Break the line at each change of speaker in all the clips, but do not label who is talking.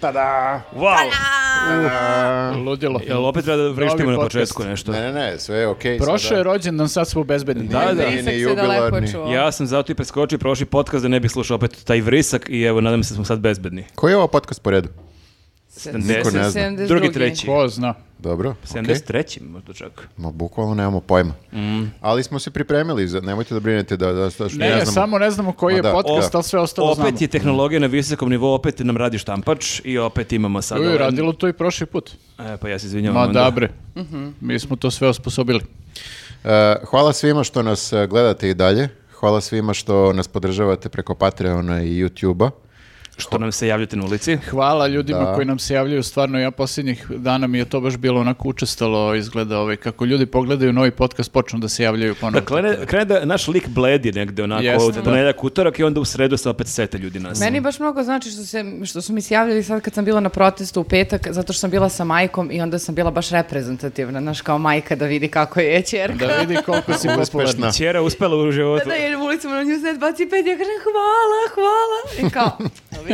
Tada.
Wow!
Ludilo.
Jel opet treba da vrištimo na
podcast.
početku nešto?
Ne, ne, ne, sve je okej. sada.
Prošao je rođendan, sad smo bezbedni.
Nije,
Da, da.
nije ni
Brisak se daleko
jubilarni.
čuo.
Ja sam zato i preskočio prošli podcast da ne bih slušao opet taj vrisak i evo, nadam se da smo sad bezbedni.
Koji je ovo podcast po redu? Niko ne zna.
72.
Drugi, treći.
Ko zna.
Dobro, okej.
73. možda čak.
Ma, bukvalno nemamo pojma. Ali smo se pripremili, za- nemojte da brinete da, da, da što
Mm. Ne,
ne, znamo.
samo ne znamo koji
Ma
je
da.
podcast,
O-
ali sve ostalo znamo.
Opet je tehnologija na visokom nivou, opet nam radi štampač i opet imamo sad...
Uj,
ovaj-
radilo to i prošli put.
E, pa ja se izvinjavam.
Ma
onda.
da bre, mi smo to sve osposobili.
E, hvala svima što nas e, gledate i dalje. Hvala svima što nas podržavate preko Patreona i YouTubea.
Što nam se javljate na ulici.
Hvala ljudima
Da.
koji nam se javljaju, stvarno ja posljednjih dana mi je to baš bilo onako učestalo, izgleda ovaj, kako ljudi pogledaju novi podcast, počnu da se javljaju ponovno.
Da, krene, krene da naš lik bledi negde onako
Jeste,
od
da.
ponedjeljak, utorak i onda u sredu se opet sete ljudi nas.
Meni baš mnogo znači što, se, što su mi se javljali sad kad sam bila na protestu u petak, zato što sam bila sa majkom i onda sam bila baš reprezentativna, znaš, kao majka da vidi kako je čerka.
Da vidi koliko si popularna.
Uspešna.
Ćera uspela u
Da,
životu.
da, jer u ulicu na nju sve baci pet, ja kažem hvala, hvala. I kao, "Jel vidiš?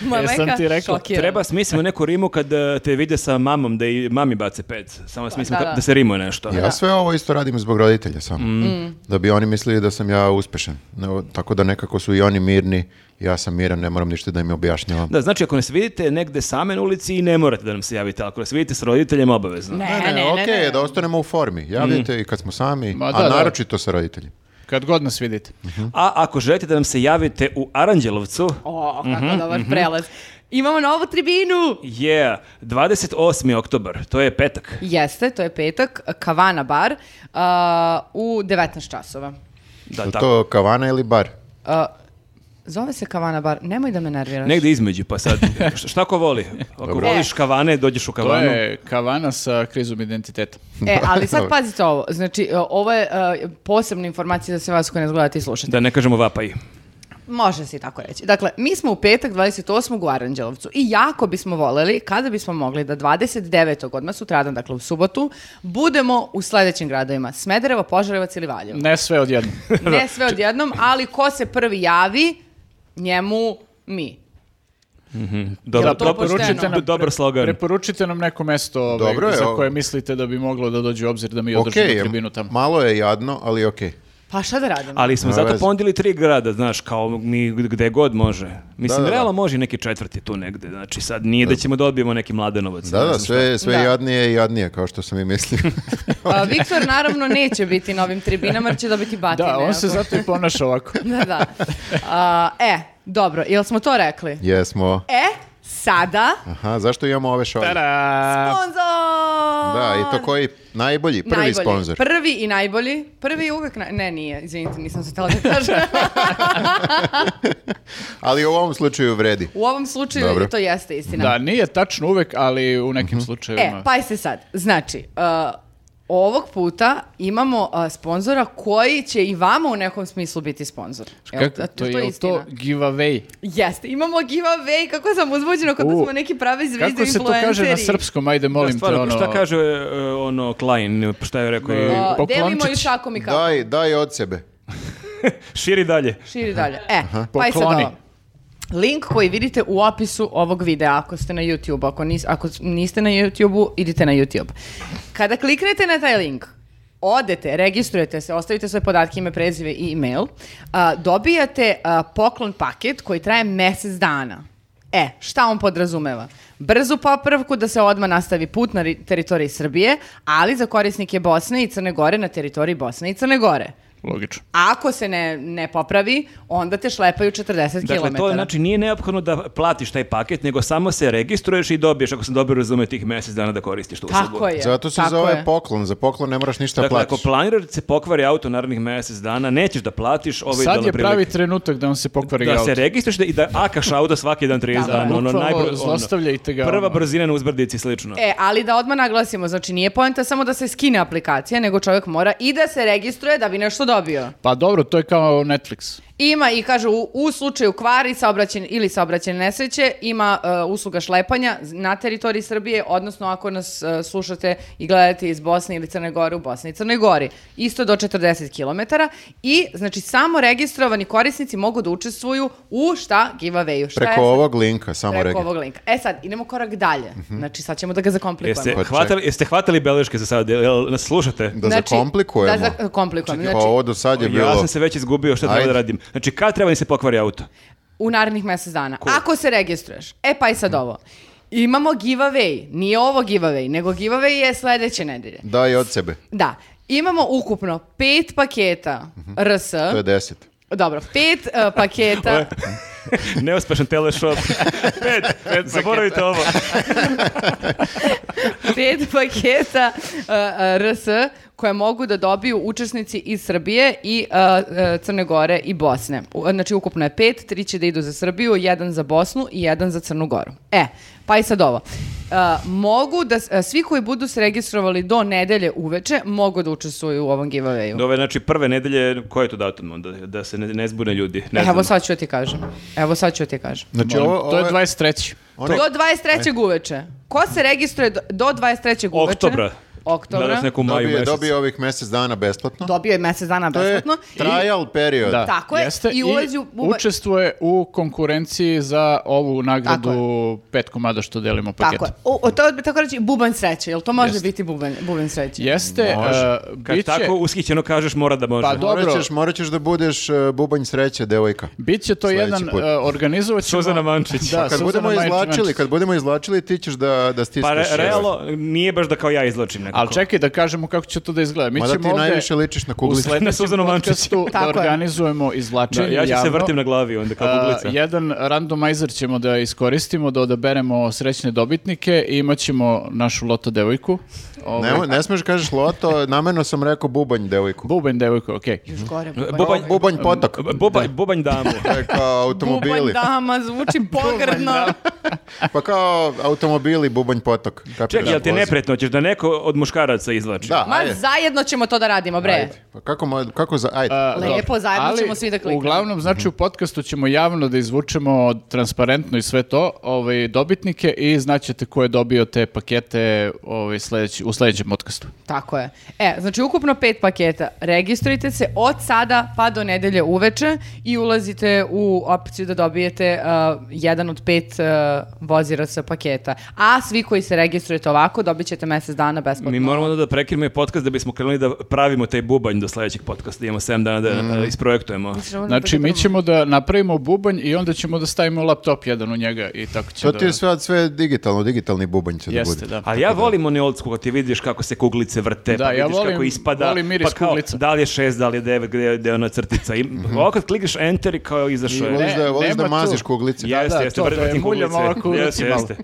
Moja
E,
Jesam
majka
ti rekla,
šokirana.
Treba smislimo neku rimu kad e, te vide sa mamom, da i mami bace pet. Samo smislimo
Pa, da,
da,
da.
da se rimuje nešto.
Ja sve ovo isto radim zbog roditelja samo.
Mm.
Da bi oni mislili da sam ja uspešan. No, tako da nekako su i oni mirni, ja sam miran, ne moram ništa da im objašnjavam.
Da, znači ako nas vidite negde same na ulici i ne morate da nam se javite, ali ako nas vidite s roditeljem obavezno.
Ne, ne, ne, ne.
okej, da ostanemo u formi.
Mm.
Javljajte i kad smo sami,
Ma da,
a
da.
naročito sa roditeljima.
Kad god nas vidite.
A ako želite da nam se javite u Aranđelovcu,
O, kako
Mhm,
dobar prelaz. Imamo novu tribinu!
je 28. oktobar, to je petak.
Jeste, to je petak, Kavana bar, a, u 19 časova.
Da,
Je
tako.
to kavana ili bar?
A, zove se Kavana bar, nemoj da me nerviraš.
Negde između, pa sad, šta, šta ko voli? Ako voliš kavane, dođeš u
To
kavanu.
je kavana sa krizom identiteta.
E, ali sad
Dobro.
pazite ovo. Znači, o- ovo je e, posebna informacija za sve vas koji nas gledate i slušate.
Da ne kažemo vapaj.
Može se i tako reći. Dakle, mi smo u petak 28. u Aranđelovcu i jako bismo voljeli kada bismo mogli da 29. odmah sutradan, dakle u subotu, budemo u sledećim gradovima. Smederevo, Požarevac ili Valjevo.
Ne sve odjedno.
Ne sve odjednom, ali ko se prvi javi, njemu mi.
Dobro,
Jel to
dobro,
pošteno?
do- do- dobar slogan.
Preporučite nam neko mesto ovaj,
Dobro je
za
ovo.
koje mislite da bi moglo da dođe u obzir da mi održimo
Okej,
tribinu tamo.
malo je jadno, ali okej.
Pa šta da radimo?
Ali smo
Nema
zato
veze.
pondili tri grada, znaš, kao mi gde god može. Mislim,
da, da.
realno može i neki četvrti tu negde. Znači, sad nije da ćemo da odbijemo neki mladenovac.
Da,
ne
da,
znam šta.
sve, sve
Da.
jadnije i jadnije, kao što sam i mislio.
A, Viktor naravno neće biti na ovim tribinama jer će dobiti batine.
Da, on se
ako-
zato i ponaša ovako.
Da, da. A, e, dobro, jel smo to rekli?
Jesmo.
E, sada...
Aha, zašto imamo ove šove?
Tada!
Sponzor!
Da, i to koji najbolji, prvi
Najbolji.
sponsor.
Prvi i najbolji. Prvi je uvek... naj- Ne, nije. Izvinite, nisam se htjela da kažem.
Ali u ovom slučaju vredi.
U ovom slučaju
Dobro.
i to jeste istina.
Da, nije tačno uvek, ali u
Mhm.
nekim slučajevima.
E, pa se sad. Znači, uh, ovog puta imamo uh, sponzora koji će i vama u nekom smislu biti sponzor. Jel
Kako-
da-
to, je to
istina?
giveaway.
Jeste, imamo giveaway, kako sam uzbuđena kod da
U,
smo neki pravi zvezde
Kako se to kaže na
influenceri.
srpskom? Ajde,
Da,
molim
stvarno,
te, ono...
šta kaže e, ono Klein, šta je rekao? i-
E,
Uh, delimo i
Poklončić.
šakom i kapom.
Daj, daj od sebe.
Širi dalje.
Širi dalje. E, pa i sad
Pokloni.
ovo. Link koji vidite u opisu ovog videa ako ste na YouTube. Ako, nis- ako niste na YouTube, idite na YouTube. Kada kliknete na taj link, odete, registrujete se, ostavite svoje podatke, ime, prezive i email, a, dobijate a, poklon paket koji traje mjesec dana. E, šta on podrazumeva? Brzu popravku da se odmah nastavi put na ri- teritoriji Srbije, ali za korisnike Bosne i Crne Gore na teritoriji Bosne i Crne Gore.
Logično.
A ako se ne, ne popravi, onda te šlepaju 40
Dakle,
km.
to znači nije neophodno da platiš taj paket, nego samo se registruješ i dobiješ, ako sam dobro razumio, tih mjesec dana da koristiš tu uslugu.
Tako je.
Zato se
tako
zove
je.
poklon, za poklon ne moraš ništa
Dakle,
platiš.
ako planiraš da se pokvari auto narednih mjesec dana, nećeš da platiš ovaj
Sad je pravi trenutak da vam se pokvari
da
auto.
se registruješ da- i da akaš auto svaki dan 30
Tako je.
dana. Ono,
Bukvalno
najbro- ono,
zlostavljajte ga,
Prva
ono.
brzina na uzbrdici, slično.
E, ali da odmah naglasimo, znači nije poenta samo da se skine aplikacija, nego čovjek mora i da se registruje da bi nešto dobio.
Pa dobro, to je kao Netflix.
Ima i kažu u, u slučaju kvari saobraćen, ili saobraćene nesreće ima e, usluga šlepanja na teritoriji Srbije, odnosno ako nas e, slušate i gledate iz Bosne ili Crne Gore u Bosni i Crnoj Gori. Isto do 40 km i znači samo registrovani korisnici mogu da učestvuju u šta giveawayu. Šta je
Preko
sad?
ovog linka, samo
Preko
regi.
ovog linka. E sad, idemo korak dalje.
Mhm.
Znači sad ćemo da ga zakomplikujemo.
Jeste
Pa ček.
hvatali, jeste hvatali beleške za sad? Jel- Jel nas slušate?
Da
Znači,
zakomplikujemo.
Da zakomplikujemo.
Pa
Znači,
ovo do sad je bilo...
Ja sam se već izgubio, šta treba
Ajde.
da radim? Znači, kad treba mi se pokvari auto?
u narednih mjesec dana. Ako se registruješ. E pa i sad
Mhm.
ovo. Imamo giveaway. Nije ovo giveaway, nego giveaway je sljedeće nedelje.
Daj od sebe.
Da. Imamo ukupno pet paketa RS.
Mhm. To je deset.
Dobro, pet e, paketa.
Neuspešan teleshop. pet, pet, zaboravite ovo.
pet paketa uh, uh, RS koje mogu da dobiju učesnici iz Srbije i uh, uh, Crne Gore i Bosne. U- Znači ukupno je pet, tri će da idu za Srbiju, jedan za Bosnu i jedan za Crnu Goru. E, pa i sad ovo. Uh, mogu da, s- uh, svi koji budu se registrovali do nedelje uveče mogu da učestvuju u ovom giveawayu.
Do ove, znači, prve nedelje, koji je to datum onda? Da se ne, ne zbune ljudi. Ne
E, Evo
znamo.
sad ću ti kažem. Evo sad ću ti kažem.
Znači,
Molim,
ovo,
to je
ovo
23.
ono-
Do 23. uveče. Ko se registruje do- do 23. uveče?
Oktobra.
Oktobra.
Nadam se neko u maju
dobio,
mjesecu.
dobio ovih mjesec dana besplatno.
Dobio je mjesec dana
to je
besplatno. I-
trial period.
Da,
Tako je,
jeste,
i ulazi u- u-
Učestvuje u konkurenciji za ovu nagradu
Tako
pet komada što delimo paket.
Tako je. O, o, to je tako reći bubanj sreće, jel to može
Jeste.
biti bubanj, bubanj sreće?
Jeste,
Može.
uh,
Kad
bit će-
tako ushićeno kažeš, mora da može.
Pa do-
Morat
dobro.
ćeš, morat ćeš da budeš e, bubanj sreće, devojka.
Bit će to
Sljedeći
jedan,
put.
e, organizovat ćemo...
Suzana Mančić.
Da,
Pa
Kad
Suzana
budemo
Mančić-
izvlačili,
Mančić.
kad budemo izvlačili, ti ćeš da, da stiskaš.
Pa re,
e,
realno, nije baš da kao ja izlačim nekako.
Ali čekaj da kažemo kako će to da izgleda. Mi
Mada
ćemo
ti
ovde
najviše ličiš na
u
kuglicu.
Na
sledećem
Suzanu Mančić.
podcastu da
Tako je.
organizujemo
Da,
izvlačenje
ja ću se
javno.
vrtim na glavi onda kao
A,
guglica.
jedan randomizer ćemo da iskoristimo, da odaberemo srećne dobitnike i imat ćemo našu loto devojku. Ovaj,
Ne, ne smiješ kažeš loto, namjerno sam rekao bubanj devojku.
Bubanj devojku, okej.
Još gore bubanj.
Bubanj,
Bubanj potok.
bubanj, bubanj damu.
To je kao automobili.
Bubanj dama zvuči pogrdno.
Pa kao automobili, bubanj potok. Kapiraš?
Čekaj, jel ti je
Vozi.
nepretno? Hoćeš da neko od muškaraca izlači?
Da,
Ma
ajde.
zajedno ćemo to da radimo, bre.
Ajde. Pa kako, mo- kako za... Ajde.
A,
Lepo,
dobro.
zajedno
Ali,
ćemo svi da kliknemo.
Uglavnom, znači u podcastu ćemo javno da izvučemo transparentno i sve to ovaj, dobitnike i znaćete ko je dobio te pakete ovaj, sljedeći- u sljedećem podcastu.
Tako je. E, znači ukupno pet paketa. Registrujte se od sada pa do nedelje uveče i ulazite u opciju da dobijete uh, jedan od pet uh, vozira sa paketa. A svi koji se registrujete ovako dobit ćete mjesec dana besplatno.
Mi moramo onda da prekirimo i podcast da bismo krenuli da pravimo taj bubanj do sledećeg podcasta. Imamo 7 dana da e, isprojektujemo.
Znači, mi ćemo da napravimo bubanj i onda ćemo da stavimo laptop jedan u njega i tako će
To
da...
ti je sve, sve digitalno, digitalni bubanj će da
Jeste,
bude.
da.
Ali ja volim one old school, kad ti vidiš kako se kuglice vrte,
Da,
pa
ja
vidiš kako
volim-
ispada,
volim miris
pa kao,
kuglica.
da li je 6, da li je 9, gde je, gde je ona crtica. I, Ovo kad klikneš enter i kao izašao je.
Voliš
Ne,
da, voliš
nema
da
tu.
maziš kuglice.
Jeste,
da,
jeste,
to,
vrtim
da je muljam
kuglice.
ovako u ruci
Jeste,
malo.
jeste.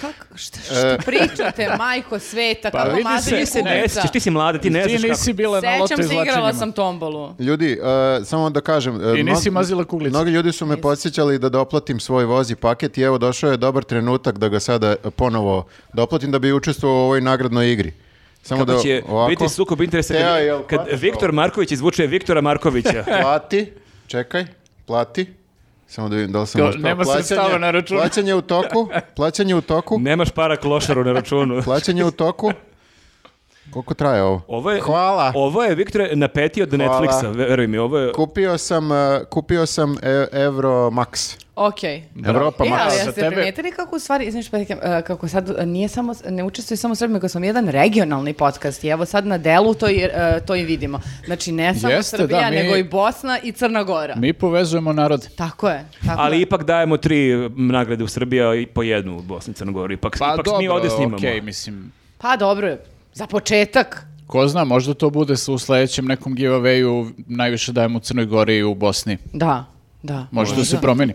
Kako, šta, šta pričate, majko sveta, kako
E, pa vidi
maziš
se,
Ti ne
kuglica?
sećaš, ti si mlada, ti ne
Ti
znaš kako.
nisi bila na lotu
Sećam se, igrala
izvlačenjima.
sam tombolu.
Ljudi, e, samo da kažem... e,
I nisi
mno-
mazila kuglice.
Mnogi ljudi su me podsjećali da doplatim svoj vozi paket i evo došao je dobar trenutak da ga sada ponovo doplatim da bi učestvovao u ovoj nagradnoj igri. Samo
Kako
da
će
ovako
biti sukob interesa
Teo,
kad,
jel
kad
platiš
Viktor Marković izvuče Viktora Markovića.
plati, čekaj, plati. Samo da vidim da li sam
Kao,
uspeo.
nema sredstava na računu.
Plaćanje u toku, plaćanje u toku,
Nemaš para klošaru na računu.
plaćanje u toku. Koliko traje ovo?
Ovo je,
Hvala.
Ovo je, Viktore, napeti od
Hvala.
Netflixa, veruj mi, ovo je...
Kupio sam, eh, kupio sam e, Euro Max.
Okej.
Evropa
E, ali
Max.
ja
Za
ste
tebe-
primijetili kako u stvari, znaš, pa, eh, kako sad eh, nije samo, ne učestvuje samo Srbi, nego smo mi jedan regionalni podcast i evo sad na delu to i, eh, to i vidimo. Znači ne samo
Jeste, da,
Srbija,
mi-
nego i Bosna i Crna Gora.
Mi povezujemo narod.
Tako je. Tako
Ali
je.
ipak dajemo tri nagrade u Srbiji a i po jednu u Bosni i Crnoj Gori. Ipak,
Pa
ipak mi
dobro,
ovdje snimamo.
okej, mislim,
Pa dobro, je, za početak.
ko zna, možda to bude s- u sljedećem nekom giveawayu, najviše dajemo u Crnoj Gori i u Bosni.
Da. Da.
Možda, se promeni.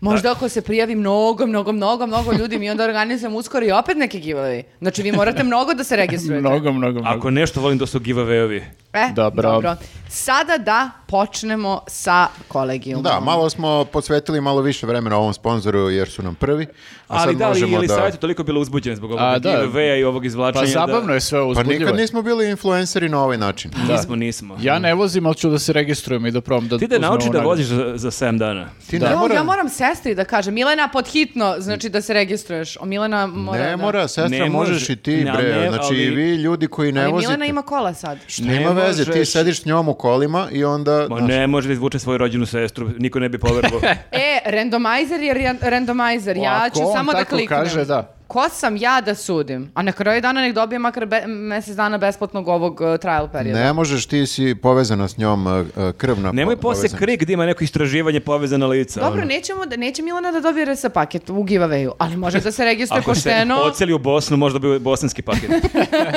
Možda ako se prijavi mnogo, mnogo, mnogo, mnogo ljudi, mi onda organizujemo uskoro i opet neke giveaway. Znači vi morate mnogo da se registrujete.
mnogo, mnogo, mnogo.
Ako nešto volim, to su giveaway-ovi.
E,
Da, bravo.
dobro. Sada da počnemo sa kolegijumom.
Da, malo smo posvetili malo više vremena ovom sponzoru jer su nam prvi. A
Ali
sad
da li je
možemo
Elisaveta toliko bila uzbuđena zbog
A,
ovog
da.
giveaway-a i ovog izvlačenja?
Pa zabavno
znači da...
je sve ovo
Pa
uzbudljivo.
nikad nismo bili influenceri na ovaj način.
Nismo, nismo.
Ja ne vozim, ali ću da se registrujem i da probam da
Ti da
uzmem
nauči
ovu
da
nagradu.
voziš za, za 7 dana.
Ti
Jo,
ne mora,
Ja moram sestri da kažem. Milena, podhitno, znači da se registruješ. O, Milena mora
ne
da-
mora, sestra,
Ne
možeš
može.
i ti,
Ne,
bre.
ne,
znači,
ali-
i vi ljudi koji ne
Ali
vozite.
Milena ima kola sad.
Šta ima
Ne
veze, ti
možeš.
sediš s njom u kolima i onda...
Ma
znaš,
ne može da izvuče svoju rođenu sestru, niko ne bi poverovao.
E, randomizer je ran- randomizer.
O,
Ja
ako
ću
on
samo da
tako
kliknem.
kaže, da.
Ko sam ja da sudim? A na kraju dana nek dobije makar be- mjesec dana besplatnog ovog uh, trial perioda.
Znači, Ne možeš, ti si povezana s njom uh, uh, krvna.
Nemoj
po-
posle
povezanost.
krik gdje ima neko istraživanje povezana lica.
Dobro,
ono.
nećemo da, neće Milana da dobije RS paket u giveawayu, ali može da se registruje
Ako se
pošteno.
oceli u Bosnu, možda bi bosanski paket.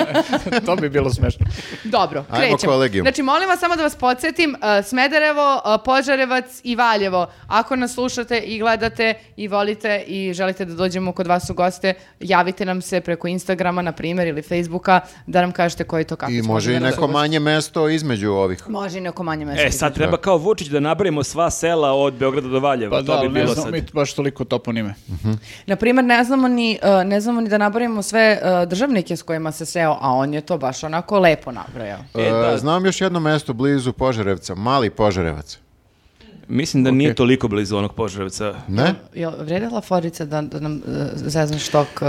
to bi bilo smešno.
Dobro,
Ajmo
krećemo.
kolegijum.
Znači, molim vas samo da vas podsjetim, uh, Smederevo, uh, Požarevac i Valjevo. Ako nas slušate i gledate i volite i želite da dođemo kod vas u goste, javite nam se preko Instagrama, na primjer, ili Facebooka, da nam kažete koji to kako
I
smo
može i
da nas
neko
ugosti.
manje mesto između ovih.
Može i neko manje mesta.
e, sad treba kao Vučić da nabrojimo sva sela od Beograda do Valjeva. to
Pa da,
bi
ali ne
bilo
znam
sad.
mi baš toliko toponime.
Na primjer, ne znamo ni, uh, ne znamo ni da nabrojimo sve uh, državnike s kojima se seo, a on je to baš onako lepo nabrojao.
E, da.
Uh, Znam još jedno mesto blizu Požarevca, Mali Požarevac.
Mislim da nije toliko blizu onog Požarevca.
Ne?
Jel vredila Florica da, da nam uh, zezne štok uh,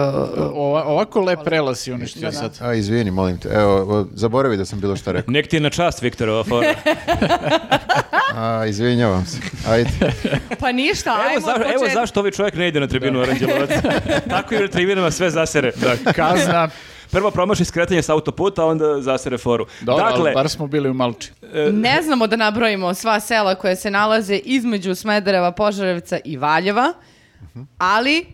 Ova, ovako lep prelaz je uništio sad.
A, izvini, molim te. Evo, o, zaboravi da sam bilo šta rekao.
Nek ti je na čast, Viktor, ova fora.
A, izvinjavam se. Ajde.
Pa ništa,
evo,
ajmo
za-
od
evo
početka.
zašto ovaj čovjek ne ide na tribinu Aranđelovac. Tako i na tribinama sve zasere.
Kazna,
Prvo promaši skretanje s autoputa, a onda zasere foru.
dobro,
dakle,
ali pa bar smo bili u Malči.
Ne znamo da nabrojimo sva sela koje se nalaze između Smedereva, Požarevca i Valjeva, ali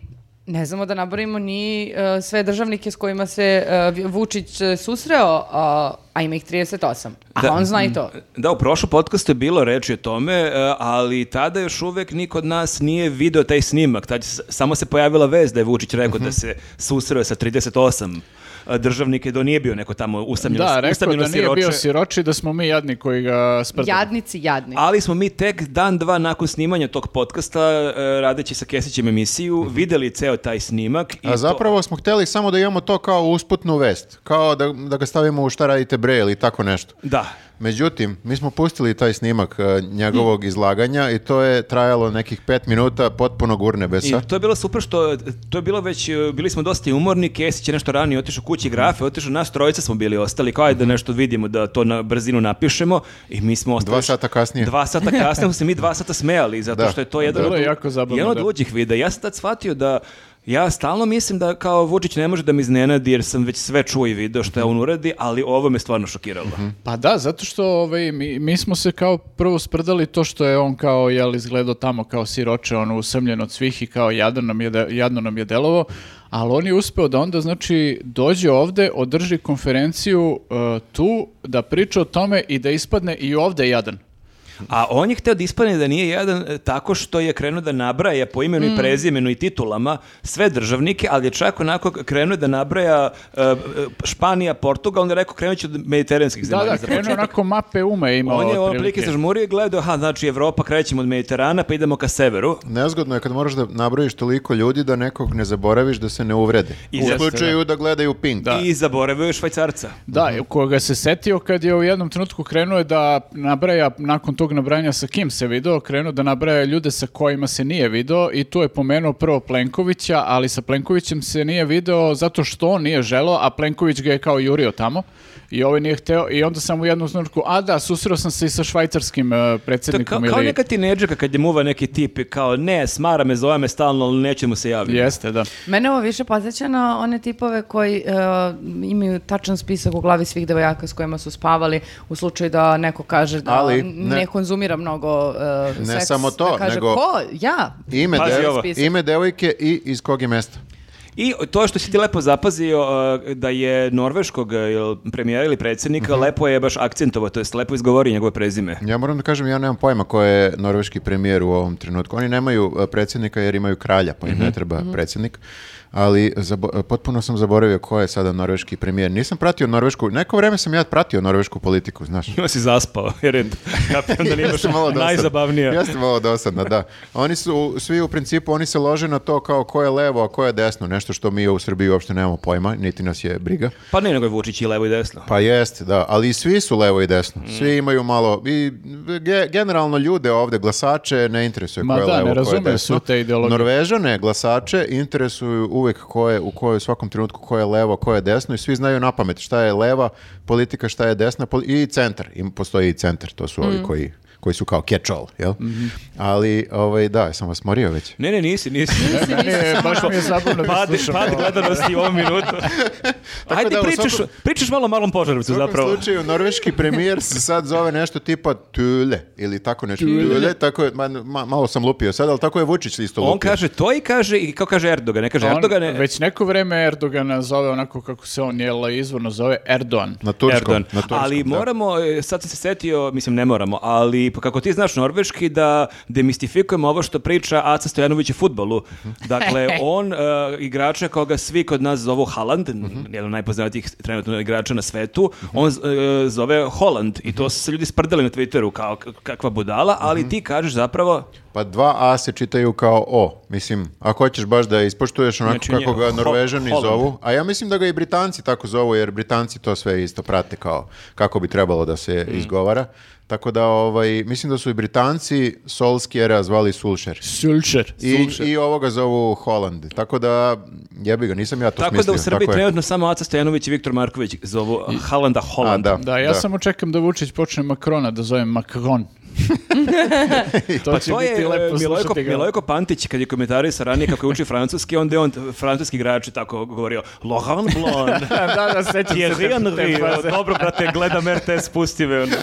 ne znamo da nabrojimo ni e, sve državnike s kojima se e, Vi- Vučić e, susreo, a- a ima ih 38. A
Da.
on zna i to.
Da, u prošlom podcastu je bilo reči o tome, e, ali tada još uvek niko od nas nije video taj snimak. Tad s- samo se pojavila vez da je Vučić rekao
Mhm.
da se susreo sa 38 e, državnike, da nije bio neko tamo usamljeno,
Da, rekao
usamljeno
da nije
siroče.
bio siroči, da smo mi jadni koji ga sprdali.
Jadnici, jadni.
Ali smo mi tek dan, dva nakon snimanja tog podcasta, e, radeći sa Kesićem emisiju,
Mhm.
videli ceo taj snimak. i
A zapravo smo hteli samo da imamo to kao usputnu vest. Kao da, da ga stavimo u šta radite bre ili tako nešto.
To, da,
Međutim, mi smo pustili taj snimak e, njegovog izlaganja i to je trajalo nekih pet minuta potpuno gurne
I
besa.
to je bilo super što, to je bilo već, e, bili smo dosta i umorni, Kesić je nešto ranije otišao kući, grafe, otišao, nas trojica smo bili ostali, kao je da nešto vidimo, da to na brzinu napišemo i mi smo ostali...
Dva sata kasnije.
Dva sata kasnije smo se mi dva sata smejali, zato
Da.
što je to jedan,
Bilo
od,
je jako zabavno,
jedan od
da.
luđih videa. Ja sam tad shvatio da Ja stalno mislim da kao Vučić ne može da me iznenadi jer sam već sve čuo i video što je on uradi, ali ovo me stvarno šokiralo.
Mhm.
Pa da, zato što ovaj, mi, mi smo se kao prvo sprdali to što je on kao jel, izgledao tamo kao siroče, ono usamljen od svih i kao jadno nam je, de- jadno nam je delovo, ali on je uspeo da onda znači dođe ovde, održi konferenciju e, tu, da priča o tome i da ispadne i ovde jadan.
A on je hteo da ispane da nije jedan e, tako što je krenuo da nabraja po imenu
Mm.
i prezimenu i titulama sve državnike, ali je čak onako krenuo da nabraja e, e, Španija, Portugal, onda je rekao krenut ću od mediteranskih
Da,
zemalja.
da,
za
krenuo
početak.
onako mape uma je imao.
On je ono
otprilike.
prilike zažmurio i gledao, aha, znači Evropa, krećemo od Mediterana, pa idemo ka severu.
Nezgodno je kad moraš da nabrojiš toliko ljudi da nekog ne zaboraviš da se ne uvrede.
I
U
jeste,
slučaju da gledaju Pink.
I zaboravio je Švajcarca.
Da, koga se setio kad je u jednom trenutku krenuo je da nabraja, nakon tog nabrajanja sa kim se video, krenuo da nabraja ljude sa kojima se nije video i tu je pomenuo prvo Plenkovića, ali sa Plenkovićem se nije video zato što on nije želeo, a Plenković ga je kao jurio tamo i ovaj nije hteo i onda sam u jednom trenutku, a da, susreo sam se i sa švajcarskim e,
To je kao,
predsjednikom
kao
ili...
neka tineđerka kad je muva neki tip i kao ne, smara me, zove me stalno, ali neće mu se javiti.
Jeste, da.
Mene ovo više podsjeća na one tipove koji e, imaju tačan spisak u glavi svih devojaka s kojima su spavali u slučaju da neko kaže da
Ali
ne,
ne-
konzumira mnogo e,
Ne
seks,
samo to,
da kaže,
nego-
Ko? Ja?
Ime,
Pazi
dev-
ovo.
ime devojke i iz kog je mesta.
I to što si ti lepo zapazio uh, da je norveškog uh, jel, premijera ili predsjednika, lepo je baš akcentovao, to jest lepo izgovori njegove prezime.
Ja moram da kažem, ja nemam pojma ko je norveški premijer u ovom trenutku. Oni nemaju e, predsjednika jer imaju kralja, pa im
Mhm.
ne treba predsjednik. Ali zabo- e, potpuno sam zaboravio ko je sada norveški premijer. Nisam pratio norvešku, neko vreme sam ja pratio norvešku politiku, znaš.
Ima si zaspao, jer je kapiram da nije baš
Jeste malo dosadno.
najzabavnija.
Jeste malo dosadno, da. Oni su, svi u principu, oni se lože na to kao ko je levo, a ko je desno. Nešto što mi u Srbiji uopšte nemamo pojma, niti nas je briga.
Pa ne, nego je Vučić i levo i desno.
Pa jeste, da, ali i svi su levo i desno. Svi imaju malo, i ge- generalno ljude ovde, glasače, ne interesuje
Ma
ko je
da, ne
levo, ko je
razumeju
desno.
svu te ideologije.
Norvežane, glasače, interesuju uvek ko je, u kojoj u svakom trenutku ko je levo, ko je desno i svi znaju na pamet šta je leva politika, šta je desna poli- i centar. Im postoji i centar, to su ovi koji koji su kao catch-all, jel?
Mhm.
Ali, ovaj, da, sam vas morio već.
Ne, ne, nisi, nisi.
Meni je, baš mi je zabavno da
Pad,
slušam.
pad gledanosti u ovom minutu. Ajde,
da, u
pričaš,
svakom-
pričaš malo o malom požarevcu
U svakom
zapravo.
slučaju, norveški premijer se sad zove nešto tipa Tule ili tako nešto. Tule, tako je, ma- ma- malo sam lupio sad, ali tako je Vučić isto lupio.
On kaže to i kaže, i kao kaže Erdogan, ne kaže
On
Erdogan, ne,
Ono, Već neko vreme Erdogana zove onako kako se on jel, izvorno zove Erdogan.
Na turskom.
Erdogan.
Na turskom,
ali
da.
moramo, e, sad sam se setio, mislim ne moramo, ali pa kako ti znaš norveški da demistifikujemo ovo što priča Aca Stojanović o futbolu.
Mhm.
Dakle, on e, igrača koga svi kod nas zovu Haaland,
Mhm.
jedan od najpoznatijih trenutno igrača na svetu, on z- e, zove Holland i
Mhm.
to su se ljudi sprdali na Twitteru kao k- kakva budala, ali ti kažeš zapravo
Pa dva A se čitaju kao O. Mislim, ako hoćeš baš da ispoštuješ onako
Znači,
kako
nje-
ga
Ho-
Norvežani
Holland.
zovu, a ja mislim da ga i Britanci tako zovu, jer Britanci to sve isto prate kao kako bi trebalo da se
Mm.
izgovara. Tako da, ovaj, mislim da su i Britanci Solskjera zvali Sulšer.
Sulčer.
I, I ovoga zovu Holland. Tako da, jebi ga, nisam ja to
tako
smislio.
da u Srbiji
tako je.
trenutno samo Aca Stojanović i Viktor Marković zovu Haalanda
A,
Holland.
da,
Da, ja samo čekam da Vučić počne Makrona da zove Makron. to će
To je
biti
e,
lepo
Milojko,
slušati ga.
Milojko Pantić kad je komentarisao ranije kako je uči francuski, onda je on t- francuski igrač tako govorio Laurent Blanc,
da, da, sećam se.
Thierry
te- te
Henry,
fraze.
dobro brate, gledam RTS, pusti me. ono.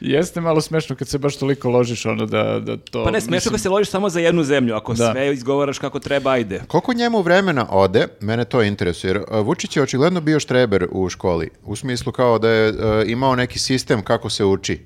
Jeste malo smešno kad se baš toliko ložiš ono da, da to...
Pa ne, smiješno ako se ložiš samo za jednu zemlju, ako
Da.
sve izgovaraš kako treba, ajde.
Koliko njemu vremena ode, mene to interesuje, jer a, Vučić je očigledno bio štreber u školi, u smislu kao da je e, imao neki sistem kako se uči,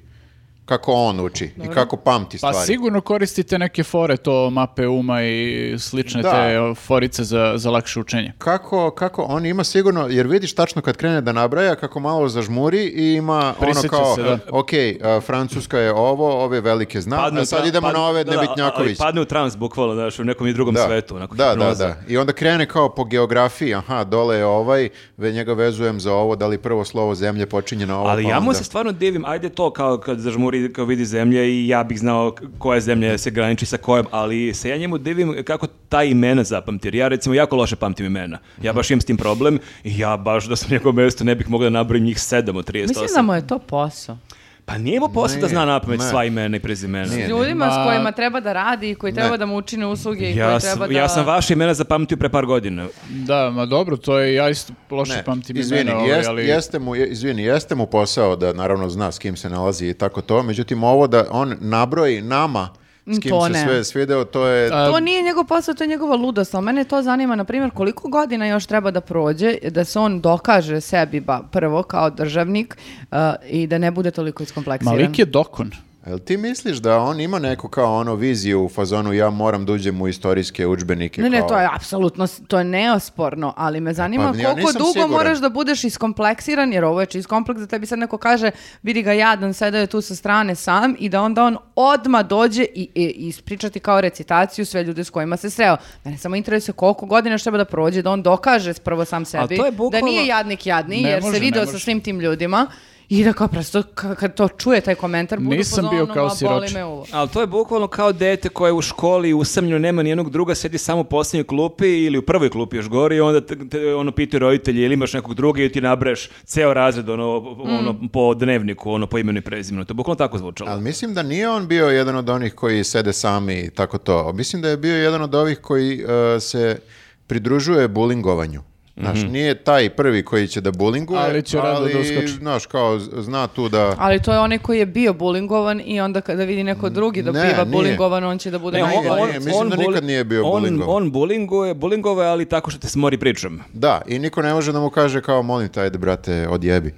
kako on uči i kako pamti
Pa
stvari.
sigurno koristite neke fore, to mape uma i slične
Da.
te o, forice za, za lakše učenje.
Kako, kako, on ima sigurno, jer vidiš tačno kad krene da nabraja, kako malo zažmuri i ima
Prisjeća
ono kao,
se, da.
ok, a, Francuska je ovo, ove velike zna,
Padne
a
u
sad
tra-
idemo
padne-
na ove
da, da, ali
Nebitnjaković.
padne u trans, bukvalno, znaš, u nekom i drugom svetu. Onako,
da, da,
hipnoza.
da. I onda krene kao po geografiji, aha, dole je ovaj, ve- njega vezujem za ovo, da li prvo slovo zemlje počinje na ovo.
Ali
pa
ja mu
onda-
se stvarno divim, ajde to kao kad zažmuri, kao vidi zemlje i ja bih znao k- koja zemlja se graniči sa kojom, ali se ja njemu divim kako ta imena zapamti, jer ja recimo jako loše pamtim imena.
Mhm.
Ja baš imam s tim problem i ja baš da sam na njegovom mjestu ne bih mogao da nabrojim njih 7 od
pa
38.
Mislim da mu je to posao.
Pa nije mu posao da
Ne,
zna napamet
ne.
sva imena i prezimena.
Nije.
Ljudima
Ma-
s kojima treba da radi i koji treba
Ne.
da mu učine usluge i koji
Ja,
treba
sam,
da...
ja sam vaše imena zapamtio pre par godina.
Da, ma dobro, to je, ja isto loše
Znači,
Ne,
pamtim
izvini,
imena, ovaj,
jest-
ali...
jeste mu, je- izvini, jeste mu posao da naravno zna s kim se nalazi i tako to, međutim ovo da on nabroji nama s kim
Mm, To
se
ne.
sve svideo, to je...
To nije njegov posao, to je njegova ludost, ali mene to zanima, na primjer, koliko godina još treba da prođe, da se on dokaže sebi ba, prvo kao državnik uh, i da ne bude toliko iskompleksiran.
Malik je dokon.
Jel ti misliš da on ima neku kao ono viziju u fazonu ja moram da uđem u istorijske udžbenike
Ne, ne,
kao-
to je apsolutno, s- to je neosporno, ali me zanima
ja
koliko
nisam
dugo
siguran.
moraš da budeš iskompleksiran, jer ovo je čist kompleks, da tebi sad neko kaže, vidi ga jadan, sedao je tu sa strane sam i da onda on odma dođe i, i, i ispričati kao recitaciju sve ljude s kojima se sreo. Mene samo interesuje koliko godina još treba da prođe, da on dokaže prvo sam sebi,
to je bukvalno-
da nije jadnik jadni,
Ne
jer
može,
se
ne
video sa
može.
svim tim ljudima. I da kao prosto, k- kad to čuje taj komentar, budu
Nisam bio
pozvano,
kao
"Ma, boli
siroče."
me uvo.
Ali to je bukvalno kao dete koje je u školi usamljeno, nema nijednog druga, sedi samo u posljednjoj klupi ili u prvoj klupi još gori i onda te, te, ono pitaju roditelji ili imaš nekog druga i ti nabraješ ceo razred ono, ono, po dnevniku, ono po imenu i prezimenu. To je bukvalno tako zvučalo.
Ali mislim da nije on bio jedan od onih koji sede sami i tako to. Mislim da je bio jedan od ovih koji e, se pridružuje bulingovanju. Znaš, nije taj prvi koji će da bulinguje,
Mhm. Ali će rado da uskoči.
znaš, kao, z- zna tu da...
Ali to je onaj koji je bio bulingovan i onda kada vidi neko drugi da
Ne,
biva
nije.
bulingovan, on će da bude
Ne,
on-
najgori.
on- nije, mislim da
buli-
nikad nije bio
on,
bulingovan.
On bulinguje, bulingove, ali tako što te smori pričom.
Da, i niko ne može da mu kaže kao, molim te, ajde, brate, odjebi.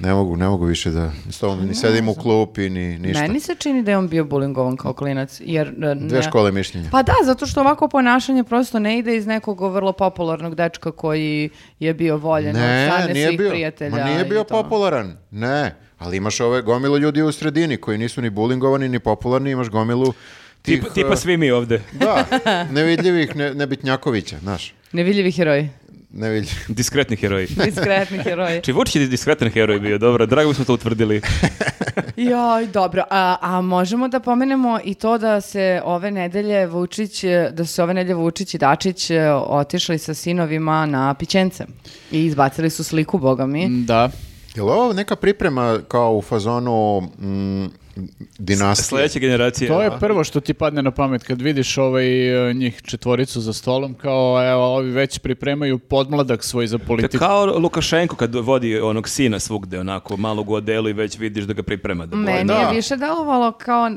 Ne mogu, ne mogu više da s tobom ni sedim u klupi, ni ništa.
Meni se čini da je on bio bulingovan kao klinac. Jer, e,
Dve
ne-
škole mišljenja.
Pa da, zato što ovako ponašanje prosto ne ide iz nekog vrlo popularnog dečka koji je bio voljen od
Ne,
strane
nije
svih
bio,
prijatelja.
ma nije
i
bio
to.
popularan, ne. Ali imaš ove gomilu ljudi u sredini koji nisu ni bulingovani, ni popularni, imaš gomilu tih...
Tip, tipa
eh,
svi mi ovde.
Da, nevidljivih ne, nebitnjakovića, znaš.
Nevidljivi heroji.
Nevidljiv.
Diskretni heroji.
Diskretni heroji.
Či Vučić je diskretan heroj bio, dobro, drago mi smo to utvrdili.
Joj, dobro. A, a možemo da pomenemo i to da se ove nedelje Vučić, e, da su ove nedelje Vučić i Dačić e, otišli sa sinovima na pićence. I izbacili su sliku, boga mi.
Da.
Je li ovo neka priprema kao u fazonu mm, dinastije?
Sljedeća generacija.
To je prvo što ti padne na pamet kad vidiš ovaj, e, njih četvoricu za stolom, kao evo, ovi već pripremaju podmladak svoj za
To je
politiku.
kao Lukašenko kad vodi onog sina svugde, onako, malo u odelu i već vidiš da ga priprema. Da boje.
Meni
Mm, Da.
je više delovalo kao e,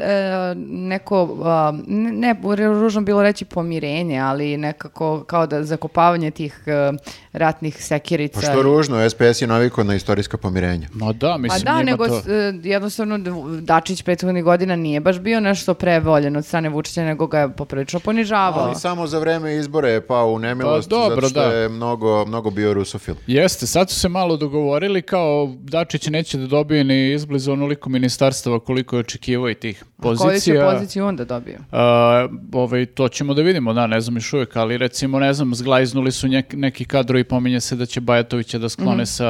neko, a, ne, ne, ružno bilo reći pomirenje, ali nekako kao da zakopavanje tih e, ratnih sekirica.
Pa što ružno, SPS je navikao na istorijska pomirenja.
Ma da,
Pa
mislim,
da,
njima
nego
to...
e, jednostavno d- Dačić prethodnih godina nije baš bio nešto prevoljen od strane Vučića, nego ga je poprilično ponižavao.
Ali samo za vreme izbore je pao u nemilost,
Pa dobro,
zato što
da.
je mnogo, mnogo bio rusofil.
Jeste, sad su se malo dogovorili kao Dačić neće da dobije ni izblizu onoliko ministarstava koliko je očekivao i tih
Koju će
pozicija.
poziciju onda dobio?
A, ovaj, to ćemo da vidimo, da, ne znam još uvijek, ali recimo, ne znam, zglajznuli su nek- neki kadro i pominje se da će Bajatovića da
Mhm.
sklone sa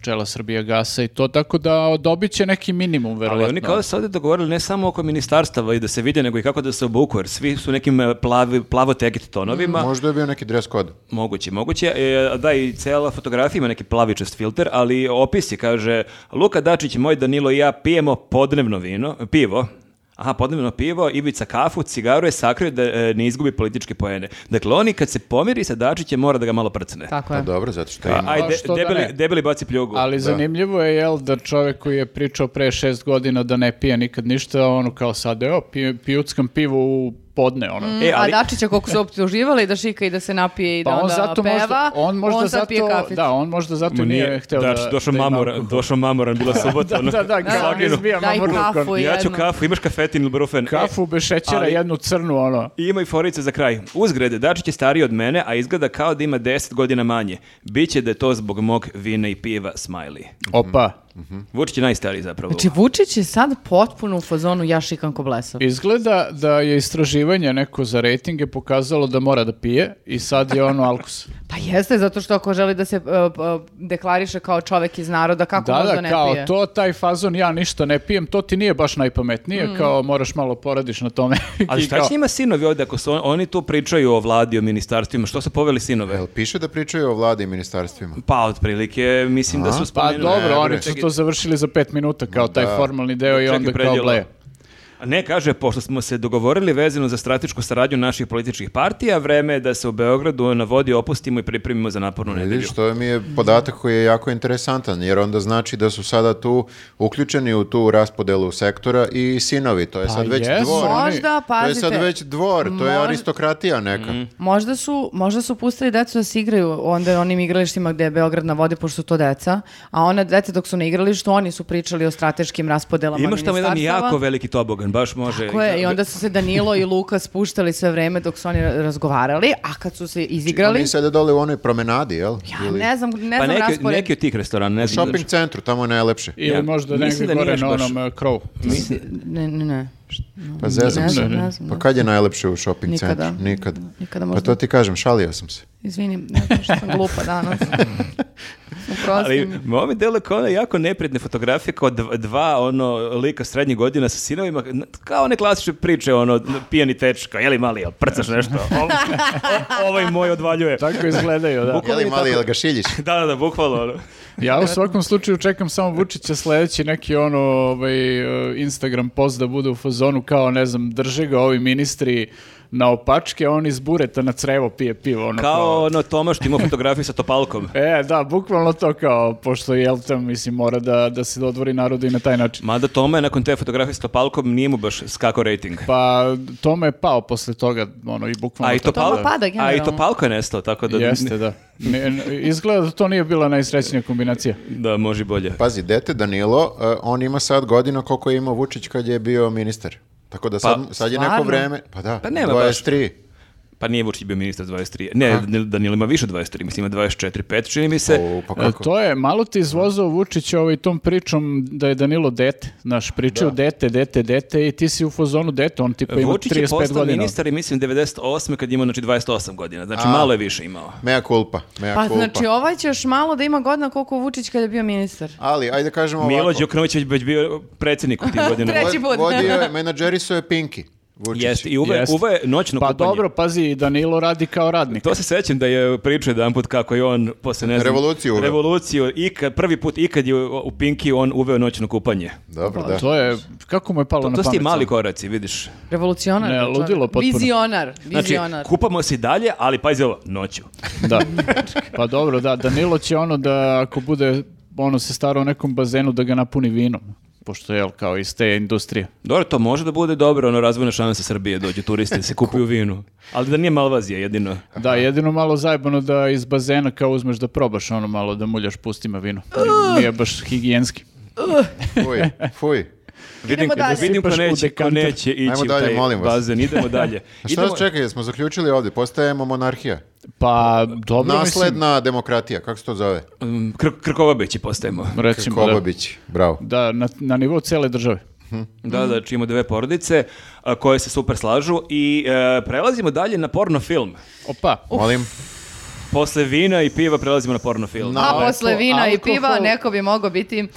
čela Srbija gasa i to, tako da dobit će neki minimum,
Ali
verovatno.
oni kao da se ovdje dogovorili ne samo oko ministarstava i da se vide, nego i kako da se obuku, jer svi su nekim e, plavi, plavo tegit tonovima.
Možda je bio neki dress kod.
Moguće, moguće. E, da, i cela fotografija ima neki plavičast filter, ali opis je, kaže, Luka Dačić, moj Danilo i ja pijemo podnevno vino, pivo, Aha, podnevno pivo, Ivica kafu, cigaru je sakrio da e, ne izgubi političke poene. Dakle, oni kad se pomiri sa Dačićem mora da ga malo prcne.
Tako
Pa
je.
dobro, zato što
A,
ima.
A
ajde,
što da
debeli,
ne?
debeli baci pljugu.
Ali zanimljivo je, jel, da čovjek koji je pričao pre šest godina da ne pije nikad ništa, ono kao sad, evo, pije, pijuckam pivo u podne, ono.
E, ali-
Mm, A Dačića koliko su optuživali da šika i da se napije i da
Pa on
onda
zato
peva,
možda, on možda
on sad
zato,
pije kafić.
da, on možda zato
Ma
nije, hteo da,
Dačić, znači, došao
da ima
mamoran,
alkohol.
došao mamoran, bila sobota. ono.
Da, da,
Da,
kao
da.
izbija
Daj
mamor
kafu
rukom.
i-
Ja ću
jedno.
kafu, imaš kafetin ili brufen? E,
Kafu bez šećera,
ali-
jednu crnu, ono.
I ima i forice za kraj. Uzgred, Dačić je stariji od mene, a izgleda kao da ima 10 godina manje. Biće da je to zbog mog vina i piva, smiley.
Opa.
Mhm. Vučić je najstariji zapravo.
Znači, Vučić je sad potpuno u fazonu ja šikam ko blesav.
Izgleda da je istraživanje neko za rejtinge pokazalo da mora da pije i sad je ono alkus.
Pa jeste, zato što ako želi da se e, e, deklariše kao čovek iz naroda, kako
da,
možda
da,
ne
kao
pije?
to, taj fazon, ja ništa ne pijem, to ti nije baš najpametnije,
Mhm.
kao moraš malo poradiš na tome.
Ali
I
šta
kao-
će njima sinovi ovdje ako su on- oni tu pričaju o vladi, o ministarstvima? Što su poveli sinove?
Jel piše da pričaju o vladi i ministarstvima?
Pa, otprilike, mislim da su
Pa
spomenuli.
dobro,
Ne,
oni
bre.
su to završili za pet minuta, kao taj formalni deo i
Čekaj,
onda kao
predjelo.
bleje.
A Ne, kaže, pošto smo se dogovorili vezano za stratešku saradnju naših političkih partija, vreme je da se u Beogradu na vodi opustimo i pripremimo za napornu nedelju.
Vidiš, to mi je podatak koji je jako interesantan, jer onda znači da su sada tu uključeni u tu raspodelu sektora i sinovi.
Pa
To je sad već
jesu.
dvor.
Mo-
Možda,
To je
pazite,
sad već dvor, to je
Mož-
aristokratija neka.
Mhm. možda, su, možda su pustili decu da se igraju onda u onim igralištima gde je Beograd na vodi, pošto su to deca, a ona deca dok su na igralištu, oni su pričali o strateškim raspodelama
Imaš tamo jedan
ministarstava.
jako veliki tobogan, baš može.
Tako je, i onda su se Danilo i Luka spuštali sve vreme dok su oni razgovarali, a kad su se izigrali,
Oni sede dole u onoj promenadi, jel?
ja ne znam, ne
Pa
znam
neki,
raspored.
neki od tih restorana, ne znam.
Shopping centru, tamo je najlepše.
Ili
Ja,
možda
mislim
negdje
da nije
gore
baš
na
baš-
onom e, krovu.
Ne, ne, ne.
Pa zezam
Ne
se.
znam, ne znam.
Pa kad je najlepše u shopping
Nikada.
centru? Nikad.
Nikada
Pa
možda.
to ti kažem, šalio sam se.
Izvini, ne znam što sam glupa danas.
Ali
Ali,
momi delo kao one jako neprijatne fotografije kao dva, dva, ono lika srednjih godina sa sinovima, kao one klasične priče, ono pijani tečka, jeli mali, jel prcaš nešto, ovo, o- ovaj moj odvaljuje.
Tako izgledaju, da.
Je li mali,
je tako?
jel ga šiljiš?
Da, da, da, bukvalno. ono.
Ja u svakom slučaju čekam samo Vučića sledeći neki ono eh, ovaj, e, Instagram post da bude u fazonu kao, ne znam, drže ga ovi ministri na opačke, a on iz bureta na crevo pije pivo. Ono,
Kao ono Tomaš ti imao fotografiju sa topalkom.
E, da, bukvalno to kao, pošto jel tam, mislim, mora da, da se odvori narodu i na taj način.
Mada Toma je nakon te fotografije sa topalkom nije mu baš skako rating.
Pa, tome je pao posle toga, ono, i bukvalno...
A i, pa-
tako
topal...
da-
pada
a i
generalno.
topalka je nestao, tako da,
Jeste, da. Ne- n- izgleda da to nije bila najsrećnija kombinacija.
da može i bolje.
Pazi, dete Danilo, eh, on ima sad godina koliko je imao Vučić kad je bio ministar. Tako da sad,
Pa,
sad je neko
stvarno?
vreme, pa da,
Pa nema baš.
23.
Pa nije Vučić bio ministar 23. Ne, Danilo ima više od 23, mislim ima 24, 5, čini mi se.
O, pa
E,
kako?
To je, malo ti izvozao Vučić ovaj, tom pričom da je Danilo dete, znaš, pričao dete, dete, dete i ti si u fazonu dete, on tipa pa ima
Vučić je
35
postao
godina.
ministar i mislim 98. kad je imao znači 28 godina. Znači
A.
malo je više imao.
Mea culpa, mea
Pa
culpa.
znači ovaj će još malo da ima godina koliko Vučić kada je bio ministar.
Ali, ajde kažemo
Milo
ovako.
Đukanović je već bio predsjednik u tim godinama.
Treći put.
Vodio je, menadžerisao je Pinky. Vučić.
Jeste, i uve,
Jest.
uve noćno
Pa
kupanje.
dobro, pazi, i Danilo radi kao radnik.
To se sećam da je pričao jedan put kako je on posle ne znam,
Revoluciju uveo.
revoluciju i kad, prvi put ikad je u Pinki on uveo noćno kupanje.
Dobro,
Pa,
da.
To je, kako mu je palo
To,
na
to
pamet?
su ti mali
samo?
koraci, vidiš.
Revolucionar.
Ne,
čovjek.
ludilo potpuno.
Vizionar.
Znači,
Vizionar.
kupamo se i dalje, ali pazi ovo, noću.
Da. Pa dobro, da, Danilo će ono da ako bude ono se staro u nekom bazenu da ga napuni vinom, pošto je jel, kao iz te industrije.
Dobro, to može da bude dobro, ono razvojna šansa Srbije, dođu turisti, se kupuju vinu. Ali da nije Malvazija jedino.
Da, jedino malo zajebano da iz bazena kao uzmeš da probaš ono malo da muljaš pustima vino. Nije baš higijenski.
Fuj, fuj.
Vidim,
dalje.
vidim ko
Sipaš u
neće, ko
dekanter.
neće ići
Ajmo
u
dalje,
taj
molim vas.
bazen. Idemo dalje.
A šta
Idemo,
nas čeka, jesmo zaključili ovdje, postajemo monarhija.
Pa dobro mislim,
Nasledna demokratija, kako se to zove?
um, Kr- Krkobabići postajemo.
recimo da,
Kobobić, bravo.
da na, na nivou cele države.
Da, da, čimo dve porodice a, koje se super slažu i e, prelazimo dalje na porno film.
Opa.
Molim,
Posle vina i piva prelazimo na porno film.
Na-
A posle
lepo,
vina i
alkohol.
piva neko bi mogao biti...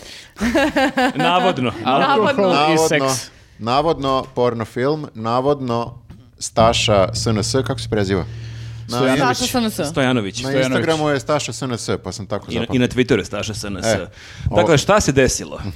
Navodno.
Navodno.
Alkohol i
navodno,
seks.
navodno porno film, navodno Staša SNS, kako se preziva? Na,
Stojanović.
Saša SNS.
Stojanović.
na
Stojanović.
Instagramu je Staša SNS, pa sam tako
I na,
zapamtio.
I na Twitteru je Staša SNS.
E, ovo- Mhm.
dakle, šta se desilo?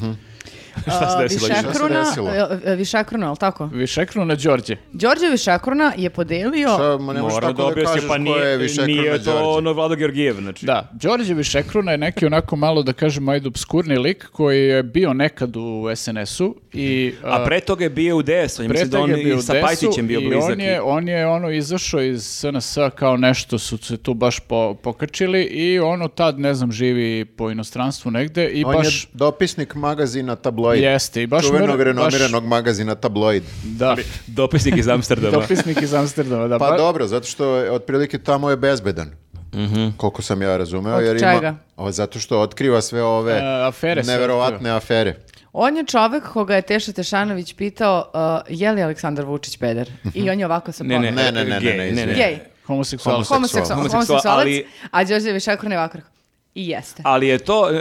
šta se
A,
desilo?
Višak-
Višak...
Višakruna,
desilo?
e, e, Višakruna, ali tako?
Višeknu na Đorđe.
Đorđe Višakruna je podelio...
Šta, ma ne možeš
Mora da
tako da
objasni,
kažeš ko
pa
je
nije,
više
nije to ono Vlado Georgijev. Znači.
Da, Đorđe Višekruna je neki onako malo da kažemo ajde obskurni lik koji je bio nekad u SNS-u i
A
a,
pre toga je bio u DS-u. Mislim da
toga
on
je bio
i
u
sa
DS-u
Pajtićem bio
i
blizak.
On je, on je ono izašao iz SNS -a kao nešto su se tu baš po, pokačili i ono tad ne znam živi po inostranstvu negde i
On
baš
je dopisnik magazina Tabloid.
Jeste, i baš
Čuvenog,
mora-
renomiranog magazina Tabloid.
da,
Dopisnik iz Amsterdama.
dopisnik iz Amsterdama, da.
Pa
ba-
dobro, zato što je, otprilike tamo je bezbedan.
Mhm.
Koliko sam ja razumeo.
Od
jer
čega?
Ima, o, zato što otkriva sve ove
E, afere sve
neverovatne
otkriva.
afere.
On je čovek koga je Teša Tešanović pitao uh, je li Aleksandar Vučić peder? I on je ovako sa
Ne, ne,
Ne, ne, ne, ne,
gej,
ne,
ne.
Gej.
Homoseksualac.
Homoseksualac.
Homoseksual,
Homoseksual,
homoseksualac,
ali-
a Đorđe Višakruna je ovako rekao, I jeste.
Ali je to, e,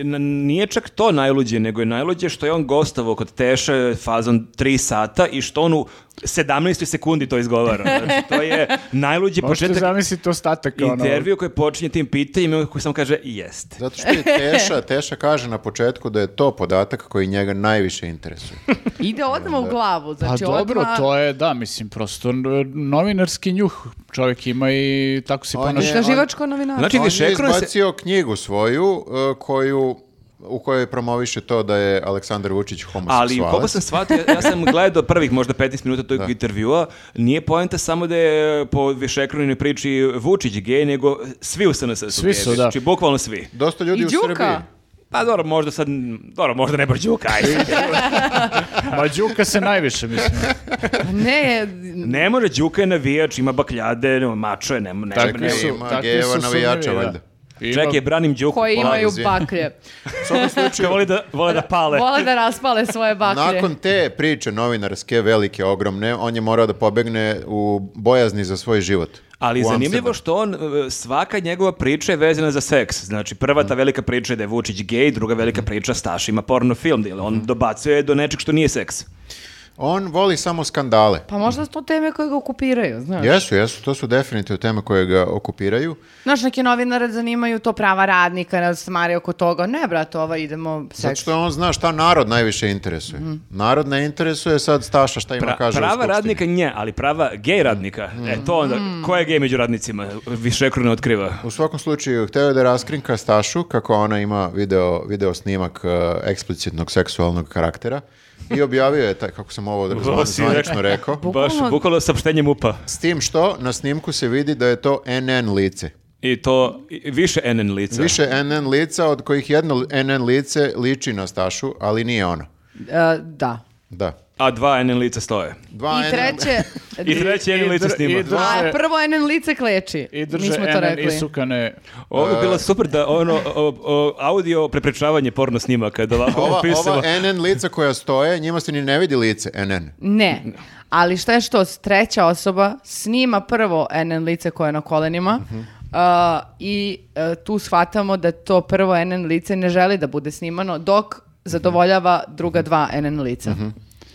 n- nije čak to najluđe, nego je najluđe što je on gostovao kod Teše fazon 3 sata i što on u 17. sekundi to izgovara. Znači, to je najluđi
Možete
početak
zamisliti ostatak ono.
intervju koji počinje tim pitanjima koji samo kaže jeste.
Zato što je Teša, Teša kaže na početku da je to podatak koji njega najviše interesuje.
Ide odmah u glavu.
Pa
Znači,
dobro,
odmah-
to je, da, mislim, prosto n- novinarski njuh čovjek ima i tako se
On
ponaša.
je-
Istraživačko novinarstvo.
Znači,
On je
Višekrun se...
izbacio knjigu svoju uh, koju u kojoj promoviše to da je Aleksandar Vučić
Ali
homoseksualac.
koliko sam shvatio, ja sam gledao prvih možda 15 minuta tog intervjua, nije poenta samo da je po Višekruninoj priči Vučić gej, nego svi u SNS su
Svi su,
gej.
da.
Znači, bukvalno svi.
Dosta Znači, ljudi
I
u
Đuka.
Srbiji.
Pa dobro, možda sad, dobro, možda ne baš Đuka, ajde.
Ma Đuka se najviše, mislim.
Ne,
Ne može, Đuka je navijač, ima bakljade, no, mačo je, ne, ne,
Takvi
ne-
su-
Ima
takvi
gejeva
su sumnjivi,
navijača,
da.
valjda.
Ima-
Čekaj, branim Đuku.
koji
polako.
imaju
izvini.
baklje.
U svakom
Koji
slučaju,
vole da, vole da pale.
Vole da raspale svoje baklje.
Nakon te priče novinarske, velike, ogromne, on je morao da pobegne u bojazni za svoj život.
Ali
U
zanimljivo
Amsterdam.
što on, e, svaka njegova priča je vezana za seks. Znači, prva ta velika priča je da je Vučić gej, druga velika priča Staš ima porno film, da je on dobacuje do nečeg što nije seks.
On voli samo skandale.
Pa možda su to teme koje ga okupiraju,
Pa,
znaš.
Jesu, jesu, to su definitivno teme koje ga okupiraju.
Znaš, neki novinare zanimaju to prava radnika, ne smare oko toga. Ne, brate, ova idemo
Zato
seks.
što on zna šta narod najviše interesuje.
Mhm.
Narod ne interesuje sad Staša šta ima
Pra-
Pa kaže u
prava
skupštini.
radnika nje, ali prava gej radnika. E, to onda,
Mm.
ko je gej među radnicima? Višekru ne otkriva.
U svakom slučaju, hteo je da raskrinka Stašu kako ona ima video, video snimak eh, eksplicitnog seksualnog karaktera i objavio je, taj, kako sam ovo
Ovo si
zvanično rekao,
Baš,
Bukvalno-
bukvalno saopštenje MUPA.
s tim što na snimku se vidi da je to NN lice.
I to i- više NN lica.
Više NN lica, od kojih jedno NN lice liči na Stašu, ali nije ono.
E, da.
Da.
A dva NN lica stoje.
Dva
I
NN
treće...
I treće NN lice
dr-
snima.
i drže-
A prvo NN lice kleči.
I
Mi
drže
smo to
NN
rekli.
isukane.
Ovo bi bilo super da ono o- o- audio preprečavanje porno snimaka da ovako
Ova,
opisamo.
ova NN lica koja stoje, njima se ni ne vidi lice NN.
Ne. Ali šta je što? Treća osoba snima prvo NN lice koje je na kolenima a, i e, tu shvatamo da to prvo NN lice ne želi da bude snimano dok zadovoljava druga dva NN lica.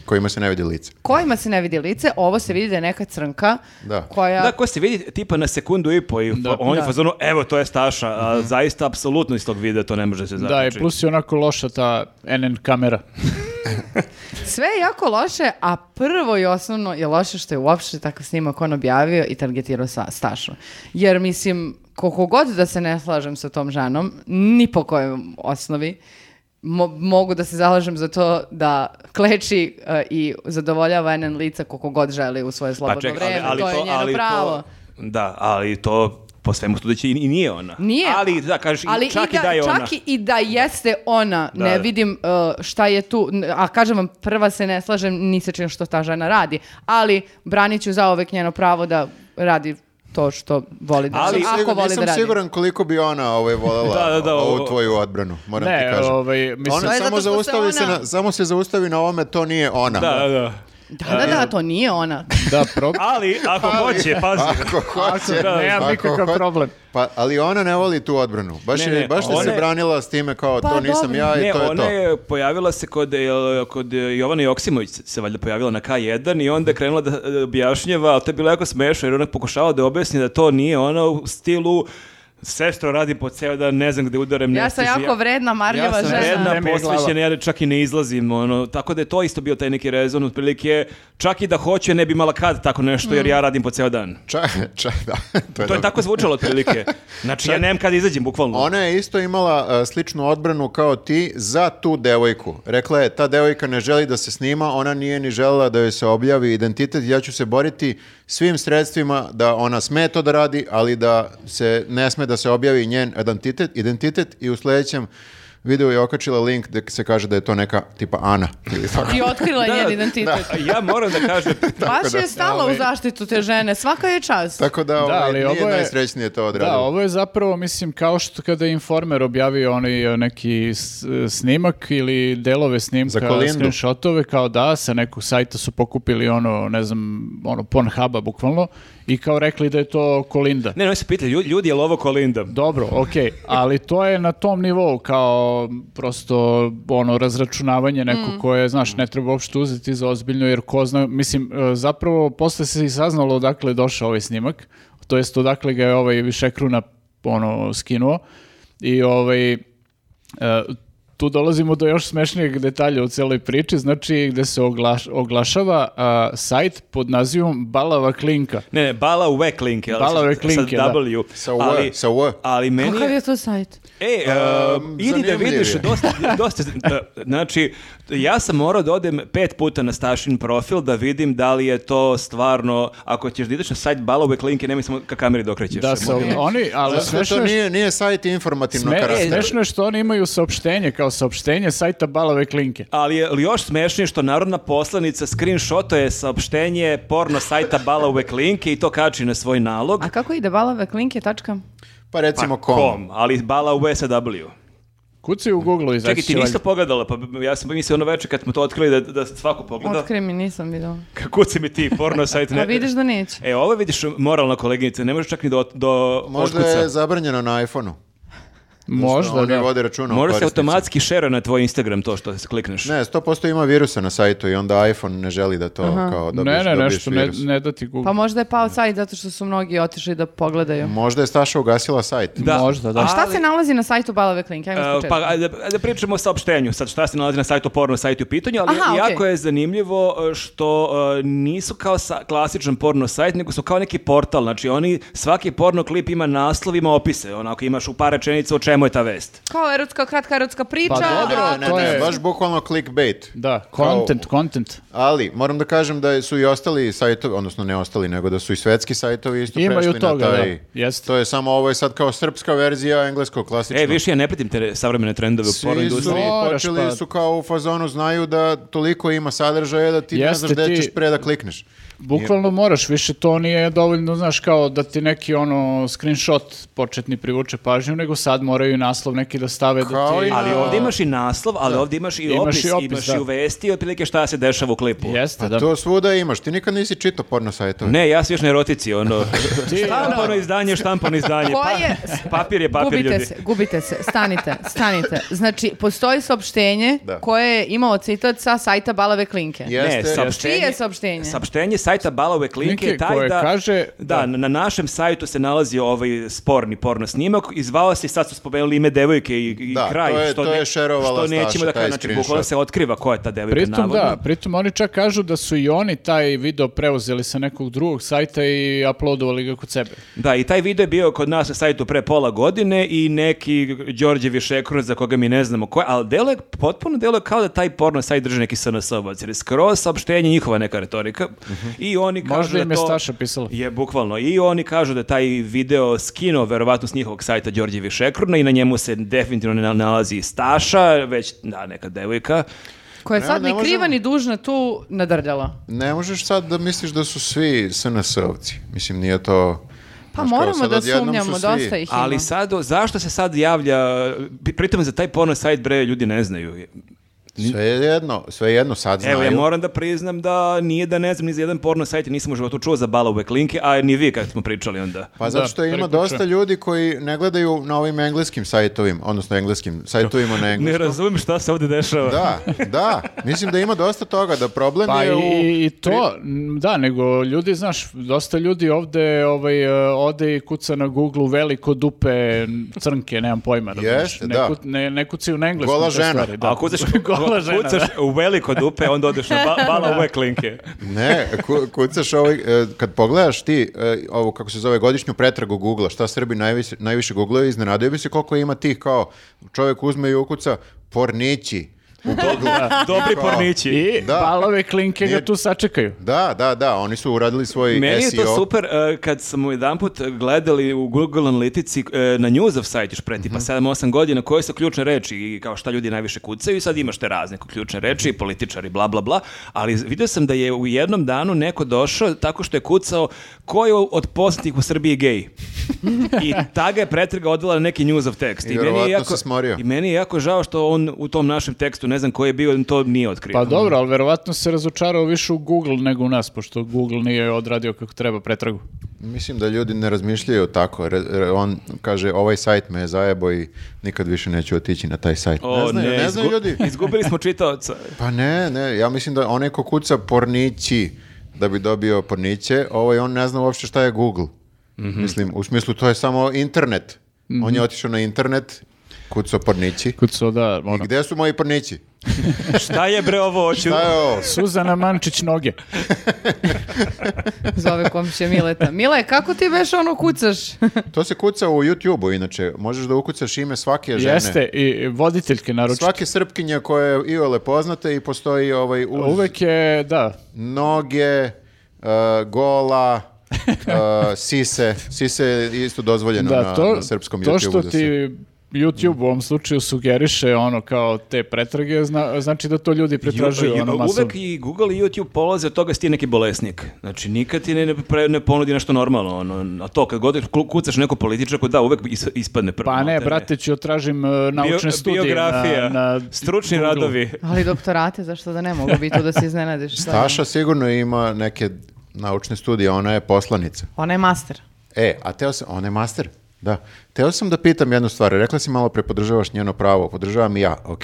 Kojima se ne vidi lice.
Kojima se ne vidi lice, ovo se vidi da je neka crnka
Da.
koja...
Da, ko se vidi tipa na sekundu i po i fa- on je u fazonu, evo to je Staša,
Mhm.
a zaista apsolutno iz tog videa to ne može se zaključiti. Pa
Da, i plus je onako loša ta NN kamera.
Sve je jako loše, a prvo i osnovno je loše što je uopšte takav snimak on objavio i targetirao sa Stašu. Jer mislim, koliko god da se ne slažem sa tom ženom, ni po kojem osnovi, mo- mogu da se zalažem za to da kleči e, i zadovoljava NN lica koliko god želi u svoje slobodno
čekaj,
vreme. to je njeno pravo.
da, ali to po svemu sudeći i, i nije ona.
Nije.
Ali da, kažeš, i čak i da, je ona.
Čak i da jeste ona,
Da,
ne
da.
vidim uh, šta je tu, n- a kažem vam, prva se ne slažem ni sa čim što ta žena radi, ali branit ću zaovek njeno pravo da radi to što voli da
Ali-
radi,
Nisam
ako
sigur-
voli
nisam
da radi.
siguran koliko bi ona ovaj, volela
Da, da, da,
ovu
ovo-
tvoju odbranu, moram
Ne,
ti kažem.
ovaj, mislim-
Ona
To je zato
samo,
što se
zaustavi se
ona-
na, samo se zaustavi na ovome, to nije ona.
Da, da.
Da, da, da, to nije ona.
Da, pro...
Ali, ako hoće, pazi.
Ako hoće,
da,
nemam
ako
nikakav
hoće.
problem.
Pa, ali ona ne voli tu odbranu. Baš,
Ne,
je-
ne,
baš je
ona
se
je-
branila s time kao
Pa,
to nisam
dobro.
ja i
Ne,
to je
ona
to.
je pojavila se kod, jel, kod Jovana Joksimović se- se valjda pojavila na K1 i onda je krenula da e, objašnjava, ali to je bilo jako smešno jer ona pokušava da objasni da to nije ona u stilu sestro radim po ceo dan, ne znam gde udarem.
Ja
ne
sam
stižem,
jako vredna, marljiva
Ja sam
žena.
jedna
Ne mi je glava.
posvećena, ja čak i ne izlazim, ono, tako da je to isto bio taj neki rezon, otprilike, čak i da hoće, ne bi imala kad tako nešto, jer ja
Mm.
radim po ceo dan.
Ča, ča, da, to je,
To
dobro.
je tako zvučalo otprilike. Znači, ja nemam kad izađem, bukvalno.
Ona je isto imala uh, sličnu odbranu kao ti za tu devojku. Rekla je, ta devojka ne želi da se snima, ona nije ni želela da joj se objavi identitet, ja ću se boriti svim sredstvima da ona sme to da radi, ali da se ne sme da se objavi njen identitet, identitet i u sljedećem videu je okačila link gde se kaže da je to neka tipa Ana ili tako.
I otkrila je
Da,
njen identitet.
A Ja moram da kažem,
Baš
da,
je stala u
ovaj-
zaštitu te žene, svaka je čast.
Tako da, ovaj,
ali
nije
ovo je-
najsrećnije to
Da,
odradila.
ovo je zapravo, mislim, kao što kada je Informer objavio onaj e, neki s- e, snimak ili delove
Za
snimka,
Kolindu.
screenshotove, kao da, sa nekog sajta su pokupili ono, ne znam, ono Pornhuba bukvalno i kao rekli da je to Kolinda.
ne, ne, se pitali, ljudi, ljudi, je li ovo Kolinda?
Dobro, okej, ali to je na tom nivou kao prosto ono razračunavanje neko koje, znaš, ne treba uopšte uzeti za ozbiljno jer ko zna, mislim, e, zapravo posle se i saznalo odakle je došao ovaj snimak, to jest odakle ga je ovaj Višekruna ono skinuo i ovaj e, tu dolazimo do još smešnijeg detalja u celoj priči, znači gde se oglaš- oglašava a, sajt pod nazivom Balava Klinka.
Ne, ne, Bala u Wek linke, ali
Bala
sa-
Wek linke,
sa
da.
W.
Sa W,
ali,
sa W.
Ali meni
Kakav
je,
je to sajt?
E,
Um,
e, idi da
zanimljiv
vidiš,
je.
dosta, dosta, e, znači, ja sam morao da odem pet puta na Stašin profil da vidim da li je to stvarno, ako ćeš da ideš na sajt Balove klinke, nemoj samo ka kameri dokrećeš.
Da,
se,
sa,
molim.
oni, ali
Zato što
smešno
to
je
nije, nije sajt informativnog
Sme, e,
karaktera.
smešno je što oni imaju saopštenje, kao saopštenje sajta Balave Klinke.
Ali je li još smešnije što narodna poslanica screenshoto je saopštenje porno sajta Balove klinke i to kači na svoj nalog.
A kako ide balave klinke, tačka?
Pa recimo
Pa,
kom.
ali Balove sa W.
Kuci u Google i
Čekaj, ti
Znači,
nisi to pogledala, pa b- ja sam mislio ono večer kad smo to otkrili da, da svako pogleda.
Otkri mi, nisam videla.
Kako si mi ti porno sajt ne...
A vidiš da neće.
E, ovo je, vidiš moralna koleginica, ne možeš čak ni do, do
Možda
otkuca.
je zabranjeno na iPhone-u.
Možda,
Oni
da.
vode računa o
Mora se
korisnicima.
automatski šera na tvoj Instagram to što klikneš.
ono Ne, 100% ima virusa na sajtu i onda iPhone ne želi da to kao dobiješ,
ne, ne,
dobiješ
nešto, ne,
virus.
ne da ti Google.
Pa možda je pao sajt zato što su mnogi otišli da pogledaju.
Možda je Staša ugasila sajt.
Možda, da.
A
Šta se nalazi na sajtu Balave Klinke? Ajmo
E,
ispočetka.
pa ajde, ajde pričamo o saopštenju, sad šta se nalazi na sajtu porno sajtu u pitanju, ali
Aha,
jako
okej.
je zanimljivo e, što e, nisu kao sa, klasičan porno sajt, nego su kao neki portal, znači oni svaki porno klip ima naslov, ima opise, onako imaš u par rečenica o čemu je ta vest.
Kao erotska, kratka erotska priča.
Pa dobro,
a-
Ne, ne,
to
ne,
je-
baš bukvalno clickbait.
Da, content, content.
Ali moram da kažem da su i ostali sajtovi, odnosno ne ostali, nego da su i svetski sajtovi isto
Imaju
prešli
toga,
na taj.
da, jeste.
To je samo ovo je sad kao srpska verzija engleskog klasično.
E, više ja ne pritim te savremene trendove u porno
Svi su
industriji.
Moraš, pa-
počeli su kao u fazonu znaju da toliko ima sadržaja da ti ne
Jeste,
znaš gde
ti-
ćeš pre da klikneš.
Bukvalno moraš, više to nije dovoljno, znaš, kao da ti neki ono screenshot početni privuče pažnju, nego sad moraju i naslov neki da stave da
Kao
ti...
i na-
Ali ovdje imaš i naslov, ali ovdje imaš i
Imaš
opis,
i opis,
imaš
da.
i u vesti, otprilike šta se dešava u klipu.
Jeste, da.
A Pa to svuda imaš. Ti nikad nisi čitao porno sajtove.
Ne, ja sam još na erotici, ono, štampano izdanje, štampano izdanje,
Ko
pa-
je-
papir je papir,
gubite
ljudi.
se, gubite se, stanite, stanite. Znači, postoji saopštenje
Da.
koje je imao citat sa sajta Balave Klinke.
Ne,
Jeste,
saopštenje,
Čije je saopštenje?
Saopštenje sajta Balave Klinke je
Klinke
taj
koje
da,
kaže-
da,
da.
na- na našem sajtu se nalazi ovaj sporni porno snimak, izvao se, sad su spomenuli ime devojke i, i
Da,
kraj.
to je- to je šerovala
što nećemo
Staša,
da
taj
kažemo, znači
screenshot.
bukvalno se otkriva ko je ta devojka
Pritom
navodno.
da, pritom oni čak kažu da su i oni taj video preuzeli sa nekog drugog sajta i uploadovali ga kod sebe.
Da, i taj video je bio kod nas na sajtu pre pola godine i neki Đorđe Višekrun za koga mi ne znamo ko je, ali delo je, potpuno delo je kao da taj porno sajt drži neki SNS-ovac, jer je skroz saopštenje njihova neka retorika i oni kažu
Možda
da
im je
to-
Staša pisala.
Je, bukvalno. I oni kažu da taj video skinuo verovatno s njihovog sajta Đorđe Višekruna i na njemu se definitivno ne nalazi Staša, već da, neka devojka.
Koja je
Ne,
sad
ne
ni
možemo.
kriva ni dužna tu nadrljala.
Ne možeš sad da misliš da su svi SNS-ovci. Mislim, nije to...
Pa
znaš, kao
moramo
sad
da
odjednom su
sumnjamo,
svi-
dosta ih ima.
Ali sad, o, zašto se sad javlja, pri- pritom za taj porno sajt bre ljudi ne znaju.
Sve jedno, sve jedno sad znaju.
Evo, ja moram da priznam da nije da ne znam ni za jedan porno sajt, i nisam u životu čuo za balove klinke, a ni vi kad smo pričali onda.
Pa zato
Da,
što ima
prekuče.
dosta ljudi koji ne gledaju na ovim engleskim sajtovima, odnosno engleskim sajtovima na
Ne
engleskom.
razumem šta se ovdje dešava.
Da, da. Mislim da ima dosta toga, da problem
Pa
je u...
i, i to, m, da, nego ljudi, znaš, dosta ljudi ovde ovaj, e, ode i kuca na Google veliko dupe n- crnke, nemam pojma. razumeš?
Jeste,
ne,
da.
kut- ne, ne kucaju na englesku.
Gola
te
žena.
stvari, da.
A Ako uzeš,
Gola žena,
kucaš u veliko dupe, onda odeš na ba balove klinke.
Ne, ku- kucaš ovaj, e, kad pogledaš ti e, ovu, kako se zove, godišnju pretragu Google-a, šta Srbi najviše, najviše googlaju, iznenadio bi se koliko ima tih kao čovjek uzme i ukuca pornići u Google.
Dobri pornići.
I
Da.
balove klinke ga
Nije-
tu sačekaju.
Da, da, da, oni su uradili svoj
Meni je
SEO.
to super e, kad smo jedanput gledali u Google analitici e, na newsov sajt još pre tipa
Mhm.
7-8 godina koje su ključne reči i kao šta ljudi najviše kucaju i sad imaš te razne ključne
Mhm.
reči, političari, bla bla bla, ali vidio sam da je u jednom danu neko došao tako što je kucao ko je od poznatih u Srbiji gej. I ta ga je pretraga odvela na neki newsov tekst.
I
meni je
verovatno se smorio.
I meni je jako žao što on u tom našem tekstu, ne znam koji je bio, to nije otkrio.
Mm.
Pa dobro, ali verovatno se razočarao više u Google nego u nas, pošto Google nije odradio kako treba pretragu.
Mislim da ljudi ne razmišljaju tako. Re- re- on kaže, ovaj sajt me je zajebo i nikad više neću otići na taj sajt.
O,
Pa, ne znaju, ne, znaju
izgu-
ljudi.
Izgubili smo čitaoca.
Pa ne, ne, ja mislim da onaj ko kuca pornići da bi dobio porniće, ovaj on ne zna uopšte šta je Google.
Mhm.
Mislim, u smislu to je samo internet. On je otišao na internet, kucao pornići.
Kucao da, ono,
Gde su moji pornići?
Šta je bre ovo oću?
Šta je ovo?
Suzana Mančić noge.
Zove komšija Mileta. Mile, kako ti veš ono kucaš?
To se kuca u YouTube-u, inače. Možeš da ukucaš ime svake žene.
Jeste, i- i voditeljke naročito.
Svake srpkinje koje je iole poznate i postoji ovaj uz
Uvek je, da,
noge, e, gola, e, sise. Sise je isto dozvoljeno
da,
na,
to,
na srpskom
to
YouTube-u.
što
da se-
ti YouTube u ovom slučaju sugeriše ono kao te pretrage, zna- znači da to ljudi pretražuju
Ju-
ono
ju-
masovno.
Uvek i Google i YouTube polaze od toga da si ti neki bolesnik. Znači, nikad ti ne, ne, pre- ne ponudi nešto normalno. Ono, a to, kad god ku- kucaš neko političaku, da, uvek is- ispadne prvo.
Pa ne,
maltene.
brate, ću tražim e,
Bio-
naučne studije. na-
Biografija,
na
stručni
Google-u.
radovi.
Ali doktorate, zašto da ne mogu biti tu da se iznenadiš?
Taša sigurno ima neke naučne studije, ona je poslanica.
Ona je master.
E, a teo sam, ona je master. Da. Teo sam da pitam jednu stvar. Rekla si malo pre podržavaš njeno pravo, podržavam i ja. Ok,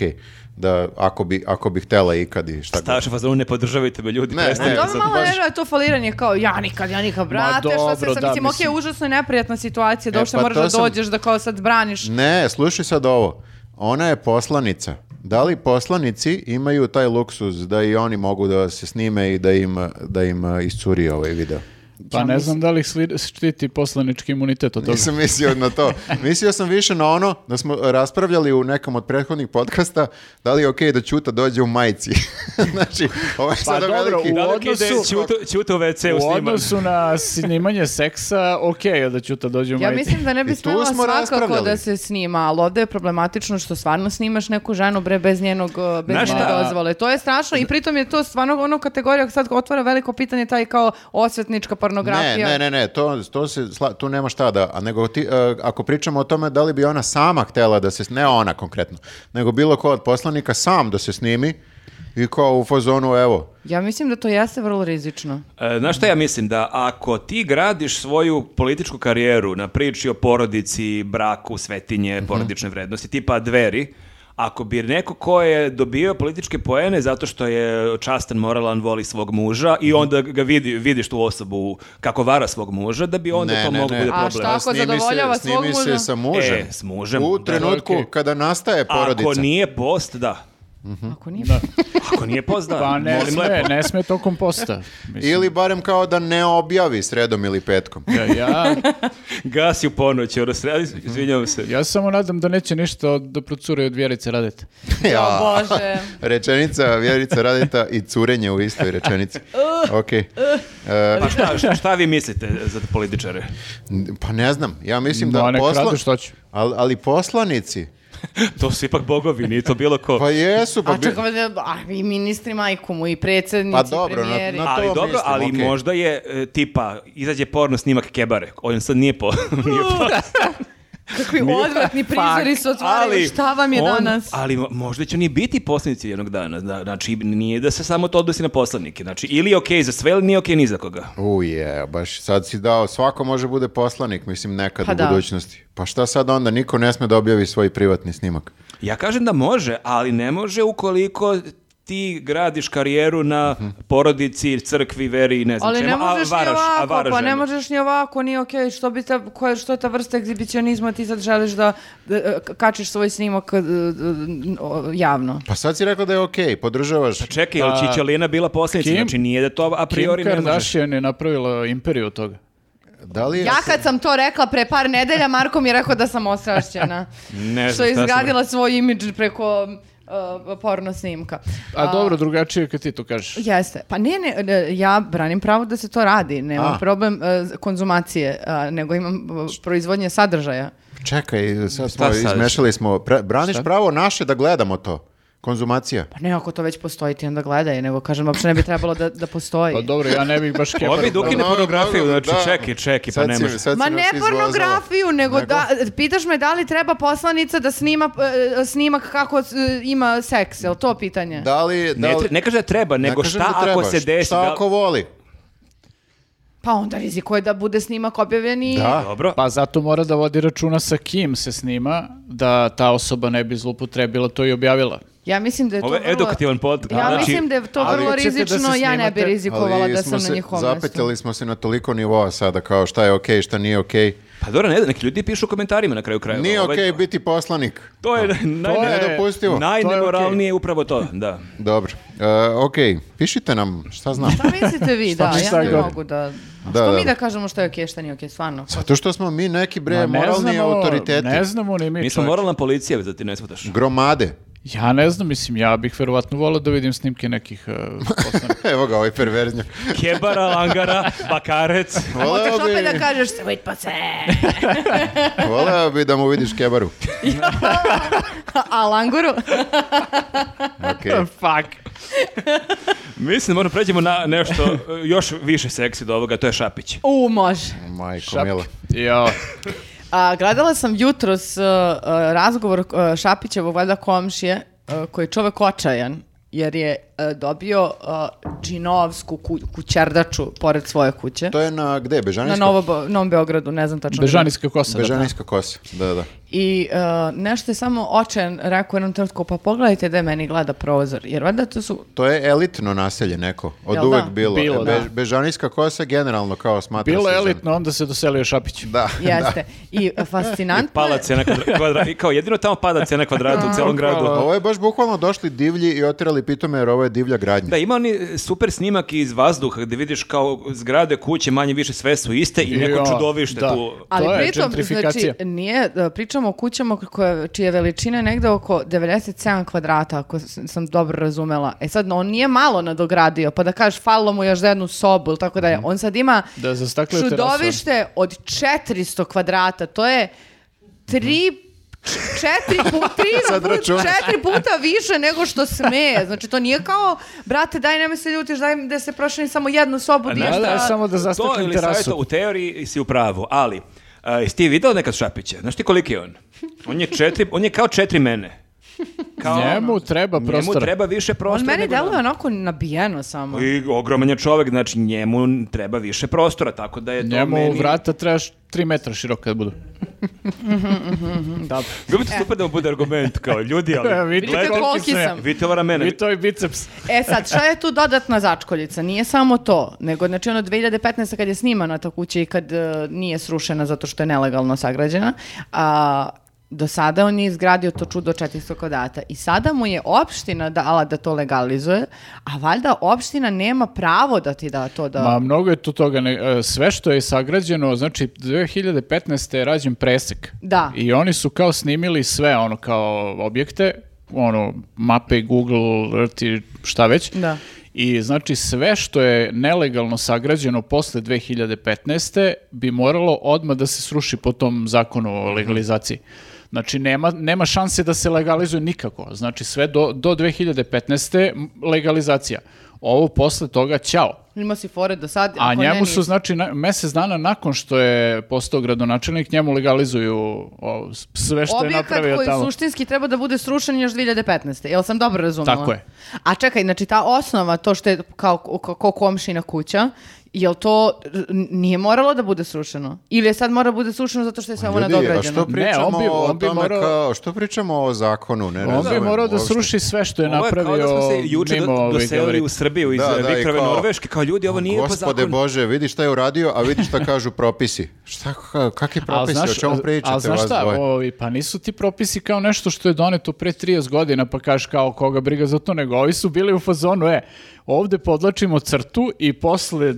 da ako bi, ako bi htela ikad i šta god.
Staša fazonu, ne podržavajte me ljudi,
Ne, ne.
prestanite
Dobro,
sad.
malo nervira to faliranje kao ja nikad, ja nikad, brate, šta se
dobro,
sad,
da,
mislim, okej,
mislim.
užasno je neprijatna situacija, da
E,
uopšte
pa
moraš
to
da
sam-
dođeš, da kao sad braniš.
Ne, slušaj sad ovo. Ona je poslanica. Da li poslanici imaju taj luksuz da i oni mogu da se snime i da im, da im uh, iscuri ovaj video?
Pa ne znam da li ih sli- štiti poslanički imunitet od toga.
Nisam mislio na to. Mislio sam više na ono da smo raspravljali u nekom od prethodnih podcasta da li je okej da Ćuta dođe u majici. znači, ovo je
Pa
sada
dobro,
veliki...
u
Da li
odnosu-
ide Ćuto- Ćuto u WC u
U
snima?
odnosu na snimanje seksa, okej je da Ćuta dođe u
Ja
majici.
mislim da ne
I
bi
tu
smela
smo
svakako
raspravljali.
da se snima, ali ovdje je problematično što stvarno snimaš neku ženu bre bez njenog uh, bez
Znaš
njene
šta?
dozvole. To je strašno i pritom je to stvarno ono kategorija sad otvara veliko pitanje taj kao osvetnička
Ne,
pornografija.
ne, ne, ne, to, to se, sla- tu nema šta da, a nego ti, e, ako pričamo o tome da li bi ona sama htela da se, s- ne ona konkretno, nego bilo ko od poslanika sam da se snimi i kao u fazonu, evo,
Ja mislim da to jeste vrlo rizično.
E, Znaš šta ja mislim? Da ako ti gradiš svoju političku karijeru na priči o porodici, braku, svetinje, porodične vrednosti, tipa dveri, ako bi neko ko je dobio političke poene zato što je častan, moralan, voli svog muža i onda ga vidi, vidiš tu osobu kako vara svog muža, da bi onda
Ne,
to
ne,
moglo
ne.
bude
A
problem.
šta ako
snimi
zadovoljava
se, snimi
svog muža?
se sa mužem.
E, s mužem,
U
da,
trenutku
okej.
kada nastaje porodica.
Ako nije post, da.
Mhm.
Ako nije.
Ako nije post, da.
Pa ne
Molim
sme,
lepo.
ne sme tokom posta. Mislim,
Ili barem kao da ne objavi sredom ili petkom.
da ja,
Gasi u ponoći, ono se, izvinjavam se.
ja samo nadam da neće ništa od- da procure od vjerice radite.
O Bože.
Rečenica Vjerica Radeta i curenje u istoj rečenici.
Uh,
Ok. E,
Pa šta, šta vi mislite za političare?
Pa ne znam, ja mislim da
Da, nek
posla-
rade što će.
Ali, ali poslanici,
To su ipak bogovi, nije to bilo ko.
pa jesu, pa
A
bi-
čekaj, da- a i ministri majku mu i predsjednici,
Pa dobro, na-
premijeri.
na-
ali
to
dobro,
mislim,
ali
okej.
možda je e, tipa, izađe porno snimak kebare, on sad nije po... nije po-
Kakvi odvratni prizori su otvorili, šta vam je
on-
danas?
Ali mo- možda će oni biti poslanici jednog dana, da, znači nije da se samo to odnosi na poslanike, znači ili je okej za sve, ili nije okej ni za koga.
Uje, baš sad si dao, svako može bude poslanik, mislim nekad
Pa
u
da.
budućnosti. Pa šta sad onda, niko ne sme da objavi svoj privatni snimak.
Ja kažem da može, ali ne može ukoliko ti gradiš karijeru na porodici, crkvi, veri i ne znam
Ali
čemu,
ne
a
možeš
varaš,
ni
a
ovako,
varaš
pa ne
ženu.
možeš ni ovako, ni okej, što, bi ta, koja, što je ta vrsta egzibicionizma, ti sad želiš da e, k- kačiš svoj snimak e, e, o, javno.
Pa sad si rekla da je okej,
Pa
podržavaš.
Čekaj, je li Čičalina bila poslanica?
Kim-
Znači nije da to a priori
Kim
ne možeš.
Kardashian je napravila imperiju od toga.
Da li je...
Ja kad sam to rekla pre par nedelja, Marko mi je rekao da sam osrašćena.
Ne znam
što je
šta sam
izgradila svoj imidž preko e, porno snimka.
A, dobro, drugačije je kad ti to kažeš.
Jeste. Pa ne, ne, ne, ja branim pravo da se to radi. Nemam
A.
problem e, konzumacije, a, nego imam e, proizvodnje sadržaja.
Čekaj, sad smo,
sad?
izmešali smo. Pra- braniš pravo naše da gledamo to. Konzumacija.
Pa ne, ako to već postoji, ti onda gledaj, nego kažem, uopšte ne bi trebalo da, da postoji.
Pa dobro, ja ne bih baš kebaru.
Ovi dukine
Mnogo,
pornografiju,
mnogo,
znači
da.
čekaj, čekaj, pa
Sad
ne
si-
može.
sad si
Ma
nas
ne
izvozala.
pornografiju, nego
Nego?
da, pitaš me da li treba poslanica da snima e, snimak kako e, ima seks, je li to pitanje?
Da li... Da
Ne,
li-
tre- ne kaže da treba,
ne
nego
kažem
šta
da treba,
ako se desi?
Šta
da-
ako voli?
Pa onda rizikuje da bude snimak objavljen i...
Da.
Dobro,
Pa zato mora da vodi računa sa kim se snima, da ta osoba ne bi zlupotrebila to i objavila.
Ja mislim da je to
ovo je
vrlo...
edukativan podcast.
Ja
znači,
mislim da je to
ali
vrlo
ćete da se
rizično, ja ne bi
snimate,
rizikovala da
smo
sam
se-
na njihovom mjestu.
Zapetljali smo se na toliko nivoa sada, kao šta je okej, šta nije okej.
Pa dobro, ne znam, neki ljudi pišu u komentarima na kraju krajeva.
Nije
Ovaj-
okej biti poslanik.
To je, naj,
To je-
Nedopustivo.
najnemoralnije upravo to, da.
Dobro. E, ok, pišite nam, šta znam.
Šta mislite vi, da,
mislite
ja ne
vi?
mogu da...
Da,
što mi
da.
da kažemo što je okej, šta nije okej, stvarno?
Zato što smo mi neki bre
Ma ne
moralni
znamo-
autoriteti.
Ne znamo ni mi.
Mi smo
čovječe.
moralna policija, da ti ne shvataš.
Gromade.
Ja ne znam, mislim, ja bih verovatno volao da vidim snimke nekih uh, poslanika.
Evo ga ovaj perverznjak.
Kebara, langara, bakarec.
Možeš
Voleo
opet da
bi,
kažeš, svojit pa se,
voleo bi da mu vidiš kebaru.
a languru?
Okay.
Fuck.
Mislim, moramo pređemo na nešto eh, još više seksi do ovoga, to je Šapić.
U, može.
Pa,
Majko mila.
Ja,
A, gledala sam jutros uh, uh, razgovor uh, e, Šapićevog valjda komšije uh, koji je čovek očajan jer je uh, e, dobio uh, džinovsku ku, kućardaču pored svoje kuće.
To je na gde?
Na
Bežanijska?
Novo, Bo- Novom Beogradu, ne znam tačno. gde.
Bežanijska kosa. da.
Bežanijska kosa. Da, da.
I e, nešto je samo očen rekao u jednom trenutku, pa pogledajte da meni gleda prozor. Jer valjda to su
To je elitno naselje neko. Od
Jel
uvek
da?
bilo.
Bilo,
E,
da.
Bež- Bežanijska kosa generalno kao smatra
Bilo
se
je
za-
elitno, onda se doselio Šapić.
Da,
Jeste. I fascinantno.
Pala
je-
cena kvadra- kvadrata. I kao jedino tamo pada cena kvadrata u celom
da.
gradu.
Ovo je baš bukvalno došli divlji i otirali pitome jer ovo je divlja gradnja.
Da, ima oni super snimak iz vazduha gde vidiš kao zgrade, kuće, manje više sve su iste i neko
Jo,
čudovište
da.
tu.
Ali
To je
pritom, znači,
gentrifikacija.
nije, e, pričamo o kućama koje, čije veličine negde oko 97 kvadrata, ako s- sam dobro razumela. E sad, on nije malo nadogradio, pa da kažeš, falo mu još za jednu sobu ili tako dalje. On sad ima
Mhm. Da, za staklo je terasa.
čudovište od 400 kvadrata. To je tri č- četiri, pu- tri
Sad
put-
računaš.
četiri puta više nego što sme. Znači, to nije kao, brate, daj nemoj se ljutiš, daj da se proširi samo jednu sobu.
ne,
Da,
ništa.
da, samo da
E To
zastaknem
ili savjeta,
terasu.
u teoriji si u pravu, ali a, jesi ti video nekad Šapića? Znaš ti koliki je on? On je, četiri, on je kao četiri mene. Kao, ono-
Njemu treba
njemu
prostora.
treba više prostora.
On meni
nego
deluje
nama.
onako nabijeno samo.
I ogroman je čovek, znači njemu treba više prostora, tako da je to
Njemu
meni...
vrata trebaš 3 metra široka da budu.
Dobro.
Bilo bi to super da mu bude argument, kao ljudi, ali... e,
E, vidite
gledajte-
koliki sam ja.
Vidite ova ramena.
I to je biceps.
E sad, šta je tu dodatna začkoljica? Nije samo to, nego znači ono 2015. kad je snimana ta kuća i kad e, nije srušena zato što je nelegalno sagrađena, a do sada on je izgradio to čudo 400 kodata i sada mu je opština dala da to legalizuje, a valjda opština nema pravo da ti da to da...
Ma mnogo je tu toga. Ne, e, sve što je sagrađeno, znači 2015. je rađen presek.
Da.
I oni su kao snimili sve, ono, kao objekte, ono, mape, Google, Earth i šta već.
Da.
I znači sve što je nelegalno sagrađeno posle 2015. bi moralo odmah da se sruši po tom zakonu o legalizaciji. Znači nema, nema šanse da se legalizuje nikako. Znači sve do, do 2015. m- legalizacija. Ovo posle toga ćao.
Ima si fore do sad.
A
ako
njemu
ne,
su,
ni-
znači, na, mesec dana nakon što je postao gradonačelnik, njemu legalizuju o, s- sve što je
Objekat
napravio
koji
tamo.
suštinski treba da bude srušen još 2015. Jel sam dobro razumela?
Tako je.
A čekaj, znači ta osnova, to što je kao, ko- ko komšina kuća, jel to r- nije moralo da bude srušeno? Ili je sad mora da bude srušeno zato što je sve ovo
Ljudi, a
nadograđeno?
što pričamo
on bi-
o
on bi
tome
morao-
kao, što pričamo o zakonu? Ne
On bi
razumem
morao da
uopšte.
sruši sve što je
Ovo je
napravio
kao da smo se juče
mimo
do,
ovih
doselili
gabarita.
u Srbiju iz
Da, da, i
Vikrove
kao-
Norveške, kao ljudi, ovo
pa
nije po
Gospode
zakonu.
Bože, vidi šta je uradio, a vidi šta kažu propisi. Šta, ka- kakvi
Al
propisi, o čemu pričate
al znaš
vas
šta,
dvoje?
ovi, pa nisu ti propisi kao nešto što je doneto pre 30 godina, pa kažeš kao koga briga za to, nego ovi su bili u fazonu, e, ovde podlačimo crtu i posle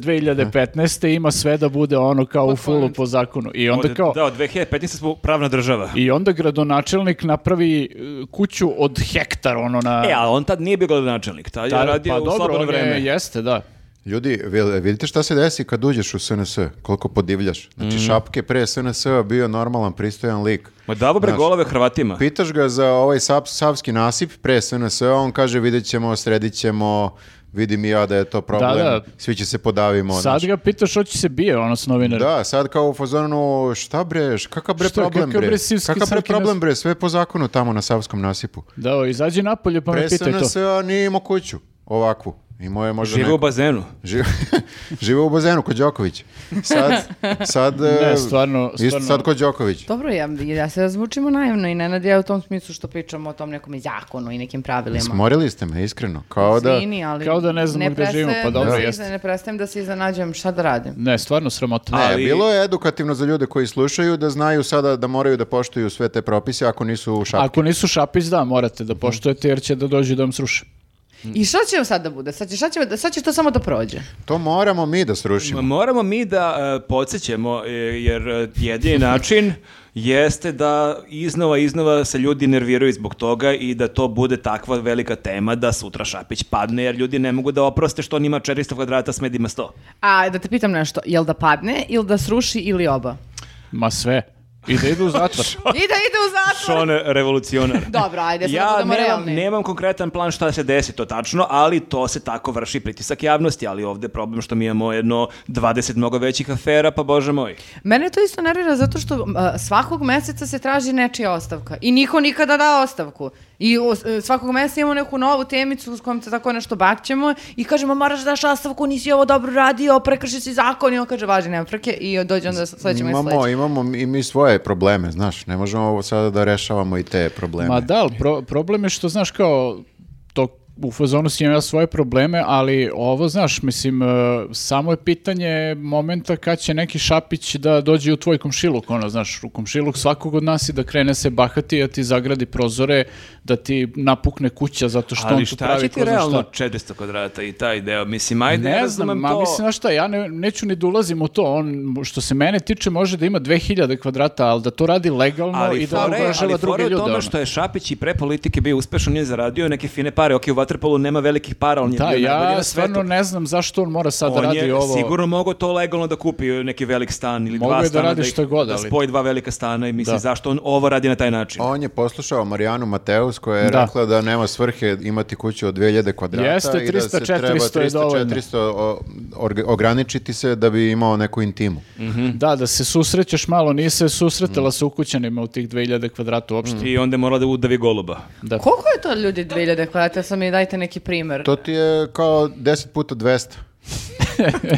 2015. ima sve da bude ono kao
Pa
u fullu po zakonu. I onda
Od-
kao,
Da, od 2015. smo pravna država.
i onda gradonačelnik napravi e, kuću od hektar, ono na...
E, a on tad nije bio gradonačelnik, tad je
Ta-
radio u slobodno
pa on je-
vreme.
jeste, da.
Ljudi, vi- vidite šta se desi kad uđeš u SNS, koliko podivljaš. Znači,
Mhm.
Šapke pre SNS-a bio normalan, pristojan lik.
Ma davo bre
Znaš,
golove Hrvatima.
Pitaš ga za ovaj sav, savski nasip pre SNS, a on kaže vidjet ćemo, sredit ćemo, vidim i ja da je to problem,
Da, da.
svi će se podavimo.
Sad
znaš.
ga pitaš, hoće se bije, ono s novinarima.
Da, sad kao u fazonu, šta bre, š- kakav bre
Šta,
problem
kakav
bre,
bre sivski
kakav bre
savski
problem
nas-
bre, sve je po zakonu tamo na savskom nasipu.
Da, o, izađi napolje pa me
Pre
pitaj to.
SNS-a nije imao kuću ovakvu, imao je možda
Žive u
neku.
bazenu.
Žive, žive u bazenu kod Đoković. Sad, sad, e,
stvarno-
isto
stvarno.
sad kod Đoković.
Dobro, ja, ja se razvučimo naivno i Nenad ja u tom smislu što pričamo o tom nekom zakonu i nekim pravilima.
Smorili ste me, iskreno, kao da...
Svini, ali
Kao da ne znamo gde
prestajem
živimo, pa dobro,
da se
jeste.
izne- Ne prestajem da se iznenađujem šta da radim.
Ne, stvarno sramota.
Ne,
Ali-
E, bilo je edukativno za ljude koji slušaju da znaju sada da moraju da poštuju sve te propise ako nisu u šapki.
Ako nisu šapić, da, morate
Mhm.
da poštujete jer će da dođu da vam sruše.
I šta će sad da bude? Sad će, šta će, sad će to samo da prođe.
To moramo mi da
Ma
srušimo.
Moramo mi da e, podsjećamo, e, jer e, jedini način jeste da iznova, iznova se ljudi nerviraju zbog toga i da to bude takva velika tema da sutra Šapić padne, jer ljudi ne mogu da oproste što on ima 400 kvadrata, smed ima 100.
A da te pitam nešto, jel da padne ili da sruši ili oba?
Ma sve. I da idu u zatvor.
I da ide u zatvor.
Šone revolucionar.
Dobro, ajde, sad da
Ja
budemo
nemam,
realni.
nemam konkretan plan šta se desi to tačno, ali to se tako vrši pritisak javnosti, ali ovdje je problem što mi imamo jedno 20 mnogo većih afera, pa bože moj.
Mene to isto nervira zato što a, svakog meseca se traži nečija ostavka i niko nikada da ostavku. I o, s- e, svakog mjeseca imamo neku novu temicu s kojom se tako nešto bakćemo i kažemo moraš daš ostavku, nisi ovo dobro radio, prekrši si zakon i on kaže važi nema frke i dođe onda sledeći mjesec
Imamo,
sledeći.
imamo i mi svoje probleme, znaš, ne možemo ovo sada da rešavamo i te probleme.
Ma da, ali pro- problem je što, znaš, kao, to u fazonu si imam ja svoje probleme, ali ovo, znaš, mislim, e, samo je pitanje momenta kad će neki šapić da dođe u tvoj komšiluk, ono, znaš, u komšiluk svakog od nas i da krene se bahati, da ti zagradi prozore, da ti napukne kuća zato što on
Ali
tu
šta
pravi
će ti
ko zna
realno
šta.
400 kvadrata i taj deo? Mislim, ajde,
Ne znam,
razumem
ma
to.
mislim, znaš šta, ja ne, neću ni da ulazim u to, on, što se mene tiče, može da ima 2000 kvadrata, ali da to radi legalno
ali
i da
fora je-
ugrožava
ali
druge
fora je u
ljude.
tome
ono.
što je Šapić i pre politike bio uspešan, nije zaradio neke fine pare. Ok, u Waterpolu nema velikih para, ali on je
Da,
bio najbolji
ja
na svetu.
stvarno ne znam zašto on mora sad Pa da
on
radi
je
ovo.
sigurno mogao to legalno da kupi neki velik stan ili
Mogao
dva
je da
stana
radi
ih-
šta god,
da
ali-
spoji dva velika stana i misli
Da.
zašto on ovo radi na taj način.
On je poslušao Marijanu Mateus koja je
Da.
rekla da nema svrhe imati kuću od 2000 kvadrata
Jeste,
i da se
300,
treba
400 je
300,
dovoljno.
400 o- org- ograničiti se da bi imao neku intimu.
Mm. Da, da se susrećeš malo, nije se susretala sa ukućanima u tih 2000 kvadrata uopšte.
I onda je morala da udavi goluba.
Da.
Koliko je to ljudi 2000 kvadrata? Sad mi dajte neki primer.
To ti je kao 10 puta 200.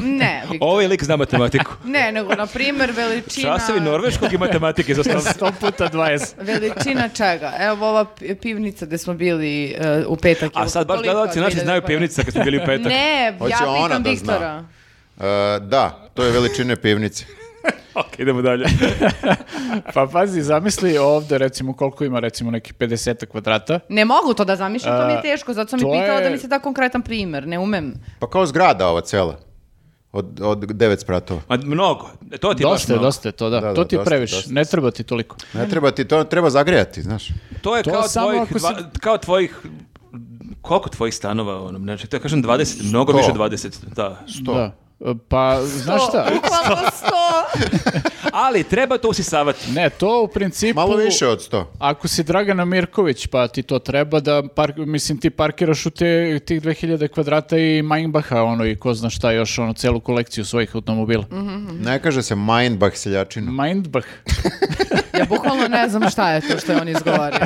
Ne, Viktor.
Ovaj lik zna matematiku.
Ne, nego na primer veličina...
Časovi norveškog i matematike za osnovu.
100 puta 20.
Veličina čega? Evo ova pi- pivnica gde smo bili e, u petak. pa
A
evo,
sad baš
koliko?
gledalci naši
2000
znaju
kvadrata?
pivnica kad smo bili u petak.
Ne,
Hoće
ja
ona
pitam
da zna.
Viktora.
E, da, to je veličine pivnice.
Ok, idemo dalje.
Pa pazi, zamisli ovde recimo koliko ima recimo neki 50 kvadrata.
Ne mogu to da zamišljam, to mi je
A,
teško, zato sam i
to
pitala
je-
da mi se da konkretan primer, ne umem.
Pa kao zgrada ova cela. Od, od 9 spratova.
Ma, mnogo. To ti je baš
Dosta je,
mnogo.
dosta je to, da.
Da, da,
to ti je
dosta,
previše,
dosta.
ne treba ti toliko.
Ne treba ti to, treba zagrijati, znaš.
To je
To
kao,
samo
tvojih,
ako se-
dva- kao tvojih koliko tvojih stanova, ono, znači, to ja kažem 20, mnogo
Sto.
više od 20, da.
To.
Da. E, Pa, znaš šta?
To, bukvalno sto.
Ali treba to usisavati.
Ne, to u principu...
Malo više od 100.
Ako si Dragana Mirković, pa ti to treba da, park, mislim, ti parkiraš u te, tih 2000 kvadrata i Mainbaha, ono, i ko zna šta još, ono, celu kolekciju svojih
Mm.
automobila. Mm.
Ne kaže se Mindbach seljačina.
Mindbach.
Ja bukvalno ne znam šta je to što je on izgovorio.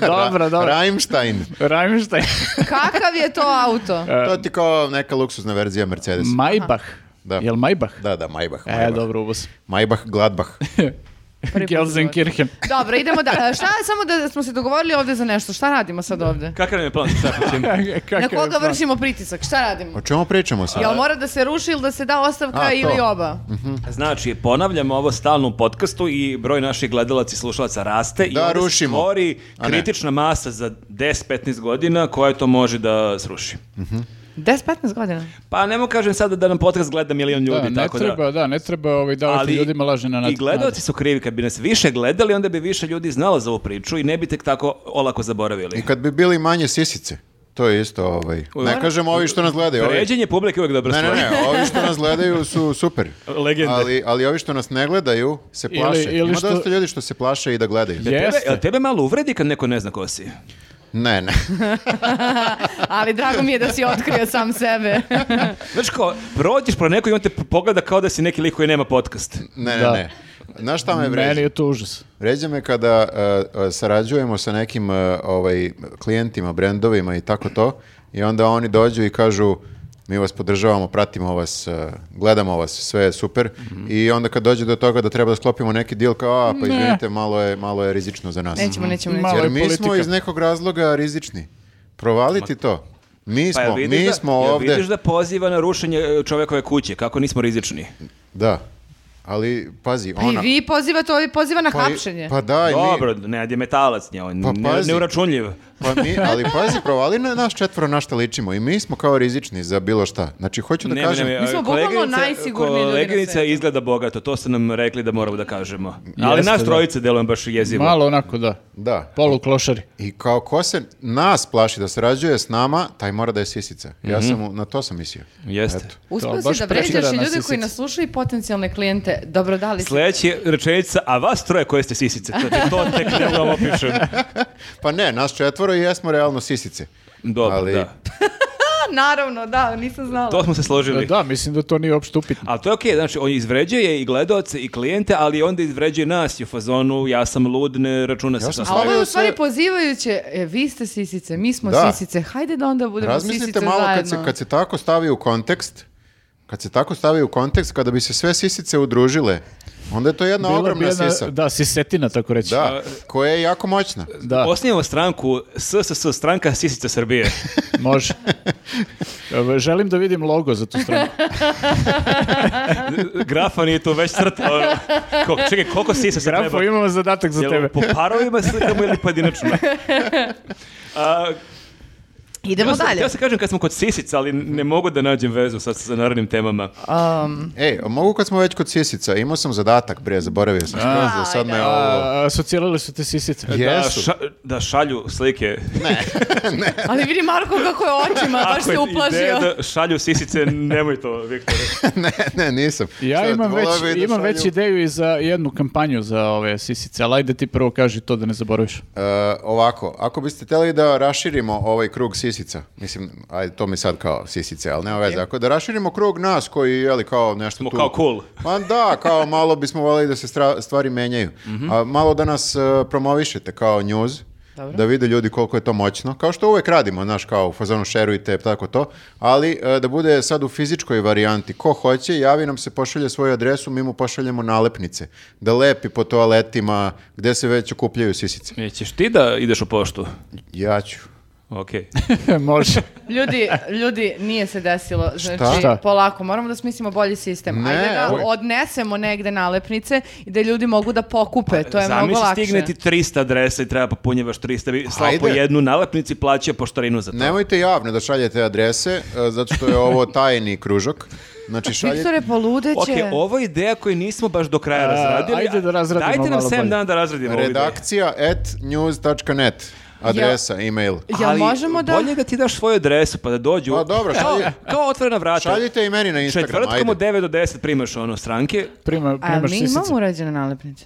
Dobro, E. dobro.
Rammstein.
Rajmštaj.
Kakav je to auto?
E.
To ti kao neka luksuzna verzija Mercedesa.
Maybach.
Da.
Jel Maybach?
Da, da, Maybach.
E,
Maybach.
dobro, ubus.
Maybach Gladbach.
Prvi put
Gelsenkirchen.
Dobro, idemo da... e, Šta, samo da smo se dogovorili ovdje za nešto, šta radimo sad ovdje?
Kakav nam je plan sa Šapićem?
Kakav
Na
je
koga
plan?
vršimo pritisak, šta radimo?
O čemu pričamo
Pa,
sad?
Jel mora da se ruši ili da se da ostavka
A, to.
ili oba?
Znači, ponavljamo ovo stalno u podcastu i broj naših gledalaca i slušalaca raste i
Da,
onda se
rušimo.
stvori
A ne.
kritična masa za 10-15 godina koja to može da sruši.
10-15 godina.
Pa nemo kažem sada da nam podcast gleda milion ljudi,
da, ne
tako
treba,
da...
da. ne treba ovaj, davati ljudima lažne na
i gledalci su krivi, kad bi nas više gledali, onda bi više ljudi znalo za ovu priču i ne bi tek tako olako zaboravili.
I kad bi bili manje sisice. To je isto ovaj. Ne kažem ovi što nas gledaju. Ovi...
Ređenje publike je uvek dobra
ovaj- Ne, ne,
stvar.
ne, ovi što nas gledaju su super.
Legende.
Ali, ali ovi što nas ne gledaju se
Ili-
plaše.
ili
Ima
što-
dosta ljudi što se plaše i da gledaju.
Je-
Tebe,
Jeste.
jel tebe malo uvredi kad neko ne zna ko si?
Ne, ne.
Ali drago mi je da si otkrio sam sebe.
Znaš kao, prođeš pro neko i on te pogleda kao da si neki lik koji nema podcast.
Ne,
Da.
ne, ne. Znaš šta me vređa?
Meni je to užas.
Vređa me kada uh, uh, sarađujemo sa nekim uh, ovaj, klijentima, brendovima i tako to i onda oni dođu i kažu mi vas podržavamo, pratimo vas, uh, gledamo vas, sve je super
Mhm.
i onda kad dođe do toga da treba da sklopimo neki deal kao a pa izvinite, malo je, malo je rizično za nas. Mhm.
Nećemo, nećemo, nećemo.
Malo je
Jer mi smo
politika.
iz nekog razloga rizični. Provaliti to. Mi
Pa
smo,
jel vidiš,
mi
da,
smo
jel
ovde.
vidiš da poziva na rušenje e, čovekove kuće, kako nismo rizični?
Da. Ali, pazi,
Pa i
ona...
vi pozivate, ovdje poziva na
ono- pa i-
hapšenje.
Pa da, i mi-
Dobro, ne, je metalac nje, on
Pa
ne-
pazi.
neuračunljiv.
Pa mi, ali pazi, provali na nas četvoro na šta ličimo i mi smo kao rizični za bilo šta. Znači, hoću da
Ne,
kažem,
ne, e,
Mi smo bukvalno
koleginica-
najsigurniji ljudi na
Koleginica
svetu.
izgleda bogato, to ste nam rekli da moramo da kažemo. Ali
Jeste,
nas
da.
trojice delujem baš jezivo.
Malo onako, da.
da.
Poluklošari.
I kao ko se nas plaši da sarađuje s nama, taj mora da je sisica. Ja sam, mu- na to sam mislio.
Jeste.
Eto.
Uspio
baš
si da vređaš i
preterana
ljude
sisica.
koji nas slušaju i potencijalne klijente. Dobro, da li si-
Sljedeća rečenica, a vas troje koje ste sisice, to, ti- to tek ne mogu da vam opišem.
Pa ne, nas četvoro i jesmo realno sisice.
Dobro,
Ali-
da.
A, Pa, naravno, da, nisam znala.
To smo se
Da,
složili.
da, mislim da to nije uopšte upitno.
Ali to je okej, znači on izvređuje i gledaoce i klijente, ali onda izvređuje nas i u fazonu ja sam lud, ne računa se
Ja
sa
sam
A ovo je u
Stavio se-
stvari pozivajuće, e, vi ste sisice, mi smo
Da.
sisice, hajde da onda budemo
Razmislite
sisice
malo kad se,
zajedno.
kad se tako stavi u kontekst, kad se tako stavi u kontekst, kada bi se sve sisice udružile, onda je to jedna
Bila bi
ogromna
jedna-
sisa. Da.
Da, sisetina, tako reći.
koja je jako moćna.
Da,
Osnijemo stranku SSS, stranka Sisica Srbije.
može. E, Želim da vidim logo za tu stranu.
Grafa nije tu već crta. ono. Ko, čekaj, koliko sisa se treba?
Grafo, imamo zadatak za
Jel
tebe.
po parovima slikamo ili pojedinačno? A,
Idemo
htio sam-
dalje.
Htio sam kažem kad smo kod sisica, ali ne mogu da nađem vezu sad sa narednim temama.
Um,
Ej, a mogu kad smo već kod sisica, imao sam zadatak, bre, zaboravio sam skroz da sad me ovo...
A, Asocirale su te sisice.
Da,
Jesu.
ša- da šalju slike.
ali vidi Marko kako je očima, baš
Ako je
se uplašio.
ideja da šalju sisice, nemoj to, Viktore.
ne, ne, nisam.
Ja
Sad,
imam već,
voleo bi da
imam
šalju-
već ideju i za jednu kampanju za ove sisice, ali ajde ti prvo kaži to da ne zaboraviš.
E, ovako, ako biste htjeli da raširimo ovaj krug sisica, mislim, ajde, to mi sad kao sisice, ali nema veze, ako da raširimo krug nas koji, jeli, kao nešto
Smo
tu...
kao cool.
Pa da, kao malo bismo voljeli da se stra- stvari menjaju. A, malo da nas e, promovišete kao news, da vide ljudi koliko je to moćno. Kao što uvek radimo, znaš, kao u fazonu šerujte, tako to. Ali e, da bude sad u fizičkoj varijanti. Ko hoće, javi nam se, pošalje svoju adresu, mi mu pošaljemo nalepnice. Da lepi po toaletima, gde se već okupljaju sisice.
Nećeš ti da ideš u poštu?
Ja ću.
Ok.
Može.
Ljudi, ljudi, nije se desilo. Znači,
Šta?
polako, moramo da smislimo bolji sistem.
Ne,
Ajde da
ovo-
odnesemo negde nalepnice i da ljudi mogu da pokupe, to
Pa,
je mnogo lakše.
stigne ti 300 adresa i treba popunjevaš 300. Vi Slao po
Ajde.
jednu nalepnicu i plaća poštarinu za to.
Nemojte javno da šaljete adrese, e, zato što je ovo tajni kružok. Znači, šaljete...
Viktore, poludeće.
Ok, ovo je ideja koju nismo baš do kraja
A,
razradili.
ajde da razradimo
Dajte nam
malo
7
bolje.
dana da razradimo ovu ideju.
Redakcija at news.net adresa, e-mail.
Jel
Ali
možemo da...
bolje da ti daš svoju adresu pa da dođu.
Pa dobro,
Kao,
šalje-
kao otvorena vrata.
šaljite i meni na Instagram,
Četvrtkom
ajde.
od 9 do 10 primaš ono stranke.
Prima,
A
primaš
mi imamo
sisice.
urađene nalepnice.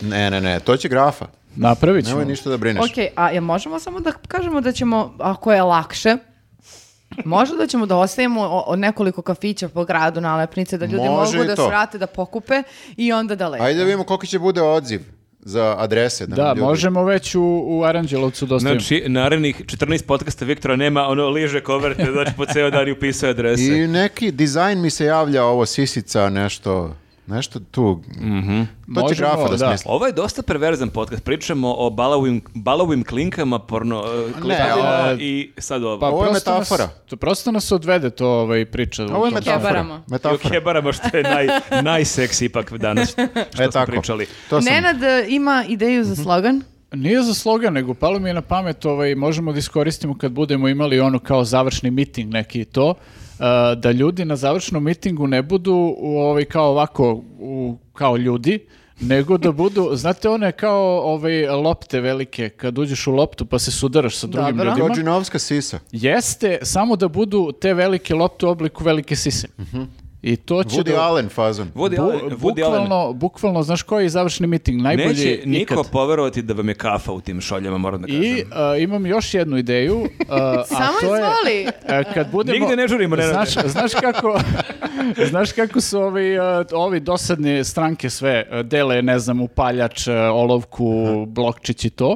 Ne, ne, ne, to će grafa.
Napravit ćemo.
Nemoj ništa da brineš.
Ok, a jel možemo samo da kažemo da ćemo, ako je lakše, možda da ćemo da ostavimo o- o nekoliko kafića po gradu nalepnice, da ljudi
Može
mogu
i
da
to.
svrate, da pokupe i onda da lepe.
Ajde da vidimo koliko će bude odziv za adrese. Da,
Da,
nam ljudi-
možemo već u, u Aranđelovcu dostavimo.
Znači, narednih 14 podcasta Viktora nema ono liže koverte, znači po ceo dan i upisuje adrese.
I neki dizajn mi se javlja ovo sisica, nešto, nešto tu. To će
Možemo,
grafa da,
da.
smisli.
Ovo je dosta perverzan podcast. Pričamo o balavim, balavim klinkama, porno, eh, klikadima
ovo-
i sad ovo.
Pa
Ovo je
prosto nas-
metafora.
to prosto nas odvede to ovaj priča. u
Ovo je
tom.
metafora.
Kebaramo.
I o
Metafora.
kebarama što je naj, najseksi ipak danas što
E
smo
tako.
pričali.
To sam.
Nenad e, ima ideju
Mhm.
za slogan.
Nije za slogan, nego palo mi je na pamet, ovaj, možemo da iskoristimo kad budemo imali ono kao završni miting neki i to, uh, da ljudi na završnom mitingu ne budu u, ovaj, kao ovako, u, kao ljudi, nego da budu, znate one kao ovaj, lopte velike, kad uđeš u loptu pa se sudaraš sa drugim
Dobro.
ljudima.
Znači-
Kođinovska sisa.
Jeste, samo da budu te velike lopte u obliku velike sise.
Mhm.
I to će
Woody
da-
Allen fazon.
Woody
Bu-
Allen, Woody Allen.
bukvalno, bukvalno, znaš koji je završni miting, najbolji
Neće niko
ikad.
poverovati da vam je kafa u tim šoljama, moram da kažem.
I uh, imam još jednu ideju. uh, a
Samo
to je,
izvoli.
uh, kad budemo,
Nigde ne žurimo, Nenade.
Znaš, znaš kako, znaš kako su ovi, uh, ovi dosadne stranke sve uh, dele, ne znam, upaljač, uh, olovku, blokčić i to.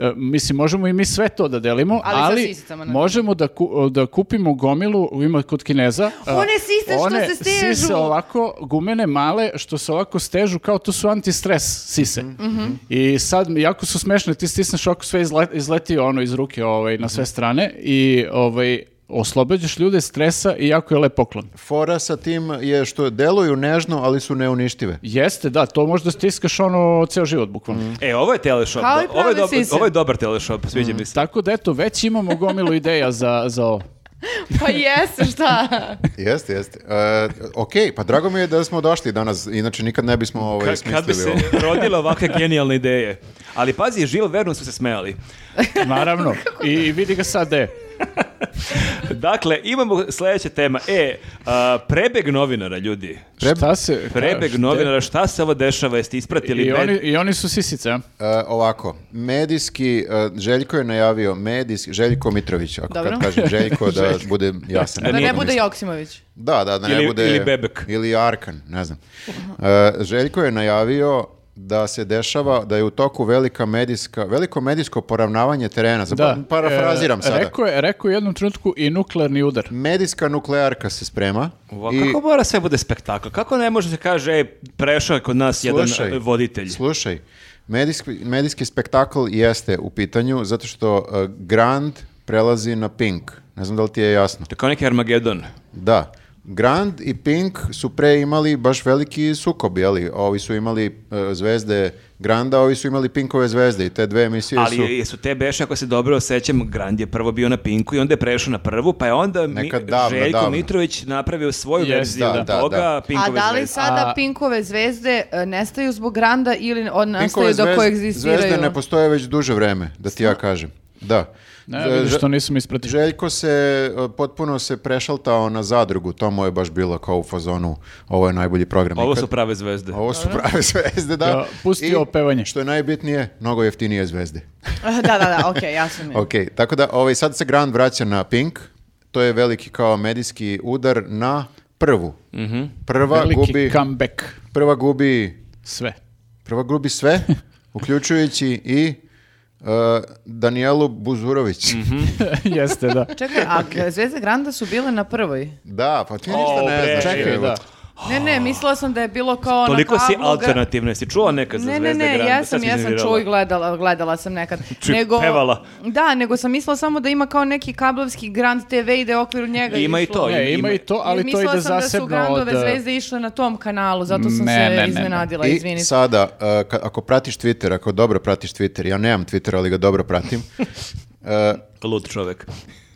Uh, mislim, možemo i mi sve to da delimo,
Ali
ali,
sa sisicama, naravno.
možemo da, ku- da kupimo gomilu, ima kod Kineza. uh,
One sise što
one
se stežu.
sise ovako, gumene male, što se ovako stežu, kao to su antistres sise.
Mhm.
I sad, jako su smešne, ti stisneš ovako sve izle- izleti ono iz ruke ovaj, na
Mhm.
sve strane i ovaj, oslobađaš ljude stresa i jako je lep poklon.
Fora sa tim je što deluju nežno, ali su neuništive.
Jeste, da, to možda stiskaš ono ceo život, bukvalno.
Mhm.
E, ovo je teleshop.
Kao i
Ovo je,
prave
dobar,
sise.
ovo je dobar teleshop, sviđa mi se.
Tako da, eto, već imamo gomilu ideja za, za ovo.
Pa jeste, šta?
Jeste, jeste. E, ok, pa drago mi je da smo došli danas, inače nikad ne bismo ovaj,
Ka-
smislili
kad bi se
ovo.
rodile ovakve genijalne ideje. Ali pazi, Žil Vernon su se smejali.
Naravno. I, vidi ga sad, e, de.
Dakle, imamo sljedeća tema. E, a, prebeg novinara, ljudi.
Šta se...
Prebeg
šta-
novinara, šta se ovo dešava? Jeste ispratili?
I
med-
oni, I oni su sisice, a?
E, ovako, medijski, e, Željko je najavio medijski, Željko Mitrović, ako
Dobro.
kad kažem Željko, da bude jasan.
Da ne
nije-
bude Joksimović.
Da, da, da ne
Ili-
bude...
ili Bebek.
Ili Arkan, ne znam. E, Željko je najavio da se dešava, da je u toku velika medijska, veliko medijsko poravnavanje terena. Za,
Da.
Pa, parafraziram
E,
sada.
Rekao je, rekao je u jednom trenutku i nuklearni udar.
Medijska nuklearka se sprema.
Ova,
i-
Kako mora sve bude spektakl? Kako ne može se kaže, e, prešao je kod nas
Slušaj,
jedan e, voditelj?
Slušaj, medijski, medijski spektakl jeste u pitanju zato što e, Grand prelazi na Pink. Ne znam da li ti je jasno.
To je kao neki Armagedon.
Da. Grand i Pink su pre imali baš veliki sukob, jeli? Ovi su imali e, zvezde Granda, ovi su imali Pinkove zvezde i te dve emisije
Ali
su...
je- jesu te beše, ako se dobro osjećam, Grand je prvo bio na Pinku i onda je prešao na prvu, pa je onda mi,
Nekad davno,
Željko
davno.
Mitrović napravio svoju
Jest,
verziju
da,
od
da,
toga,
da.
Pinkove
A da li
zvezde.
sada
A-
Pinkove zvezde e, nestaju zbog Granda ili on
Pinkove
nastaju dok
zvez-
koegzistiraju? ono.
zvezde ne postoje već duže vreme, da ti ja kažem. Da.
Ne,
Za-
vidiš
za-
što nisam ispratio.
Željko se e, potpuno se prešaltao na zadrugu, to mu je baš bilo kao u fazonu, ovo je najbolji program.
Ovo
ikad.
su prave zvezde.
Ovo su prave zvezde, da.
Da, pustio
I,
opevanje.
Što je najbitnije, mnogo jeftinije zvezde.
da, da, da, okej, jasno mi je.
Ok, tako da ovaj, sad se Grand vraća na Pink, to je veliki kao medijski udar na prvu.
Mhm.
Prva
Veliki
gubi,
comeback.
prva gubi,
Sve.
prva gubi sve, uključujući i uh, Danijelu Buzurović.
Jeste, da.
Čekaj, a zvezde Granda su bile na prvoj?
Da, pa ti ništa
O,
ne
bre,
znaš.
Čekaj,
evo.
da.
Ne, ne, mislila sam da je bilo kao
Ah. Toliko
na
si
kablu. ga-
alternativna, jesi čuo nekad za
Ne, ne,
Zvezde
ne,
Granda?
ja
Sad
sam,
si
ja sam
iznervirala.
čuo i gledala, gledala sam nekad.
Čuj, pevala.
Da, nego sam mislila samo da ima kao neki kablovski Grand TV i da je okvir njega
Ima i
išlo.
to,
Ne, E, ima i to, ali to
Mislila
ide
sam da su
zasebno od... e,
Grandove zvezde išle na tom kanalu, zato sam
Ne,
se
ne, ne, ne.
iznenadila,
I
izvinite.
sada, uh, ka- ako pratiš Twitter, ako dobro pratiš Twitter, ja nemam Twitter, ali ga dobro pratim, uh,
Lud čovek.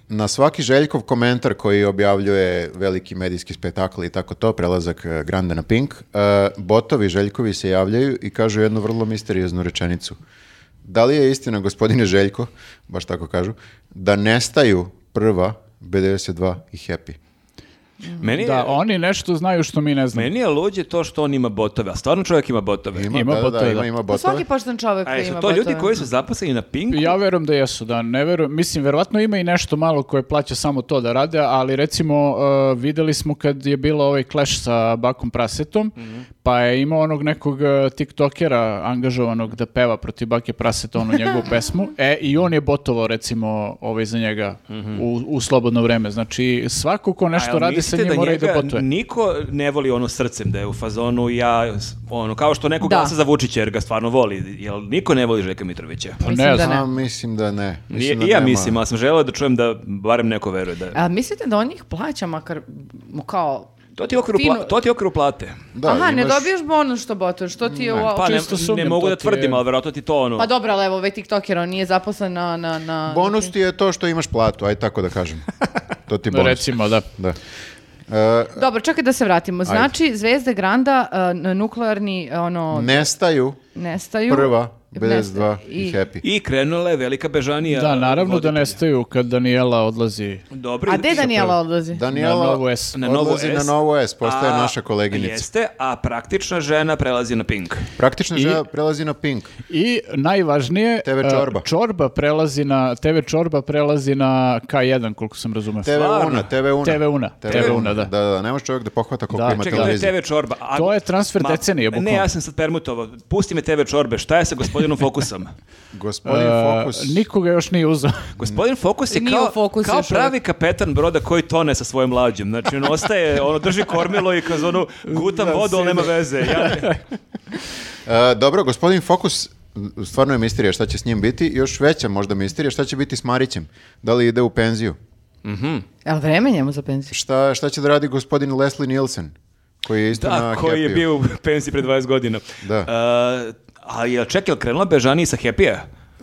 Na svaki Željkov komentar koji objavljuje veliki medijski spektakl i tako to, prelazak e, Granda na Pink, e, botovi Željkovi se javljaju i kažu jednu vrlo misterioznu rečenicu. Da li je istina, gospodine Željko, baš tako kažu, da nestaju prva B92 i Happy?
Meni
Da,
je,
oni nešto znaju što mi ne znamo.
meni je luđe to što on ima botove, a stvarno čovjek ima botove.
Ima,
Ima
da, da, da,
botove,
ima,
da.
ima
Pa
botove.
svaki pošten čovjek
A
koji
jesu
ima
to ljudi
botove.
koji su zaposleni na Pinku?
Ja verujem da jesu, da ne verujem. Mislim, verovatno ima i nešto malo koje plaća samo to da rade, ali recimo e, videli smo kad je bilo ovaj clash sa Bakom Prasetom,
Mhm.
pa je imao onog nekog e, tiktokera angažovanog da peva protiv Bake Praseta onu njegovu pesmu, e i on je botovo recimo ovaj za njega u, u slobodno vreme. Znači svako ko
Mhm. A
nešto
jel
radi sa
mislite
njim mora i da
njega
botuje.
Niko ne voli ono srcem da je u fazonu ja, s- ono, kao što neko
Da.
glasa za Vučića jer ga stvarno voli, jel niko ne voli Žeka Mitrovića?
Pa
Mislim
ne
da
znam.
A, mislim da ne.
Nije,
Mislim da
I ja
nema.
mislim, ali sam želeo da čujem da barem neko veruje da je.
A mislite da on njih plaća makar m, kao...
To ti je okviru,
Fino-
pla- to ti je okviru plate.
Da,
Aha, ne
imaš-
dobiješ bonus što botuješ, što ti je... u-
Pa ne,
Čisto
ne
sumnjam,
mogu
to
da
ti je-
tvrdim, ali vjerojatno ti to ono...
Pa dobro, ali evo, ovaj tiktoker, on nije zaposlen na... na, na...
Bonus ti je to što imaš platu, aj tako da kažem. To ti je bonus.
Recimo, da.
Da. E,
Dobro, čekaj da se vratimo. Znači, Zvezde Granda, uh, nuklearni, ono,
nestaju
nestaju.
Prva, BS2
Nestaju.
i Happy.
I krenula je velika bežanija.
Da, naravno da
voditelja.
nestaju kad Daniela odlazi
Dobro,
A
i-
gde Danijela odlazi?
Danijela
na Novu S.
Na novo
odlazi na Novo S, postaje
a-
naša koleginica.
Jeste, a praktična žena prelazi na Pink.
praktično žena prelazi na Pink.
I najvažnije,
TV
e,
čorba.
čorba prelazi na, TV čorba prelazi na K1, koliko sam razumeo. E,
TV
Stvarno?
Una, TV Una.
TV Una, TV Una, da.
Da, da, ne može čovjek da pohvata koliko
Da.
ima
Čekaj, to je
televizije.
TV čorba. A-
To je transfer decenije, bukvalno.
Ne, ja sam sad permutovao. Pusti me TV čorbe, šta je sa gospodinom Fokusom?
Gospodin
E,
Fokus.
Nikoga još nije uzao.
Gospodin Fokus je
Nije
kao,
u fokusu
kao
još uvek.
pravi kapetan broda koji tone sa svojom lađom. Znači, on ostaje, ono, drži kormilo i kroz onu gutam vodu, ali nema veze. Ja,
E, dobro, gospodin Fokus, m, stvarno je misterija šta će s njim biti. Još veća možda misterija šta će biti s Marićem. Da li ide u penziju?
Jel vreme njemu za penziju?
Šta, šta će da radi gospodin Leslie Nielsen? Koji je isto
da,
na
koji je
Happy-u?
bio u pensiji pre 20 godina.
Da.
E, a je čekaj, jel krenula Bežani sa Happy-a?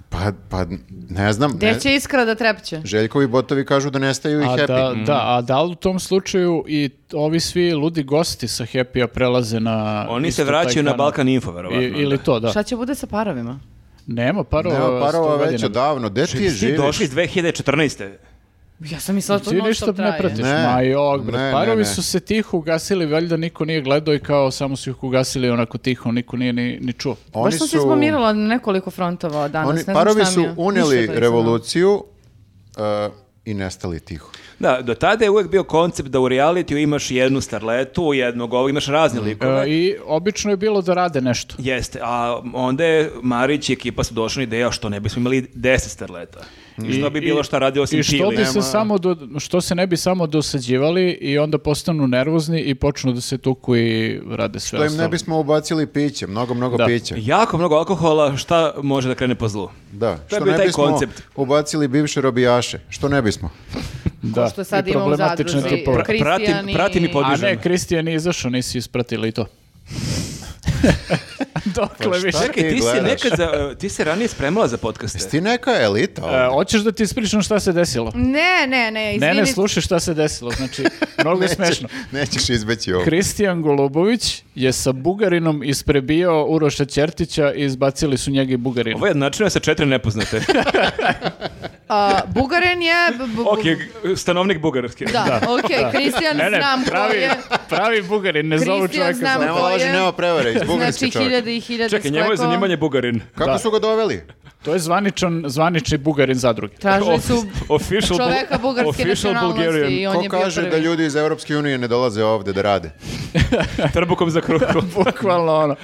Pa, pa, ne znam. Ne,
Gde će iskra da trepće?
Željkovi botovi kažu da nestaju i
A
Happy. Mhm.
da, da, a da li u tom slučaju i ovi svi ludi gosti sa Happy-a prelaze na...
Oni
isto
se
taj
vraćaju na
kanal?
Balkan Info,
I,
verovatno.
ili to, da.
Šta će bude sa parovima?
Nema parova,
Nema parova
sto
već
godina.
odavno. Gde ti
Ti
živiš?
došli iz 2014.
Ja sam mislila da to
Ti
non
ništa
stop
ne
traje.
pratiš,
Ne.
ma jok, bre.
Ne, ne,
Parovi
ne.
su se tiho ugasili, valjda niko nije gledao i kao samo su ih ugasili onako tiho, niko nije ni, ni čuo.
Baš sam se izblamirala na nekoliko frontova danas,
oni-
ne znam
parovi
šta mi
su
je. Ništa
uneli
to nisam
revoluciju uh, i nestali tiho.
Da, do tada je uvek bio koncept da u realitiju imaš jednu starletu, jednog ovog, imaš razne likove.
E, I obično je bilo da rade nešto.
Jeste, a onda je Marić i ekipa su došli na ideja što ne bismo imali 10 starleta. I što bi bilo šta radio osim
I što
Čili.
bi se samo do- što se ne bi samo dosađivali i onda postanu nervozni i počnu da se tuku i rade sve
To im ne
ostalo.
bismo ubacili piće, mnogo, mnogo
Da.
pića.
Jako mnogo alkohola, šta može da krene po zlu?
Da,
To je
što
bio
ne
taj
bismo
koncept.
ubacili bivše robijaše, što ne bismo.
da.
što sad
i
ima u
problematične
zadruzi.
tipove.
Kristijan
pratim,
i-
pratim i
A
podižem.
ne, Kristijan je izašao, nisi ispratili i to.
Pa
Dokle više.
šta?
Čekaj,
Ti
ti si
gledaš.
nekad za, ti se ranije spremala za podcaste.
Jesi ti neka elita?
E,
ovdje?
hoćeš da ti ispričam šta se desilo?
Ne, ne, ne, izvini.
Ne, ne, slušaj šta se desilo. Znači, mnogo je
Nećeš-
smešno.
Nećeš izbeći ovo.
Kristijan Golubović je sa Bugarinom isprebio Uroša Ćertića i izbacili su njega i Bugarina.
Ovo je jednačina sa četiri nepoznate.
A, Bugarin je... b- b-
ok, stanovnik bugarski.
Da, okej, Kristijan
Ne, ne,
znam ko
pravi,
je.
pravi Bugarin, ne zovu
Kristijan
čovjeka.
znam
za-
Nema
ko
laži,
je.
nema prevare, iz Bugarske
Znači,
čovjek.
hiljade i hiljade
Čekaj, njemu je
sklekova.
zanimanje bugarin.
Kako su ga doveli?
To je zvaničan, zvanični Bugarin zadruge.
Tražili su
official bu-
čoveka bugarske
official
nacionalnosti
Bulgarian.
i on
Ko
je bio
kaže da
prvi.
ljudi iz Europske unije ne dolaze ovde da rade?
Trbukom za kruhom.
Bukvalno ono.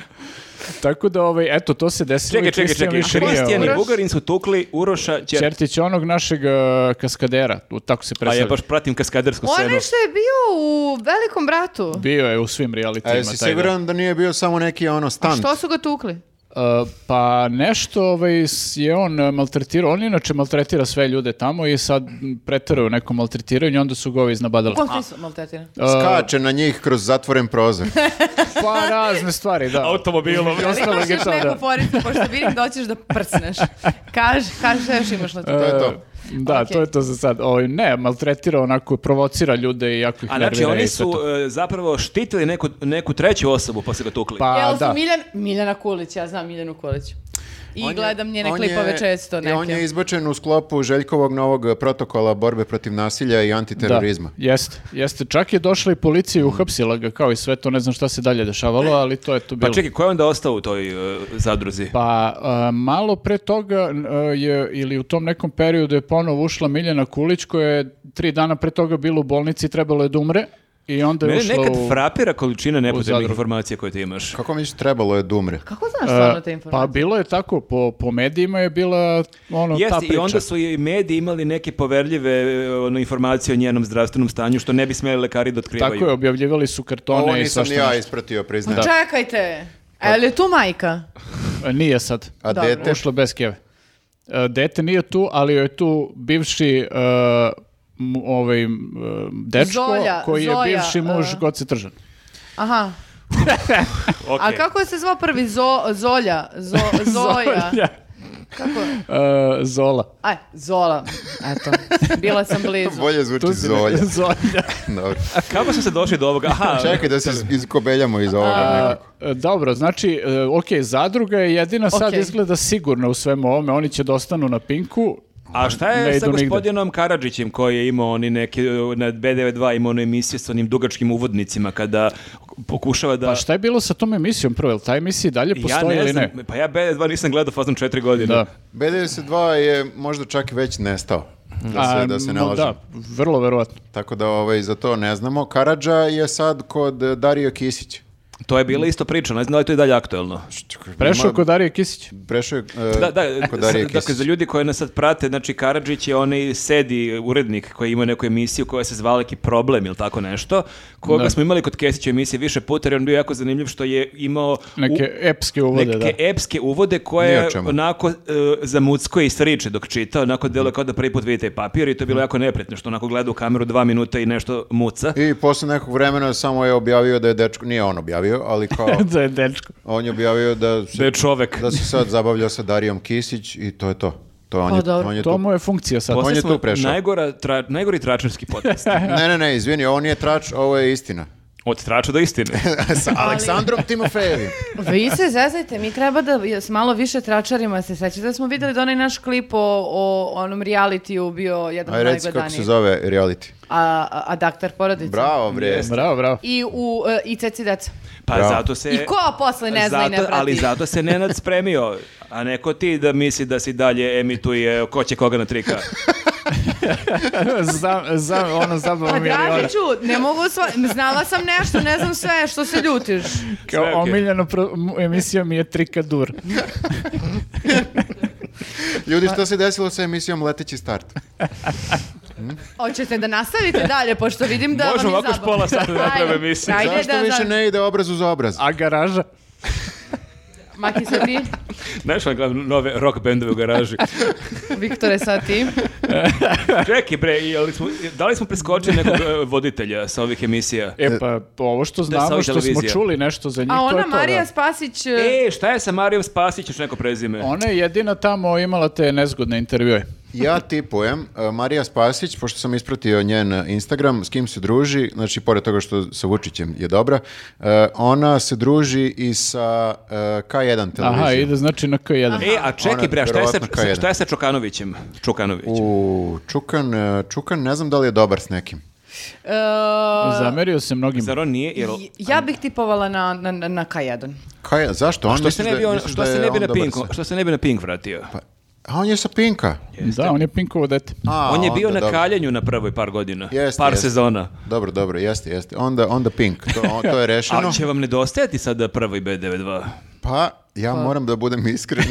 Tako da, ovaj, eto, to se desilo
čekaj,
i
čekaj,
Kristijan
čekaj.
više nije,
Kristijan i
ovaj,
Bugarin su tukli Uroša Ćer...
Ćertić je onog našeg eh, kaskadera, u- tako se
A ja
predstavlja.
Pa baš pratim kaskadersku
On
scenu.
je što je bio u Velikom bratu.
Bio je u svim realitima.
A jesi
taj dan.
siguran da nije bio samo neki ono stan?
Što su ga tukli?
Uh, pa nešto ovaj, s- je on eh, maltretirao, on inače maltretira sve ljude tamo i sad m, preterao je neko maltretiranju, onda su ga ovi iznabadali.
Kom su maltretirani?
E,
Skače na njih kroz zatvoren prozor.
Pa razne stvari, da.
Automobilom.
I ostalo
Imaš
ga je
još
to,
neku
da.
foricu, pošto vidim da hoćeš da prsneš. Kaži, kaži šta još imaš na to.
To je to.
Da,
Ok.
to je to za sad. Ovaj, ne, maltretira onako, provocira ljude i jako ih
A znači
nervira i
oni
sve
su
to.
e, zapravo štitili neku, neku treću osobu pa su ga tukli.
Pa
Jel su
da.
Miljan, Miljana Kulić, ja znam Miljanu Kulić. I
On je-
gledam njene
on je-
klipove često
i
neke.
On je izbačen u sklopu Željkovog novog protokola borbe protiv nasilja i antiterorizma.
Da, jeste, jeste. Čak je došla i policija i uhapsila ga kao i sve to, ne znam šta se dalje dešavalo, ali to je to bilo.
Pa čekaj, ko je onda ostao u toj e, zadruzi?
Pa a, malo pre toga n- a, je, ili u tom nekom periodu je ponovo ušla Miljana Kulić koja je tri dana pre toga bila u bolnici i trebalo je da umre i onda je
Mene
ušla
nekad
u...
frapira količina nepotrebnih
zadrugu.
informacija koje ti imaš.
Kako mi trebalo je da umre?
Kako znaš stvarno
E, Pa
te informacije?
bilo je tako, po, po medijima je bila ono, ta
Jeste,
priča.
i onda su i mediji imali neke poverljive e, ono, informacije o njenom zdravstvenom stanju, što ne bi smeli lekari da otkrivaju.
Tako je, objavljivali su kartone
Ovo
i
nisam ni
svašta.
ja
nešto.
ispratio, priznajem.
Pa Čekajte,
Pa-
a je li tu majka?
E, Nije sad.
A
Dobro.
dete?
Ušlo bez keve. E, Dete nije tu, ali joj je tu bivši e, m- ovaj, m, e, dečko
Zolja,
koji je
Zoja,
bivši muž
e.
Goce Tržan.
Aha.
Ok.
A kako se zvao prvi? Zo, Zolja. Zo, Zoja.
Zolja.
Kako?
E, Zola.
Aj, Zola. Eto, bila sam blizu.
Bolje zvuči
si-
Zolja.
Zolja.
Dobro.
Kako smo se došli do ovoga? Aha,
Čekaj da se iz- izkobeljamo iz ovoga
A,
nekako.
e, dobro, znači, e, ok, zadruga je jedina sad
Ok.
izgleda sigurna u svemu ovome. Oni će da ostanu na pinku.
a šta
Ne
je sa
idu nigde.
gospodinom Karadžićem koji je imao oni neki, e, na B92 imao onu emisiju sa onim dugačkim uvodnicima kada pokušava da...
Pa šta je bilo sa tom emisijom prvo? Jel ta emisija i dalje postoji
ja ne
ili
znam,
ne?
pa ja B92 nisam gledao fazom četiri godine.
Da.
B92 je možda čak i već nestao. Da
A,
se, da se ne
no,
lažem.
Da, vrlo verovatno.
Tako da ovaj, za to ne znamo. Karadža je sad kod eh, Dario Kisić.
To je bila isto priča, ne znam da li je to i dalje aktuelno.
Prešao
Ima-
kod Darije Kisić.
Prešao je eh,
Da, da,
kod
s-
Darije
dakle,
Kisić.
za ljudi koji nas sad prate, znači Karadžić je onaj sedi urednik koji ima neku emisiju koja se zvala neki problem ili tako nešto, koga
Da.
smo imali kod Kesića emisije više puta jer on bio jako zanimljiv što je imao u-
Neke epske uvode,
neke epske uvode
Ni
koje
o čemu.
onako e, zamuckuje i sriče dok čita, onako delo kao da prvi put vidite papir i to je bilo jako nepretno što onako gleda u kameru dva minuta i nešto muca.
I posle nekog vremena samo je objavio da je dečko, nije on objavio, ali kao
da. da e- je dečko.
on je objavio da se,
Da je čovek.
da se sad zabavlja sa Darijom Kisić i to je to. To on
Pa
je,
dobro,
on je
To
tu.
mu je funkcija sad.
Posle
on je
smo
tu prešao.
najgora tra- najgori tračarski podcast.
Ne, ne, ne, izvini, ovo nije trač, ovo je istina.
Od trača do istine.
Sa Aleksandrom Timofejevim.
Vi se zezajte, mi treba da s malo više tračarima se sećate da smo videli da onaj naš klip o, o onom realitiju bio jedan
Aj,
od
reci kako se
najgledanijih.
zove reality.
A, a, a daktar porodice.
Bravo, bre.
Bravo, bravo.
I, u, e, i ceci deca.
Pa
Bravo.
zato se...
I ko posle ne zna i ne
zato,
prati?
Ali zato se Nenad spremio, a neko ti da misli da si dalje emituje ko će koga na trika.
za, za, ono zabavno
Pa
miliona.
Dražiću, ne mogu sva... Znala sam nešto, ne znam sve, što se ljutiš?
Kao
Sve okej.
omiljena pro- m- emisija mi je Trikadur.
Ljudi, što se desilo sa emisijom Leteći start?
Hoćete da nastavite dalje, pošto vidim da vam je
Možemo
zabavno.
ovako još pola sata da napravimo emisiju.
Ajde, ajde
Zašto
da,
više
da.
ne ide obraz uz obraz?
A garaža?
Maki sa ti,
Znaš ono gledam nove rock bendove u garaži.
Viktore sa ti.
Čekaj bre, jel smo, da li smo preskočili nekog e, voditelja sa ovih emisija?
E pa, ovo što
sa
znamo,
ovih
što smo
televizija.
čuli nešto za njih,
A
to je
ona
to,
Marija
da.
Spasić... e,
E, šta je sa Marijom Spasić, još neko prezime?
Ona je jedina tamo imala te nezgodne intervjue.
Ja tipujem, e, Marija Spasić, pošto sam ispratio njen e, Instagram, s kim se druži, znači pored toga što sa Vučićem je dobra, e, ona se druži i sa e, K1 televizijom.
Aha, ide znači na K1.
E, a
Ona
čekaj
je
bre, a šta je sa,
verovatno kao jedan.
šta je sa Čokanovićem? Čukanovićem.
U, Čukan, e, Čukan, ne znam da li je dobar s nekim.
e, pa-
Zamerio se mnogim.
Zar on nije, jel...
j- ja bih tipovala na, na, na, na K1.
Kaj, zašto? On
Što se
misliš
ne bi,
da-
on,
misliš
što
da
se
je
ne bi
on
na
dobar
Pink,
sa- Pa
što se ne bi na Pink vratio?
A on je sa Pinka.
Da, on je Pinkovo dete.
A,
on je
onda
bio na
dobro.
kaljenju na prvoj par godina.
Jeste,
par
jeste.
sezona.
Dobro, dobro, jeste, jeste. Onda, onda Pink, to, on- to je rešeno.
A će vam nedostajati sada prvi B92?
Pa, ja moram da budem iskren.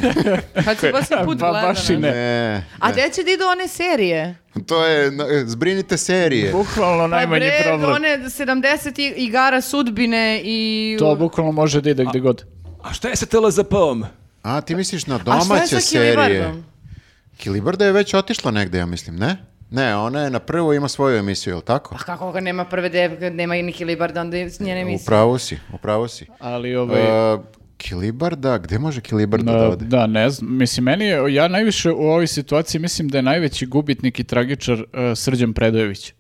Kad se poslije put
Ba-
gleda,
baš i
ne?
ne.
ne,
A gde će da idu one serije?
to je, no, e, zbrinite serije.
Bukvalno najmanji
pa bre,
problem.
one 70 i- igara sudbine i...
To bukvalno može da ide gde god.
A šta je sa TLZP-om?
A, ti misliš na
A šta je
domaće
sa
serije?
Kilibardom?
Kilibarda je već otišla negde, ja mislim, ne? Ne, ona je na prvo ima svoju emisiju, jel tako?
Pa kako ga nema prve dev, kad nema i ni Kilibarda, onda je njene misli.
Upravo si, upravo si.
Ali ovaj...
E, Kilibarda, gde može Kilibarda da
na-
ode?
da, ne znam. Mislim, meni je, ja najviše u ovoj situaciji mislim da je najveći gubitnik i tragičar eh, Srđan Predojević.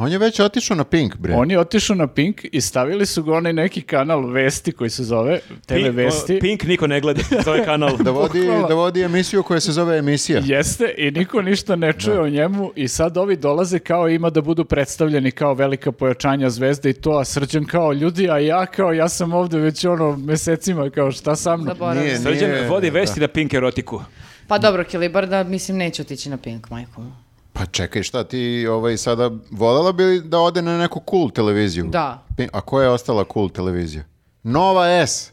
On je već otišao na Pink, bre.
On je otišao na Pink i stavili su ga onaj neki kanal Vesti koji se zove TV
Pink,
Vesti.
o, Pink niko ne gleda za ovaj kanal.
Da vodi,
Bukvalno.
da vodi emisiju koja se zove emisija.
Jeste i niko ništa ne čuje o njemu i sad ovi dolaze kao ima da budu predstavljeni kao velika pojačanja zvezde i to, a srđan kao ljudi, a ja kao ja sam ovde već ono mesecima kao šta sa mnom.
Zaboravim.
Nije,
Srđan
nije,
vodi
da.
vesti na Pink erotiku.
Pa dobro, Kilibarda, mislim, neće otići na Pink, majko. mu.
Pa čekaj, šta ti ovaj, sada voljela bi da ode na neku cool televiziju?
Da.
Pi- A koja je ostala cool televizija? Nova S!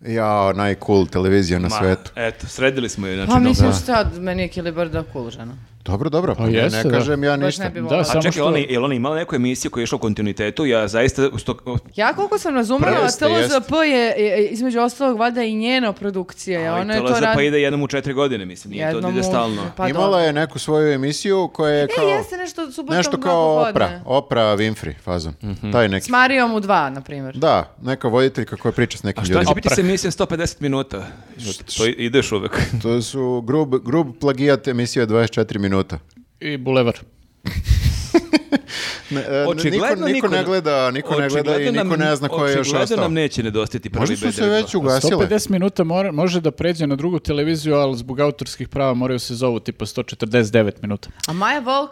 Jao, najcool televizija na
Ma,
svetu.
Eto, sredili smo je. Znači,
Pa
dobro.
mislim,
da.
šta, meni je Kilibarda cool žena.
Dobro, dobro, pa ne,
jeste,
ne
da.
kažem ja
Baš
ništa.
ne bi
Da,
volala.
samo
A čekaj,
što...
ona, je li ona imala neku emisiju koja je išla u kontinuitetu? Ja zaista... uz to-
Ja koliko sam razumela,
Jeste,
TLZP je, je, između ostalog, valjda i njena produkcija. ja,
Ali
ona E, ono je to
TLZP
rad...
ide jednom u četiri godine, mislim. Nije to da ide
jednom u-
stalno.
Pa
Imala
dobro.
je neku svoju emisiju koja je kao...
E, jeste nešto subotom
nešto
dva
kao
popodne.
Opra, Opra Winfrey fazon. Taj neki.
S Marijom u dva, na primjer.
Da, neka voditeljka koja priča s nekim
Šta će
ljudima.
biti sa emisijom 150 minuta? To ideš uvek.
To su grub, grub plagijat emisije 24 minuta.
I Bulevar.
Ne, e, niko-
Očigledno
niko, ne gleda, niko ne gleda i
očigledno
niko
nam-
ne zna ko je još
Očigledno
ostao.
nam neće nedostati prvi
Možda
B92.
su se već ugasile.
150 minuta mora, može da pređe na drugu televiziju, ali zbog autorskih prava moraju se zovu tipa 149 minuta.
A Maja Volk?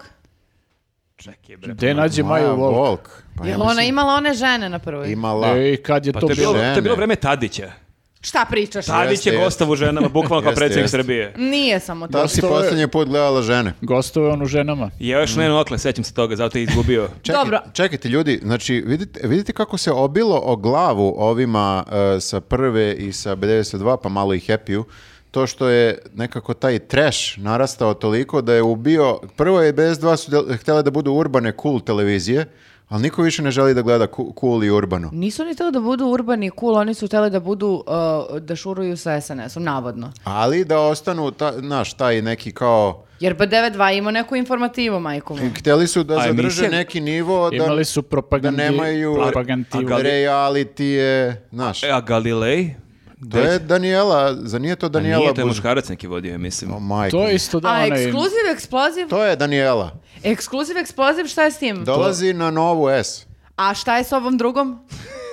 Čekaj, bre.
Gde nađe Maju Volk? E,
Volk. Pa ja
Jel ona imala one žene na prvoj?
imala.
Ej, kad je
Pa
to
to je bilo,
bilo?
to je bilo
žene.
vreme Tadića.
Šta pričaš?
Tadić je
jeste.
gostav u ženama, bukvalno kao
Jeste,
predsjednik
jeste.
Srbije.
Nije samo to.
Da si
Gostovo je-
poslednji put gledala žene.
Gostove on u ženama.
I ja
Mm.
još Leno Okle, sećam se toga, zato je izgubio.
Čekaj,
Dobro.
Čekajte ljudi, znači vidite, vidite kako se obilo o glavu ovima e, sa prve i sa B92 pa malo i happy to što je nekako taj trash narastao toliko da je ubio, prvo je B92 su del- htjele da budu urbane cool televizije, ali niko više ne želi da gleda cu- cool i urbano.
Nisu oni htjeli da budu urbani i cool, oni su htjeli da budu, uh, da šuruju sa SNS-om, navodno.
Ali da ostanu, ta, znaš, taj neki kao,
Jer B92 ima neku informativu, majko mu.
htjeli su da
A
zadrže
emisija-
neki nivo, da,
Imali su
da
propagandi,
nemaju
propagandivu.
Gali-
reality je, znaš.
E, a Galilej?
To je Daniela, za nije to
A
Daniela
nije, to je
Buz-
muškarac neki vodio, mislim.
O, majko.
To je isto da
A
onaj-
ekskluziv, eksploziv?
To je Daniela.
Ekskluziv, eksploziv, šta je s tim?
Dolazi na novu S.
A šta je s ovom drugom?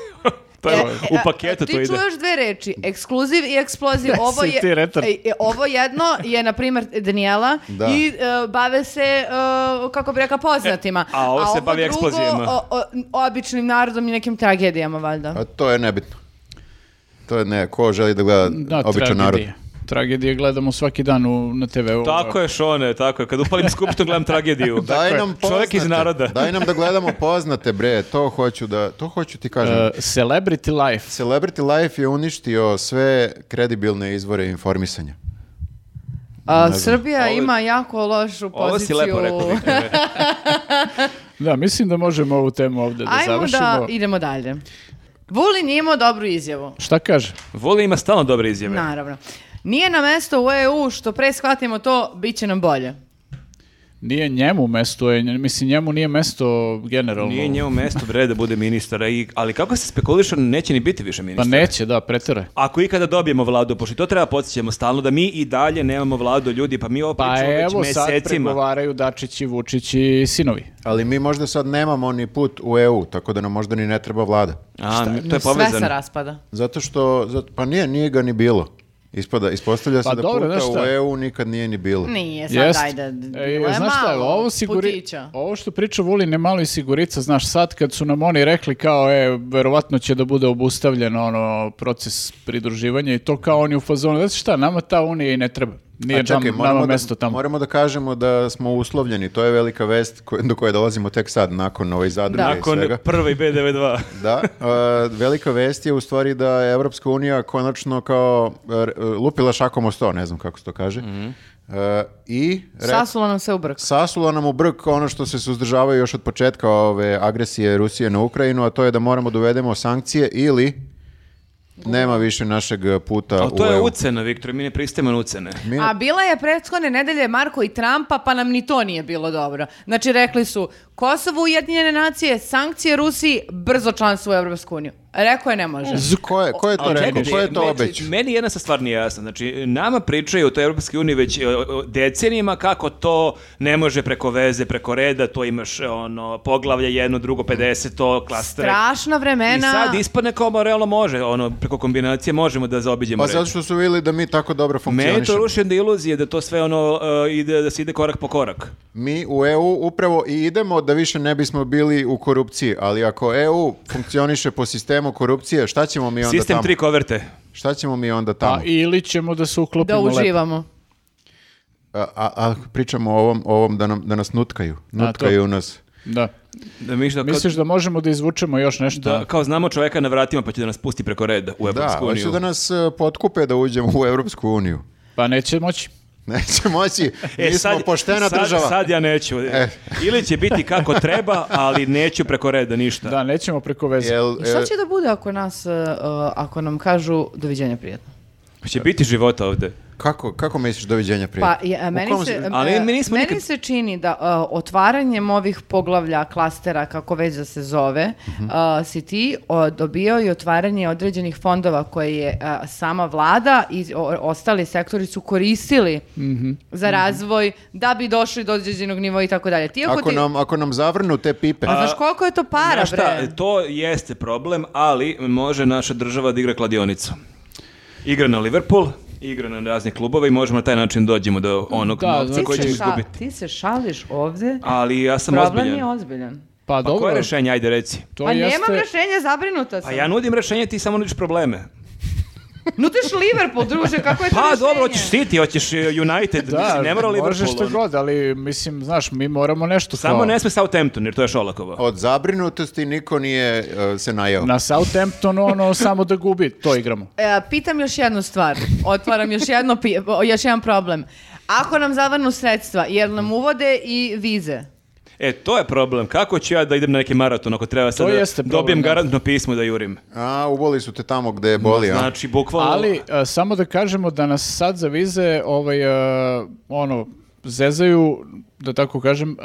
To je,
E,
u
e, a-
paketu
ti
to ide.
čuješ dve reči, ekskluziv i eksploziv.
Da
Ovo
si
je,
ti retard.
e, e, ovo jedno je, na primjer, Daniela
Da.
i e, bave se, e, kako bi rekla, poznatima.
E, a ovo se bavi
drugo,
eksplozijama.
o- o- običnim narodom i nekim tragedijama, valjda.
A Pa to je nebitno. To je ne, ko želi da gleda
Da,
običan narod.
tragedije. Tragedije gledamo svaki dan u, na TV-u.
Tako je, Šone, tako je. Kad upalim skupštinu, gledam tragediju.
Daj nam poznate.
Čovjek iz naroda.
Daj nam da gledamo poznate, bre. To hoću da, to hoću ti kažem.
E, celebrity life.
Celebrity Life je uništio sve kredibilne izvore informisanja.
A, Srbija
Ovo-
ima jako lošu poziciju.
Ovo si lepo rekao. Viktor.
Da, mislim da možemo ovu temu ovdje da
Ajmo
završimo.
da idemo dalje. Vulin je imao dobru izjavu.
Šta kaže?
Voli ima stalno dobre izjave.
Naravno. Nije na mesto u EU, što pre shvatimo to, bit će nam bolje.
Nije njemu mesto, je, mislim njemu nije mesto generalno.
Nije njemu mesto bre da bude ministar, a i- ali kako se spekuliše, neće ni biti više
Pa
ministar.
neće, da, pretere.
Ako ikada dobijemo vladu, pošto i to treba podsjećamo stalno da mi i dalje nemamo vladu ljudi, pa mi ovo
Pa
pričamo već
evo sad
mesecima.
pregovaraju Dačić i Vučić i sinovi.
Ali mi možda sad nemamo ni put u EU, tako da nam možda ni ne treba vlada.
A, to je
Sve se
povezano.
raspada.
Zato što, zato, pa nije, nije ga ni bilo. Ispada, ispostavlja se
Pa
da
dobro,
puta
znaš šta?
u EU nikad nije ni bilo.
Nije, sad
Jest.
ajde, bilo
E,
je
znaš šta,
malo
ovo, siguri-
putića.
ovo što priča Vulin je malo i sigurica, znaš, sad kad su nam oni rekli kao, e, verovatno će da bude obustavljen ono, proces pridruživanja i to kao oni u fazonu, znaš šta, nama ta unija i ne treba. Nije
A čekaj,
nam-
moramo
nama
da-
mesto tamo.
Moramo da kažemo da smo uslovljeni, to je velika vest ko- do koje dolazimo tek sad, nakon ove zadruge i
Nakon
svega.
prve B92.
Da, e, velika vest je u stvari da je Evropska unija konačno kao e, lupila šakom o sto, ne znam kako se to kaže. E, I re-
Sasula nam se u brk.
sasula nam u brk ono što se suzdržavaju još od početka ove agresije Rusije na Ukrajinu, a to je da moramo da uvedemo sankcije ili nema više našeg puta
Ali to
Pa, u
je
EU.
ucena, Viktor, mi ne pristajemo na ucene.
Mi-
A bila je prethodne nedelje Marko i Trumpa, pa nam ni to nije bilo dobro. Znači, rekli su Kosovo Ujedinjene nacije, sankcije Rusiji, brzo članstvo u Evropsku uniju. Rekao je ne može.
Z- Ko je, ko je to
Ali
rekao?
čekajte,
Ko je to
meni-
obećao?
Meni jedna sa stvar nije jasna. Znači, nama pričaju o toj Europskoj uniji već e, o, decenijima kako to ne može preko veze, preko reda, to imaš e, ono, poglavlje jedno, drugo, 50, to klastere.
Strašna vremena.
I sad ispadne kao ma, realno može, ono, preko kombinacije možemo da zaobiđemo
Pa
red.
zato što su vidjeli da mi tako dobro
Meni to
funkcionišemo.
ruši onda iluzije da to sve ono e, ide, da se ide korak po korak.
Mi u EU upravo i idemo da više ne bismo bili u korupciji, ali ako EU funkcioniše po sistemu korupcije, šta ćemo mi onda
Sistem
tamo?
tri koverte.
Šta ćemo mi onda tamo?
Pa ili ćemo da se
Da
uklopimo lepo.
uživamo.
A, a, a pričamo o ovom, ovom da, nam, da nas nutkaju.
to-
Nutkaju nas.
Da.
Da mi što kao-
Misliš da možemo da izvučemo još nešto?
da, kao znamo čoveka na vratima pa će da nas pusti preko reda u
Da,
Evropsku
hoće
uniju.
da nas e, potkupe da uđemo u Europsku uniju.
Pa neće moći.
Neće moći, mi smo poštena
E, sad,
država. E.
Sad ja neću. Ili će biti kako treba, ali neću preko reda ništa.
Da, nećemo preko veze.
Jel,
I šta
e,
će da bude ako nas, e, e, ako nam kažu doviđenja prijatno?
Će biti života ovde.
kako, kako misliš doviđenja prije?
Pa je,
U
meni,
kom
se,
si-
Ali
e,
mi nismo
meni
nikad-
se čini da e, otvaranjem ovih poglavlja, klastera, kako već da se zove,
Mhm.
e, si ti o, dobio i otvaranje određenih fondova koje je e, sama vlada i o- ostali sektori su koristili
Mhm.
za razvoj da bi došli do određenog nivoa i tako dalje. Ti ako,
ako,
ti...
nam, ako nam zavrnu te pipe,
Pa znaš koliko je to para,
Znaš šta,
bre?
to jeste problem, ali može naša država da igra kladionicu. Igra na Liverpool, igra na razne klubove i možemo na taj način dođemo do onog
Da,
novca
znači-
koji ćemo
Ti, se ša-
izgubiti.
ti se šališ ovde,
Ali ja sam
problem
ozbiljan.
je ozbiljan.
Pa,
Pa
dobro,
koje rešenje, ajde reci.
to
pa
jeste...
nemam rešenja, zabrinuta sam.
Pa ja nudim rešenje, ti samo nudiš probleme.
Pa
Nutiš Liverpool, druže, kako je to
Pa
rešenje?
dobro, hoćeš ti, ti hoćeš e, United,
Da,
mislim, ne mora
može
Liverpool.
što
ono.
god, ali mislim, znaš, mi moramo nešto
Samo
kao-
ne sme Southampton, jer to je Šolakovo.
od zabrinutosti niko nije e, se najao.
Na Southamptonu ono samo da gubi, to igramo.
E, pitam još jednu stvar, otvaram još, jedno pi- još jedan problem. Ako nam zavrnu sredstva, jer nam uvode i vize,
E, to je problem. Kako ću ja da idem na neki maraton ako treba sad
To
da
jeste problem,
dobijem
da.
garantno pismo da jurim?
A, uboli su te tamo gde boli, a?
Znači, bukvalno...
Ali e, samo da kažemo da nas sad za vize ovaj e, ono zezaju da tako kažem e,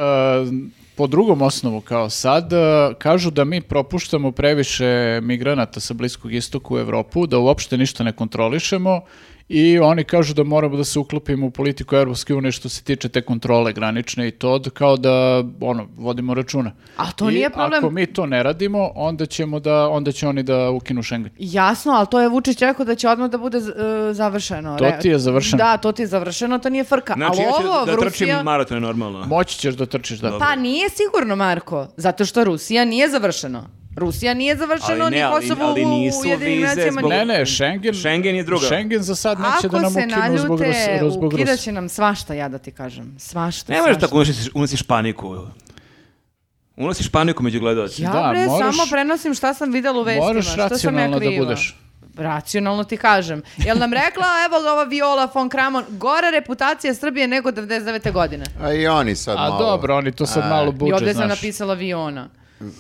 po drugom osnovu kao sad e, kažu da mi propuštamo previše migranata sa bliskog istoka u Evropu, da uopšte ništa ne kontrolišemo i oni kažu da moramo da se uklopimo u politiku Europske unije što se tiče te kontrole granične i to da kao da ono vodimo računa.
A to
I
nije problem.
ako mi to ne radimo, onda ćemo da onda će oni da ukinu Schengen.
Jasno, ali to je Vučić rekao da će odmah da bude z- e, završeno.
To
Re-
ti je završeno.
Da, to ti je završeno, to nije frka.
Znači,
ali
ja ću
ovo,
da, da trčim
Rusija...
maraton je normalno.
Moći ćeš da trčiš da.
Pa nije sigurno, Marko, zato što Rusija nije završeno. Rusija nije završeno,
Ali ne,
ni
ali-
Kosovo
ali
u
nisu
Ujedinjenim
vize
nacijama,
zbog-
ni-
Ne, ne, Schengen.
Schengen je druga.
Schengen za sad neće da
Ako
nam
se
ukinu zbog
naljute,
Rusa. Zbog
ukidat
Rusa.
će nam svašta, ja da ti kažem. Svašta,
Ne možeš
svašta.
tako unosiš, unosiš paniku. Unosiš paniku među gledalacima.
Ja
Da,
bre,
moraš-
samo prenosim šta sam videla u vestima.
Moraš
šta sam ja
racionalno da
kriva.
budeš.
Racionalno ti kažem. Jel nam rekla, evo ga ova Viola von Kramon, gora reputacija Srbije nego 99. godine.
A i oni sad
A
malo.
dobro, oni to sad malo buče,
I ovdje sam
znaš.
napisala Viona.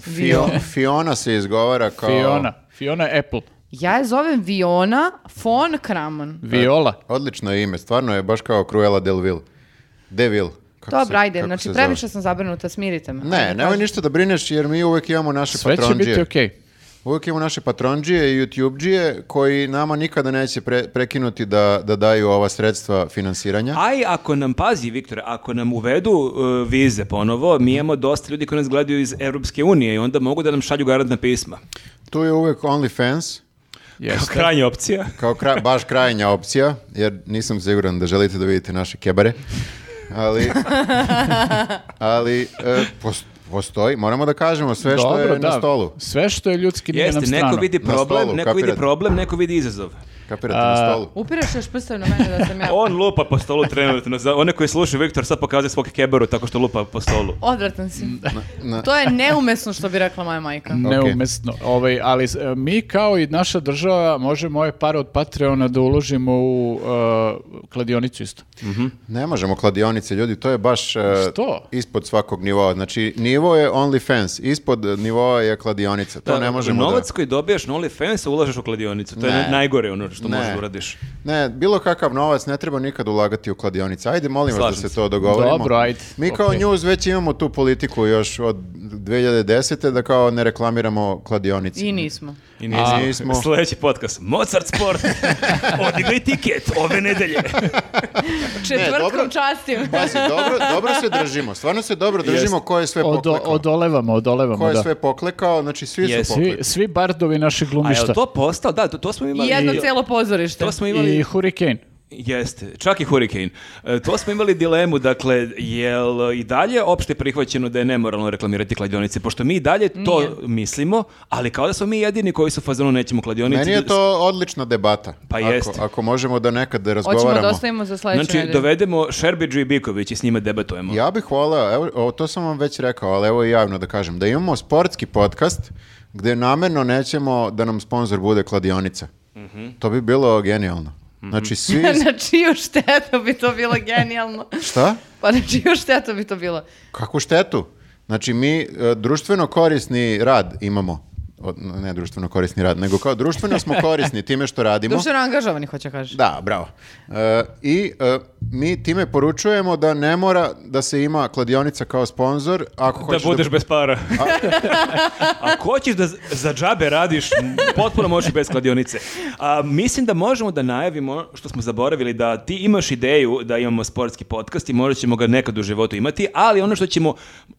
Fio- Fiona se izgovara kao...
Fiona. Fiona Apple.
Ja je zovem Viona von Kramon.
Viola.
Odlično je ime, stvarno je baš kao Cruella Del Vil. De Vil. Kako se-
Dobro, ajde,
kako se
znači
zove?
previše sam zabrinuta, smirite me.
Ne,
Ajde,
nemoj
kaži.
ništa da brineš jer mi uvek imamo naše
Sve će
patronđije.
biti okej.
Uvijek imamo naše patronđije i YouTubeđije koji nama nikada neće pre- prekinuti da, da daju ova sredstva finansiranja.
A i ako nam, pazi Viktore, ako nam uvedu uh, vize ponovo, mi imamo dosta ljudi koji nas gledaju iz Europske unije i onda mogu da nam šalju garantna pisma.
Tu je uvijek OnlyFans,
Jeste.
Krajnja opcija.
kao kra- baš krajnja opcija, jer nisam siguran da želite da vidite naše kebare. Ali, ali e, pos- postoji, moramo da kažemo sve što je na stolu.
Sve što je ljudski nije
Jeste,
nam strano.
neko vidi
Na
problem,
stolu,
neko vidi
kapirate.
problem, neko vidi izazov.
Kapirate, na stolu.
Upireš još prstom na mene da sam ja...
On lupa po stolu trenutno. Za one koji slušaju, Viktor sad pokazuje svog kebaru tako što lupa po stolu.
Odvratan si.
na-
To je neumesno što bi rekla moja majka.
Neumesno. Ovaj, ali e, mi kao i naša država možemo ove pare od Patreona da uložimo u e, kladionicu isto.
Ne možemo kladionice, ljudi, to je baš e,
Što?
ispod svakog nivoa. Znači, nivo je OnlyFans, ispod e, nivoa je kladionica. To ne možemo da...
Novac koji dobijaš na OnlyFans ulažeš u kladionicu. To je
Ne.
najgore ono što
Ne.
možeš da uradiš.
Ne, bilo kakav novac ne treba nikad ulagati u kladionice. Ajde, molim vas
Slažem
da se
se.
to dogovorimo.
Dobro, ajde.
Mi kao
Okej.
news već imamo tu politiku još od 2010. da kao ne reklamiramo kladionice.
I nismo.
I
A, nismo.
Sljedeći podcast. Mozart Sport. Odigraj tiket ove nedelje.
Četvrtkom
dobro.
častim.
Pazi, dobro, dobro se držimo. Stvarno se dobro držimo ko je sve
Odo,
poklekao.
odolevamo, odolevamo,
Ko je
da.
sve poklekao, znači svi su
Jesu.
Svi,
poklekali.
svi bardovi
A
našeg
je
glumišta.
to postao? Da, to, to smo
I
imali.
jedno celo pozorište.
To smo imali.
I Hurricane.
Jeste, čak i Hurricane. E, to smo imali dilemu, dakle, jel i dalje opšte prihvaćeno da je nemoralno reklamirati kladionice, pošto mi i dalje to mislimo, ali kao da smo mi jedini koji su u fazonu nećemo kladionice.
Meni je to odlična debata.
Pa
Ako-
jeste.
Ako, možemo da nekad da
Hoćemo da
razgovaramo.
ostavimo za sledeću
Znači,
nedelju.
dovedemo Šerbiđu i Biković i s njima debatujemo.
Ja bih voleo, evo, o, to sam vam već rekao, ali evo i javno da kažem, da imamo sportski podcast gde namjerno nećemo da nam sponsor bude kladionica.
Mhm.
To bi bilo genijalno. Znači svi...
na čiju štetu bi to bilo genijalno.
Šta?
Pa na čiju štetu bi to bilo?
Kakvu štetu? Znači mi e, društveno korisni rad imamo. O, ne društveno korisni rad, nego kao društveno smo korisni time što radimo.
Društveno angažovani, hoće kažeš.
Da, bravo. E, I e, mi time poručujemo da ne mora da se ima kladionica kao sponsor ako
Da
hoćeš
budeš bez para. Ako hoćeš da z- za džabe radiš, potpuno možeš i bez kladionice. A, mislim da možemo da najavimo ono što smo zaboravili, da ti imaš ideju da imamo sportski podcast i možda ćemo ga nekad u životu imati, ali ono što ćemo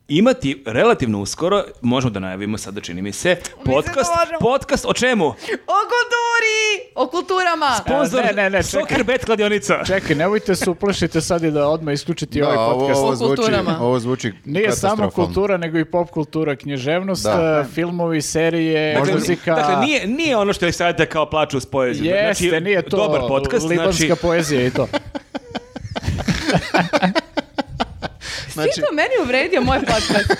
imati relativno uskoro, možemo da najavimo sada, čini mi se, podcast,
možemo.
podcast o čemu?
O kulturi! O kulturama!
Sponzor,
ne, ne, ne, čekaj.
Soccer Bet kladionica.
Čekaj, nemojte se uplašiti sad i da odmah isključiti
Da,
ovaj
ovo,
podcast.
ovo
O
zvuči,
kulturama.
ovo zvuči
Nije samo
katastrofalno.
kultura, nego i pop kultura, književnost,
Da.
e, filmovi, serije,
Možda-
muzika.
Dakle, nije, nije ono što je sada kao plaću uz poeziju.
Jeste, nije to
Znači, Dobar podcast,
libanska
znači,
poezija i to.
Ti to meni uvredio moj podcast.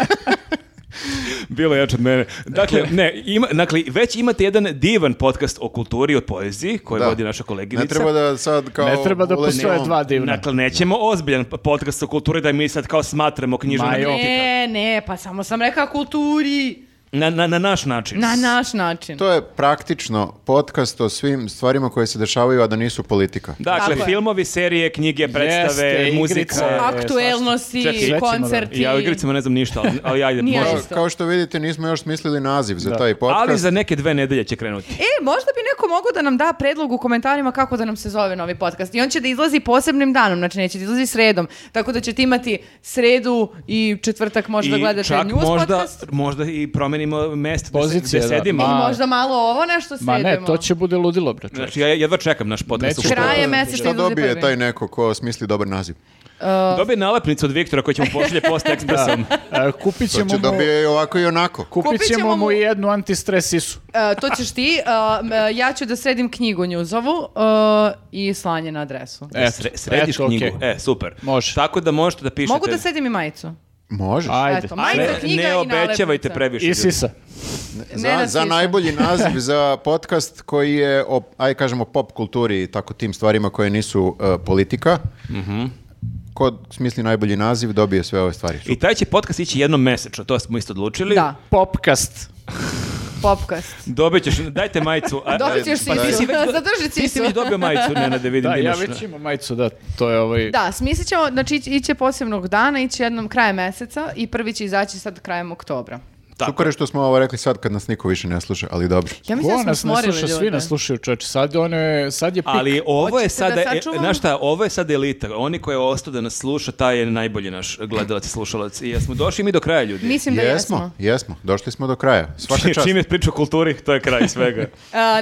Bilo je jače od mene. Dakle, ne, ima, dakle, već imate jedan divan podcast o kulturi i o poeziji koji
Da.
vodi naša koleginica.
Ne treba da sad kao...
Ne treba da
ulazimo-
postoje dva divna.
Dakle, nećemo ozbiljan podcast o kulturi da mi sad kao smatramo knjižu.
Ma jo.
ne, ne, pa samo sam rekao kulturi.
Na, na, na naš način.
Na naš način.
To je praktično podcast o svim stvarima koje se dešavaju, a da nisu politika.
Dakle,
Tako je.
filmovi, serije, knjige, predstave,
Jeste, igrice.
muzika.
A-
Aktuelnosti,
Čekaj, sve
ćemo da-
koncerti.
Ja o igricama ne znam ništa, ali, ali ajde.
Ni ja
može.
Kao,
isto.
kao što vidite, nismo još smislili naziv za taj podcast.
Ali za neke dve nedelje će krenuti.
E, možda bi neko mogao da nam da predlog u komentarima kako da nam se zove novi podcast. I on će da izlazi posebnim danom, znači neće da izlazi sredom. Tako da ćete imati sredu i četvrtak možda da
I
gledate
čak
news
možda,
podcast.
možda i promenimo mesto gde se-
Pozicije,
gde
da.
sedimo.
Ili
Ma-
možda malo ovo nešto
Ma
sredimo.
ne, to će bude ludilo, bre. čovječe.
Znači, ja jedva čekam naš podcast.
Neću.
u školu.
Krajem
Šta-
meseca
Šta
izlazi
dobije
prvi.
taj neko ko smisli dobar naziv?
Dobije nalepnicu od Viktora koji ćemo pošalje post ekspresom.
E, kupit
To
ćemo
će
mu...
dobije i ovako i onako.
Kupit
Kupit ćemo
ćemo mu
mu-
i jednu antistres isu.
E, to ćeš ti. e, m, e, ja ću da sredim knjigu Njuzovu e, i slanje na adresu.
Eto,
E, Sre- središ
eto,
knjigu.
okej.
E, super.
Može.
Tako da možete da pišete.
Mogu da sedim i majicu.
Možeš.
Ajde.
Eto,
Ne-
majica, knjiga
ne
i
obećavajte
nalepnica.
previše.
I
ljudi.
sisa.
Za,
Nenad
za
Sisa.
najbolji naziv za podcast koji je o, aj kažemo, pop kulturi i tako tim stvarima koje nisu uh, politika.
Mhm.
Ko smisli najbolji naziv dobije sve ove stvari.
I taj će podcast ići jednom mesečno, to smo isto odlučili.
Da,
Popkast.
popkast.
Dobit ćeš, dajte majicu. A-
Dobit ćeš
Pa ti
sisu,
si
zadrži
Ti si
sisu.
već dobio majicu, ne, da vidim.
Da,
da
ja
imaš-
već imam majicu, da, to je ovaj...
Da, smislit ćemo, znači ići- iće posebnog dana, iće jednom krajem meseca i prvi će izaći sad krajem oktobra.
Tako.
Super je što smo ovo rekli sad kad nas niko više ne sluša, ali dobro.
Ja
Ko
mislim da smo
nas ne
smorili
sluša,
ljude.
svi nas slušaju, čovječe. Sad, ono je, sad je pik.
Ali ovo je
Hoćete da
sada, e,
sačuvamo?
znaš šta, ovo je sada elita. Oni koji je ostao da nas sluša, taj je najbolji naš gledalac i slušalac. I jesmo došli mi do kraja ljudi.
Mislim da jesmo.
jesmo, jesmo, došli smo do kraja. Svaka čast.
Čim je priča o kulturi, to je kraj svega.
E,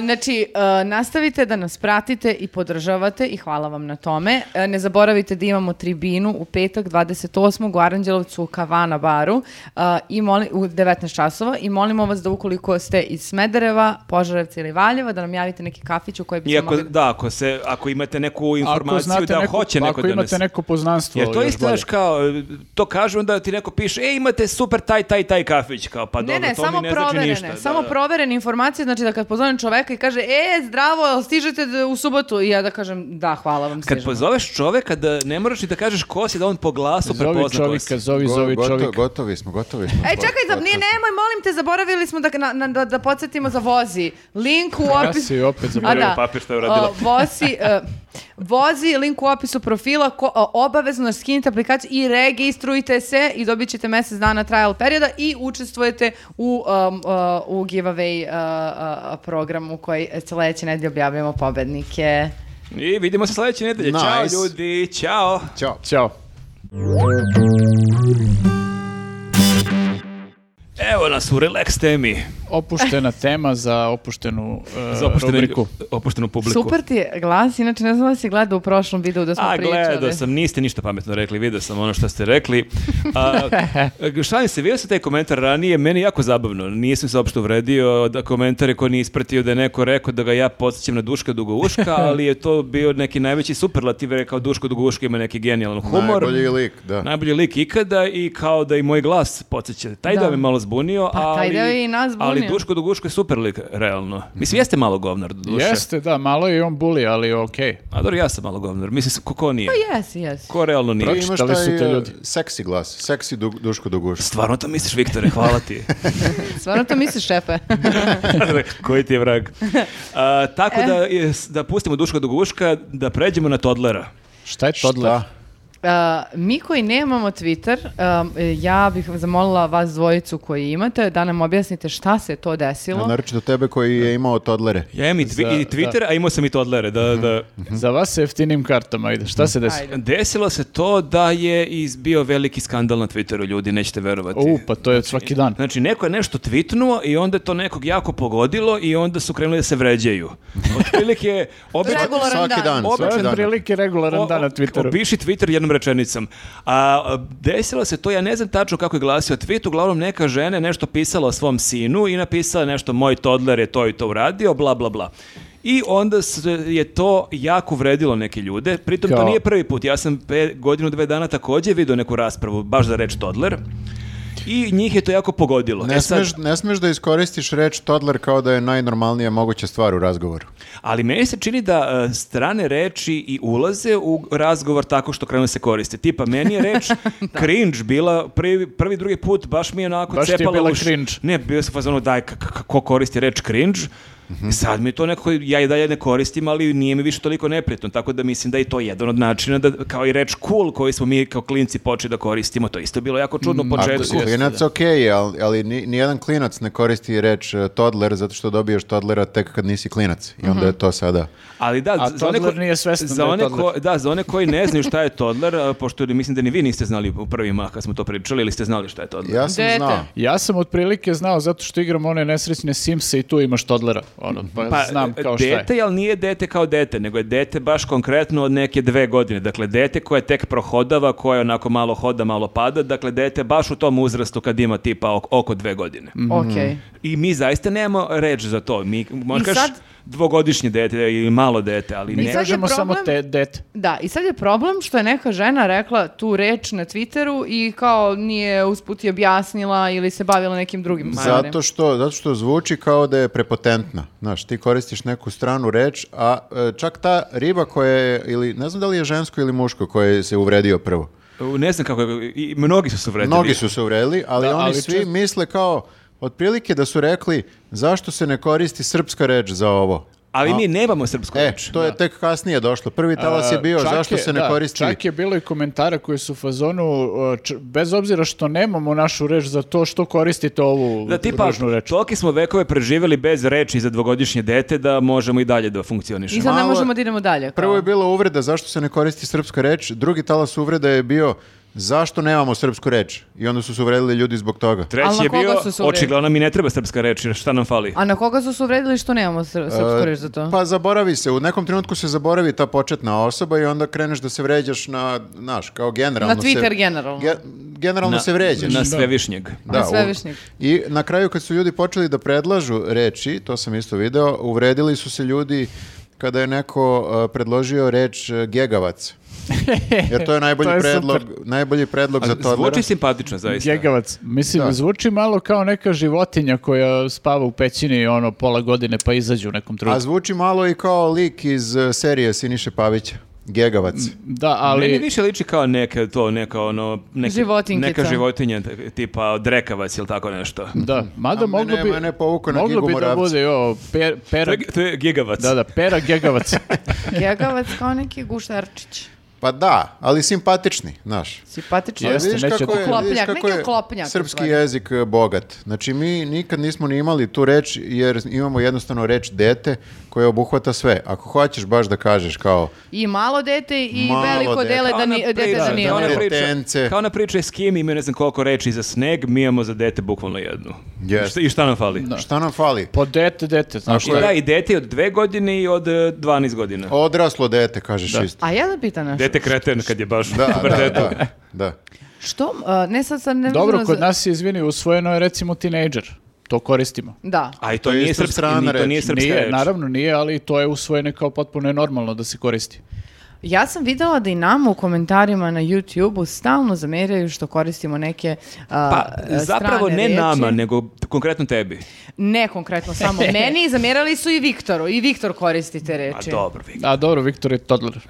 znači, e, nastavite da nas pratite i podržavate i hvala vam na tome. E, ne zaboravite da imamo tribinu u petak 28. u Aranđelovcu u Kavana baru e, i moli, u 19 časova i molimo vas da ukoliko ste iz Smedereva, Požarevca ili Valjeva da nam javite neki kafić u koji bismo
Iako,
mogli...
da, ako, se, ako imate neku
Ako
informaciju
znate
da
neko,
hoće neko
ako
da nas...
imate neko poznanstvo,
Jer to
još
isto, znaš,
bolje.
kao, e, to kažu, onda ti neko piše, e, imate super taj, taj, taj kafić, kao, pa
Ne,
dobro,
ne,
to
samo
mi ne znači
proverene,
ništa. Da,
samo
da.
proverene informacije, znači da kad pozovem čoveka i kaže, e, zdravo, jel stižete d- u subotu? I ja da kažem, da, hvala vam,
Kad
stižemo."
pozoveš čoveka, da ne moraš ni da kažeš ko si, da on po glasu
Zovi
prepozna ko si.
čovjeka, zovi,
Go-
zovi
goto-
čovjeka.
gotovi smo, gotovi smo.
E, čekaj, za, nije, nemoj, molim te, zaboravili smo da, na- na- da, da podsjetimo za vozi. Link u
Ja
opisu.
si opet zaboravio.
Zaboravio papir što je uradila.
O, vozi, e, vozi, link u opisu profila, ko, o, obavezno skinite aplikaciju i registrujte se i dobit ćete mjesec dana trial perioda i učestvujete u, um, uh, u giveaway uh, uh, programu koji sledeće nedelje objavljamo pobednike.
I vidimo se sledeće nedelje. Ćao
Nice.
ljudi, ćao.
Ćao.
Ćao.
Evo nas u relax temi.
Opuštena tema za opuštenu e,
Za opuštenu,
rubriku.
opuštenu publiku.
Super ti je glas, inače ne znam da si gledao u prošlom videu da smo
A,
pričali.
gledao sam, niste ništa pametno rekli, vidio sam ono što ste rekli. A, šalim se, vidio sam taj komentar ranije, meni je jako zabavno, nisam se uopšte uvredio da komentare ko nije ispratio da je neko rekao da ga ja podsjećam na Duška Dugouška, ali je to bio neki najveći superlativ, jer je kao Duško Dugouška ima neki genijalan humor.
Najbolji lik, da.
Najbolji lik ikada i kao da i moj glas podsjeća. Taj
Da.
deo me malo zbunio,
Pa, taj
ali,
deo je i nas zbunio.
ali Duško Duguško je super lik, realno. Mislim, jeste malo govnar, Duško.
Jeste, da, malo je i on buli, ali okej.
A dobro, ja sam malo govnar. Mislim, ko, ko
Pa
nije?
Jesi, jesi.
Ko realno nije?
I imaš
Pročitali su
taj
te
e,
ljudi.
seksi glas, seksi du, duško duguš.
Stvarno to misliš, Viktore, hvala ti.
Stvarno to misliš, šefe?
Koji ti je vrag. A, tako da, je- da pustimo Duška Duguška, da pređemo na Todlera.
Šta je toddler?
Šta?
Uh, mi koji nemamo Twitter, um, ja bih zamolila vas dvojicu koji imate da nam objasnite šta se to desilo.
Naročito tebe koji je imao todlere.
Ja imam i, twi-
Za-
i Twitter, a imao sam i Todlere. Da, da.
Za vas se jeftinim kartama ide. Šta se desi?
Ajde.
Desilo se to da je izbio veliki skandal na Twitteru, ljudi, nećete verovati.
U, pa to je svaki dan.
Znači, neko je nešto tvitnuo i onda je to nekog jako pogodilo i onda su krenuli da se vređaju. Otprilike, obično...
Drago- Regularan
svaki
dan.
dan,
Običan
svaki
To je
dan.
prilike regularan dan na Twitteru.
Opiši Twitter jednom rečenicom. A, a, desilo se to, ja ne znam tačno kako je glasio tweet, uglavnom neka žena je nešto pisala o svom sinu i napisala je nešto moj toddler je to i to uradio, bla bla bla. I onda se je to jako vredilo neke ljude. Pritom to
Kao-
nije prvi put. Ja sam pe, godinu, dve dana također vidio neku raspravu, baš za reč toddler. i njih je to jako pogodilo.
Ne,
E sad-
smeš, ne smeš da iskoristiš reč toddler kao da je najnormalnija moguća stvar u razgovoru.
Ali meni se čini da e, strane reči i ulaze u razgovor tako što krenu da se koriste. Tipa, meni je reč cringe bila prvi, prvi, drugi put, baš mi je onako
Baš ti je
cepala
bila
uši.
cringe.
Ne, bio sam fazonu, daj, k- k- ko koristi reč cringe,
Mhm.
Sad mi je to nekako, ja i dalje ne koristim, ali nije mi više toliko neprijatno, tako da mislim da je i to jedan od načina, da, kao i reč cool koju smo mi kao klinci počeli da koristimo, to je isto bilo jako
Mm,
čudno u
A
početku.
klinac ok, ali, ali ni, nijedan klinac ne koristi reč e, toddler zato što dobiješ toddlera tek kad nisi klinac. I onda je to sada...
Ali da,
A
za one
toddler
ko-
nije svestan da
za
je
one
toddler.
ko, da, za one koji ne znaju šta je toddler, a, pošto mislim da ni vi niste znali u prvima kad smo to pričali ili ste znali šta je toddler.
Ja sam
Dete.
znao.
Ja sam otprilike znao zato što igram one nesrećne Simse i tu imaš Todlera. Ono, pa, znam kao šta je.
e, dete, ali nije dete kao dete, nego je dete baš konkretno od neke dve godine. Dakle, dete koje tek prohodava, koje onako malo hoda, malo pada. Dakle, dete baš u tom uzrastu kad ima tipa ok- oko dve godine.
Mhm.
Okej.
I mi zaista nemamo reč za to. Mi, možda
I
kažeš
sad-
dvogodišnje dete ili malo dete, ali
Mi
ne.
sad-
kažemo samo
problem-
te dete.
Da, i sad je problem što je neka žena rekla tu reč na Twitteru i kao nije usput i objasnila ili se bavila nekim drugim stvarima.
Zato što, zato što zvuči kao da je prepotentna. Znaš, ti koristiš neku stranu reč, a e, čak ta riba koja je, ili ne znam da li je žensko ili muško koje se uvredio prvo.
Ne znam kako je, i mnogi su se vredili.
Mnogi su se uvredili, ali
Da,
oni
ali
svi
čest-
misle kao, otprilike da su rekli zašto se ne koristi srpska reč za ovo.
Ali mi nemamo srpsku
E,
reč.
to je tek kasnije došlo. Prvi talas je bio
Čak
zašto
je-
se ne
da,
koristi.
Čak je bilo i komentara koji su u fazonu, uh, č- bez obzira što nemamo našu reč za to što koristite ovu
Da tipa,
ružnu reč.
toliki smo vekove preživjeli bez reči za dvogodišnje dete da možemo i dalje da funkcionišemo.
I sad ne
Malo-
možemo da idemo dalje. kao.
Prvo je bila uvreda zašto se ne koristi srpska reč, drugi talas uvreda je bio zašto nemamo srpsku reč. I onda su se uvredili ljudi zbog toga.
Treći
Ali na
je
koga
bio,
su se uvredili?
očigledno mi ne treba srpska reč, jer šta nam fali?
A na koga su se uvredili što nemamo sr- srpsku reč za to?
Pa zaboravi se, u nekom trenutku se zaboravi ta početna osoba i onda kreneš da se vređaš na, znaš, kao generalno
Na
se-
Twitter generalno.
Ge- generalno
Na-
se vređaš.
Na svevišnjeg.
Na
u-
svevišnjeg.
I na kraju kad su ljudi počeli da predlažu reči, to sam isto video, uvredili su se ljudi kada je neko uh, predložio reč uh, gegavac. Jer to je najbolji
To je super.
predlog, najbolji predlog za to.
Zvuči simpatično, zaista.
Gegavac. Mislim,
Da.
zvuči malo kao neka životinja koja spava u pećini ono pola godine pa izađe u nekom
A
trenutku.
zvuči malo i kao lik iz uh, serije Siniše Pavića. Gegavac.
Da,
Meni
ali
više liči kao neka to, neka ono... neki-
Životinjica.
Neka životinja, t- tipa drekavac ili tako nešto.
da, mada
A mene-
moglo bi
mene povuku na
moglo
Gigu
bi da
Moravca.
bude i ovo per,
To
pera,
je, to je gigavac.
da da, pera gegavac.
Gegavac kao neki guštarčić.
Pa da, ali simpatični, znaš.
Simpatično.
Ali
Jeste,
vidiš
neće
kako
to-
je-
Oklopnjak,
vidiš kako
neki
je
oklopnjak u
Srpski
stvari.
jezik e, bogat. Znači mi nikad nismo ni imali tu reč jer imamo jednostavno reč dete koja obuhvata sve. Ako hoćeš baš da kažeš kao
I malo dete i
Malo
veliko
dete.
dele
Kao
da,
ona
ni, dete
priča-
da nije.
kao ona
umrlo.
dete.
priča-
Detence.
Kao na priča s kim ima ne znam koliko reči za sneg, mi imamo za dete bukvalno jednu.
Jeste.
I šta- I šta nam fali?
šta nam fali?
Po dete, dete, znaš.
I da, i dete od dve godine i od e, 12 godina.
Odraslo dete, kažeš isto.
A ja da pitam nešto.
Dete kreten kad je baš
Da,
dobar
da,
dete.
da, da.
Što, uh, ne sad sam ne
Dobro,
vezano
kod
za-
nas je, izvini, usvojeno je recimo tinejdžer. To koristimo.
Da.
A i to,
To je
nije
isto
srpska,
strana
ni, to
reč.
nije srpska
Nije,
reč.
naravno nije, ali to je usvojeno kao potpuno je normalno da se koristi.
Ja sam videla da i nama u komentarima na YouTube-u stalno zamerjaju što koristimo neke uh,
Pa,
strane
zapravo ne
reči.
nama, nego konkretno tebi.
Ne konkretno, samo meni. Zamjerali su i Viktoru. I Viktor koristi te
A
reči.
dobro, Viki.
A dobro, Viktor je toddler.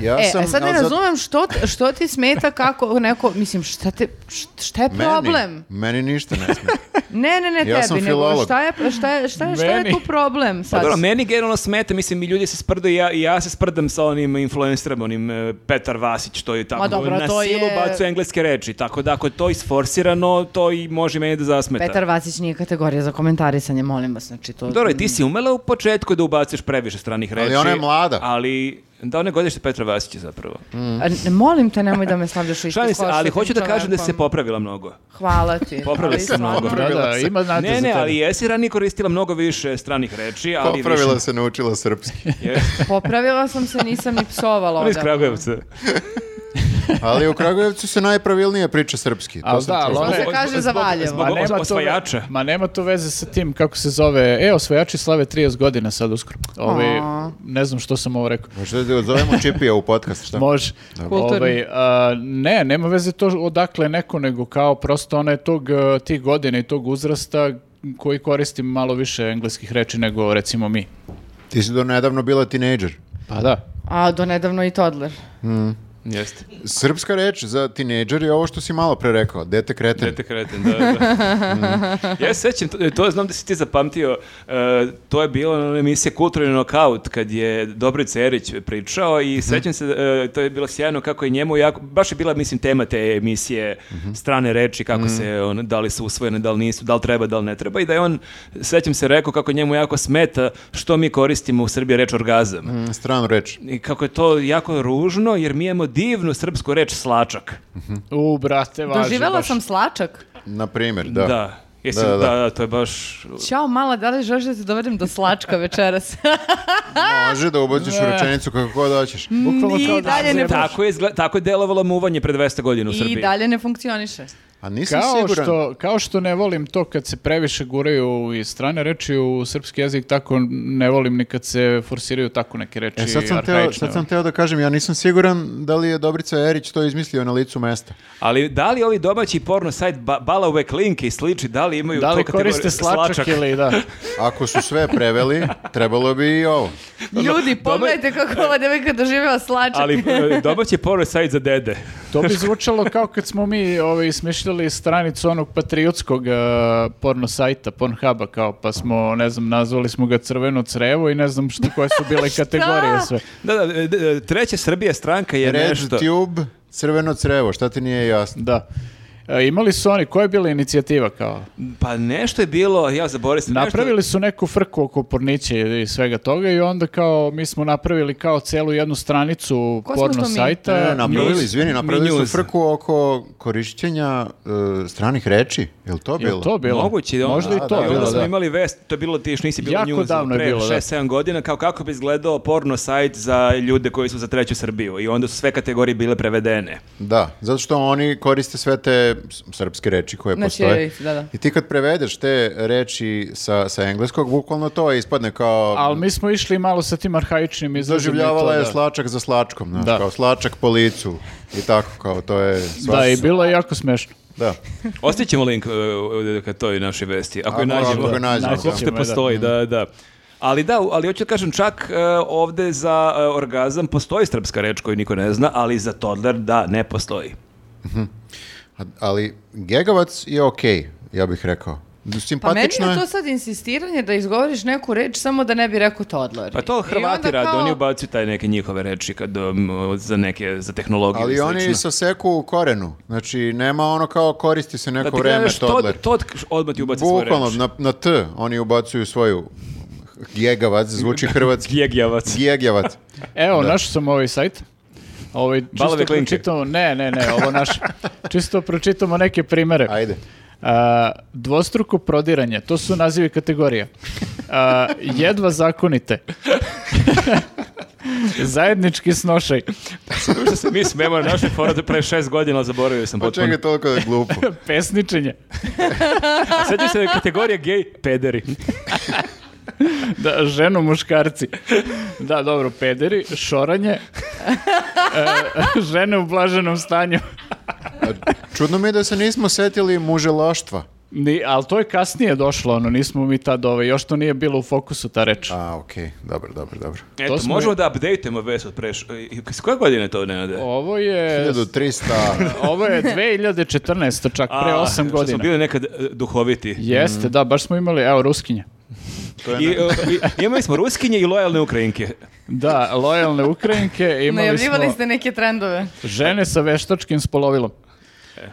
Ja
E,
sam,
a sad ne
ali zato-
razumem što, t- što ti smeta kako neko, mislim, šta, te, št- šta je
Meni-
problem?
Meni, ništa ne smije.
Ne, ne, ne,
Ja sam
tebi, nego
filolog.
šta je, šta je, šta je, šta je
Meni?
tu problem
Pa
sad?
dobro, meni generalno smeta, mislim, mi ljudi se sprdaju, i ja, i ja se sprdam sa onim influencerom, onim e, Petar Vasić, to je tako,
Ma dobro,
na
to
silu
je-
bacuje engleske reči, tako da ako je to isforsirano, to i može meni da zasmeta. Pa
Petar Vasić nije kategorija za komentarisanje, molim vas, znači to...
Dobro, i ti si umela u početku da ubaciš previše stranih reči.
Ali ona je mlada.
Ali, da one godište Petra Vasića zapravo.
A, ne, molim te, nemoj da me stavljaš u isti
Šalim se,
koš sa
ali
tim
hoću da kažem da si se
čovekom.
popravila mnogo.
Hvala ti.
Popravila
ali
si se mnogo.
stvarno-
Da, da, ima nade
ne,
za
ne,
tebe.
ali jesi ranije koristila mnogo više stranih reči, ali
Popravila
više...
se, naučila srpski.
Je.
Popravila sam se, nisam ni psovala
Ona je iz
odavno.
Kragujevca.
Ali u Kragujevcu se najpravilnije priča srpski. To
Al
sam
da,
čuo.
To
ali-
se
Zbog-
kaže
zbog-
za Valjevo.
zbog-
Ma,
Os- osvajače.
To, ve- ma nema to veze sa tim kako se zove. E, osvajači slave 30 godina sad uskoro. Ovi,
A.
ne znam što sam ovo rekao.
Možda da zovemo Čipija u podcast, šta?
Može.
Kulturni.
Ovaj, a, ne, nema veze to odakle neko, nego kao prosto ona je tog, e, tih godina i tog uzrasta koji koristim malo više engleskih reči nego recimo mi.
Ti si do nedavno bila tinejdžer.
Pa da.
A, do nedavno i toddler.
Jeste.
Srpska reč za tinejdžer je ovo što si malo pre rekao, dete kreten.
Dete kreten, da, da. ja se sećam, to, to znam da si ti zapamtio, e, to je bila ona emisija Kulturni nokaut, kad je Dobrica Erić pričao
Mhm.
i sećam se, e, to je bilo sjajno kako je njemu jako, baš je bila, mislim, tema te emisije,
Mhm.
strane reči, kako se, on, da li su usvojene, da li nisu, da li treba, da li ne treba i da je on, sećam se, rekao kako njemu jako smeta što mi koristimo u Srbiji reč orgazam.
Mm, Stranu reč.
I kako je to jako ružno, jer mi imamo divnu srpsku reč slačak.
U, brate, važi.
Doživela
baš.
sam slačak.
Na primjer, da.
Jesi,
Da,
da,
da, da.
da, to je baš
Ćao, mala, da li želiš da te dovedem do slačka večeras?
Može da ubaciš u rečenicu kako god hoćeš.
Bukvalno
I
kao da
dalje ne
zjebaš.
Tako je, izgled- tako je delovalo muvanje pre 200 godina u Srbiji.
I dalje ne funkcioniše.
A nisam
Kao
siguran.
što, kao što ne volim to kad se previše guraju i strane reči u srpski jezik, tako ne volim ni kad se forsiraju tako neke reči.
E, sad sam, teo,
arhaične. ono.
sad sam teo da kažem, ja nisam siguran da li je Dobrica Erić to izmislio na licu mesta.
Ali da li ovi domaći porno sajt ba, bala uvek linke i sliči, da li imaju
Da li
to kategoriju-
koriste slačak, ili da?
Ako su sve preveli, trebalo bi i ovo.
Ljudi, pogledajte kako ova devojka doživjela slačak.
Ali e, domaći porno sajt za dede.
To bi zvučalo kao kad smo mi ovaj, smišljali stranicu onog patriotskog eh, porno sajta, Pornhuba, kao pa smo, ne znam, nazvali smo ga Crveno crevo i ne znam šta, koje su bile kategorije sve.
Da, da, e, e, treća Srbija stranka je
Red
nešto...
tube, crveno crevo, šta ti nije jasno?
Da. E, imali su oni, koja je bila inicijativa kao?
Pa nešto je bilo, ja zaboravim se. nešto-
Napravili su neku frku oko pornića i svega toga i onda kao mi smo napravili kao celu jednu stranicu
Ko smo
porno
to mi?
sajta.
Ne, E, napravili,
news.
izvini, napravili su
News.
frku oko korišćenja e, stranih reči. Je li to
Je
bilo?
li to bilo?
Moguće da
Možda i
Da,
to
da,
I onda
bilo,
smo
da.
imali vest, to je bilo ti još nisi bilo
Jako
news,
davno je
pre
bilo, da.
6-7 godina, kao kako bi izgledao porno sajt za ljude koji su za treću Srbiju i onda su sve kategorije bile prevedene.
Da, zato što oni koriste sve te s- srpske reči koje
Na
postoje.
ćirilici, Znači, da, da.
I ti kad prevedeš te reči sa, sa engleskog, bukvalno to ispadne kao...
Ali mi smo išli malo sa tim arhaičnim izrazima. i to,
Doživljavala je
da.
slačak za slačkom, znaš,
Da.
kao slačak po licu i tako, kao to je... Sva...
Da, i bilo je jako smešno.
da.
Ostaćemo link uh, uh, ka toj našoj vesti, ako je
Ako- ako
nađemo.
ga nađemo,
Ako
da.
uopšte postoji, da, da. Ali da, ali hoću da kažem, čak uh, ovde za uh, orgazam postoji srpska reč koju niko ne zna, ali za toddler da, ne postoji.
A- Ali gegavac je okej, ja bih rekao.
Pa meni
Simpatično
je
je.
to sad insistiranje da izgovoriš neku reč samo da ne bi rekao toddler.
Pa to
I onda
Hrvati rade,
kao-
oni ubacuju taj neke njihove reči kad, um, za neke, za tehnologiju i
Ali
slično.
oni sa seku u korenu. Znači, nema ono kao koristi se neko
Da ti
vreme,
gledaš
toddler.
Tod, tod, odmah ti ubaci svoju reč.
Bukvalno, na, na T oni ubacuju svoju gegavac, zvuči hrvatski.
Gjegjavac.
Gegjavac.
Evo, našao sam ovaj sajt. Ovaj, čisto
Balave klinke.
pročitamo, ne, ne, ne, ovo naš. čisto pročitamo neke primere.
Ajde.
A, dvostruko prodiranje, to su nazivi kategorija. A, jedva zakonite. Zajednički snošaj.
Što se mi smemo na naše forate pre šest godina, ali zaboravio sam
Pa
potpuno.
čega je toliko da je glupo?
Pesničenje.
A sjećam se kategorija gej pederi.
Da, ženu muškarci. Da, dobro, pederi, šoranje. E, žene u blaženom stanju.
Čudno mi je da se nismo setili muželaštva.
Ni, ali to je kasnije došlo, ono, nismo mi tad, ovaj, još to nije bilo u fokusu ta reč.
A, okej, dobro, dobro, dobro.
Eto,
smo
možemo
i-
da updateujemo ves od pre... š- i- Iz koje godine je to, Nenade?
Ovo je...
1300...
Ovo je 2014. čak, pre
A,
8
Što smo
godina.
bili nekad e, duhoviti.
Jeste, da, baš smo imali, evo, Ruskinje.
To je
I,
ne-
e, i- imali smo ruskinje i lojalne ukrajinke.
Da, lojalne Ukrajinke, imali smo
Najavljivali ste neke trendove.
žene sa veštačkim spolovilom.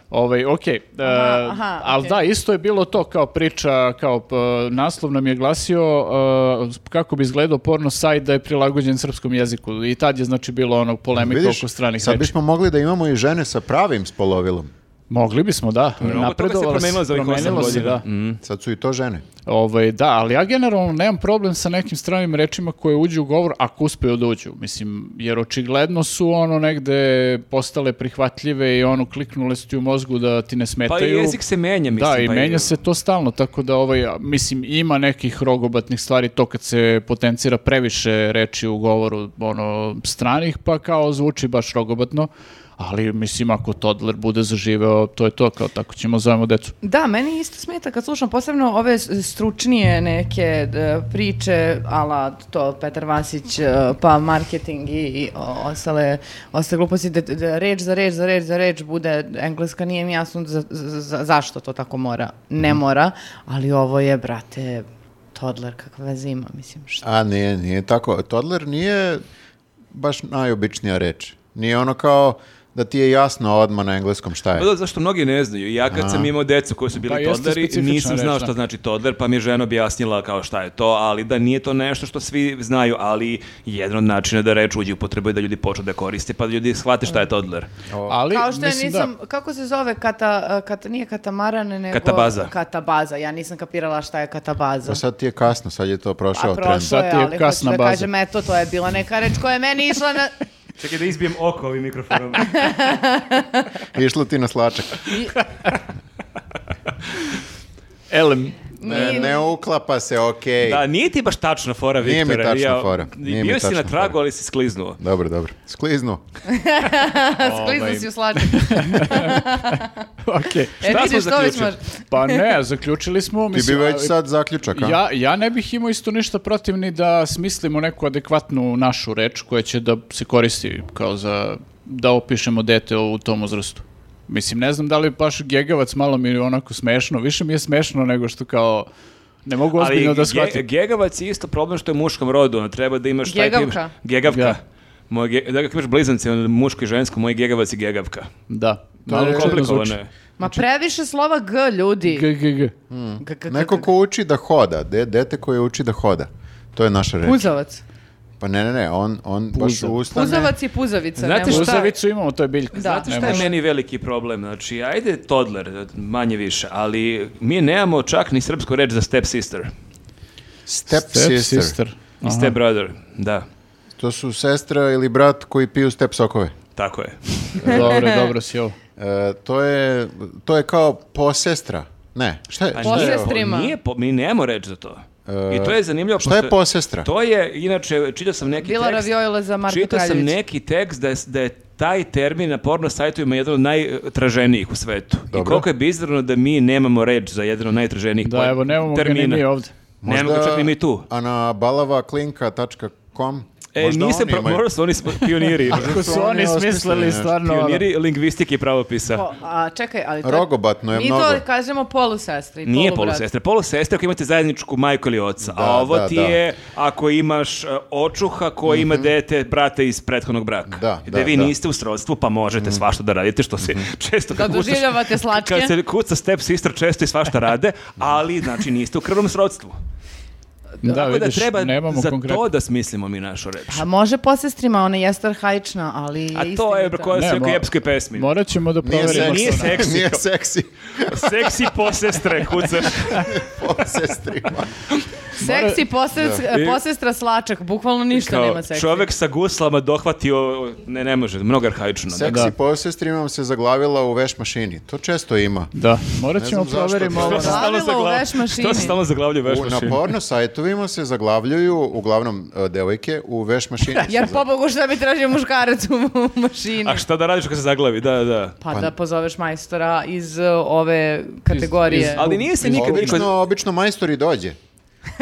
Ovaj, okej, e,
aha,
ali
okej.
da, isto je bilo to kao priča, kao p- naslov nam je glasio e, kako bi izgledao porno sajt da je prilagođen srpskom jeziku i tad je znači bilo ono polemika oko stranih
sad
reči.
bismo mogli da imamo i žene sa pravim spolovilom.
Mogli bismo, da.
Mnogo toga se
Napredovalo
promenilo za ovih osam
promenilo se,
godina.
da.
Sad su i to žene.
Ovaj, da, ali ja generalno nemam problem sa nekim stranim rečima koje uđu u govor ako uspeju da uđu. Mislim, jer očigledno su ono negde postale prihvatljive i ono kliknule su ti u mozgu da ti ne
Pa
smetaju.
i jezik se menja, mislim.
da, i
pa
menja se to stalno, tako da ovaj, a, mislim, ima nekih rogobatnih stvari to kad se potencira previše reči u govoru ono, stranih, pa kao zvuči baš rogobatno, ali mislim ako toddler bude zaživeo, to je to, kao tako ćemo zovemo decu.
Da, meni isto smeta kad slušam posebno ove s- stručnije neke d- priče, ala to Petar Vasić, e, pa marketing i, i o- ostale, ostale gluposti, da, da reč za reč za reč za reč bude engleska, nije mi jasno za- za- za- zašto to tako mora, ne
Mhm.
mora, ali ovo je, brate, toddler, kakva veze ima, mislim, šta?
A nije, nije tako. Toddler nije baš najobičnija reč. Nije ono kao da ti je jasno odmah na engleskom šta je.
Pa da, zašto mnogi ne znaju. Ja kad sam imao decu koji su
Da,
bili
Pa jeste
toddleri,
specifična
nisam
reč,
znao
da.
šta znači toddler, pa mi je žena objasnila kao šta je to, ali da nije to nešto što svi znaju, ali jedan od načina da reč uđe u potrebu je da ljudi počnu da koriste, pa da ljudi shvate šta je toddler.
Ali,
Kao što ja
mislim da-
nisam, kako se zove, kata, e, kata, nije katamaran, nego...
Katabaza.
Katabaza, ja nisam kapirala šta je katabaza.
Pa sad ti je kasno, sad je to prošao
A
trend.
Pa prošlo
Sad
je,
ti je
ali hoću
kasna
da
baza.
kažem, eto, to je bila neka reč koja je meni išla na...
Čekaj da izbijem oko ovim mikrofonom.
Išlo ti na slačak.
Elem,
Ne, ne uklapa se, okej.
da, nije ti baš tačna fora,
Nije mi
Viktore.
tačna
ja-
fora. Nije mi
bio si
tačna
na tragu,
fora.
ali si skliznuo.
Dobro, dobro. Skliznu.
Skliznu si u slačak.
okej.
E,
Ovaj, Šta
vidiš,
smo
to već
zaključili?
može-
Pa ne, zaključili smo.
Ti bi
mislim,
već
ali-
sad zaključak, a?
Ja, ja ne bih imao isto ništa protiv ni da smislimo neku adekvatnu našu reč koja će da se koristi kao za da opišemo dete u tom uzrastu. Mislim, ne znam da li je baš gegavac malo mi je onako smešno. Više mi je smešno nego što kao ne mogu ozbiljno
Ali
da
ge-
shvatim.
gegavac je isto problem što je u muškom rodu, ono, treba da imaš taj...
Gegavka.
tim- Gegavka.
Da.
Moj ge- da kako imaš blizance, ono, muško i žensko, moj gegavac i gegavka.
Da.
je
Malo čudno
Komplikovano
zvuči.
je.
Ma previše slova G, ljudi.
G, g, g.
G, g, g,
Neko
g.
ko uči da hoda, de, dete koje uči da hoda. To je naša reč.
Puzavac.
Pa ne, ne, ne, on, on baš
Puza.
ustane.
Puzavac i puzavica.
Znate
ne
šta-
može.
Luzavicu imamo, to je biljka.
Da.
Znate
Ne
šta je
može.
meni veliki problem? Znači, ajde toddler, manje više, ali mi nemamo čak ni srpsku reč za step sister
Step,
Step
sister.
sister.
i step brother. Da,
To su sestra ili brat koji piju step sokove.
tako je.
Dobro, dobro si ovo.
E, to, je, to je kao posestra. Ne, šta je?
Pa
Šta je,
nije,
ovo?
Posestre. Posestrima.
nije po- mi nemamo reč za to. I to je zanimljivo.
šta je
pošto-
posestra?
To je, inače, čitao sam neki
Bila
tekst.
raviola za Marka
Čitao sam
Kraljevića.
neki tekst da je, da je taj termin na porno sajtovima jedan od najtraženijih u svetu. I
Dobro.
koliko je bizarno da mi nemamo reč za jedan od najtraženijih
Da,
poj-
evo, nemamo ga ni
termina.
mi ovde.
Nemamo ga čak ni mi tu.
A na balavaklinka.com
E, nisam, pro-
imaju.
možda su oni sp- pioniri.
Ako su oni
osmislili
smislili
nešto.
stvarno... ono-
Pioniri lingvistike i pravopisa.
Pa,
Po- A čekaj, ali to...
Rogobatno je
Mi
mnogo.
to kažemo polusestra i
Nije
polubrat.
polusestra. Polusestra ako imate zajedničku majku ili oca.
Da,
A ovo
da,
ti
da.
je ako imaš e, očuha koji ima dete brata iz prethodnog braka.
Da,
gde
da,
vi
da.
niste u srodstvu pa možete svašta da radite što se često...
Da
kad kucaš-
doživljavate slačke.
Kad se kuca step sister često i svašta rade, ali znači niste u krvnom srodstvu.
Da,
Tako
vidiš,
da treba
nemamo
za
konkretno.
to da smislimo mi našu reč.
A može posestrima, ona jeste arhaična, ali je
A to
istinita.
je koja
Ne,
se u
mo-
epskoj pesmi.
Morat ćemo da
Nije
proverimo.
seksi.
Nije seksi.
Nije seksi.
Seksi posestre kucaš.
Posestrima.
Seksi posest- posestra slačak, bukvalno ništa
Kao
nema seksi.
Čovek sa guslama dohvatio... Ne, ne može, mnogo arhaično. da.
Seksi
Da.
posestrimom se zaglavila u veš mašini. To često ima.
Da, morat
Ne
ćemo
znam zašto
proverimo ono-
to-
Što
ovo.
se stalno
Zaglavilo u
zaglav-
veš mašini.
Što se stalno zaglavlja u veš
U, na
mašini?
porno sajtovima se zaglavljuju, uglavnom e, devojke, u veš mašini. se
Jer
zaglavljuju.
pobogu šta bi tražio muškarac u u mašini.
A šta da radiš kad se zaglavi? Da, da.
Pa da pozoveš majstora iz uh, ove kategorije.
iz-
Ali nije se nikad
Obično,
niko...
obično majstori dođe,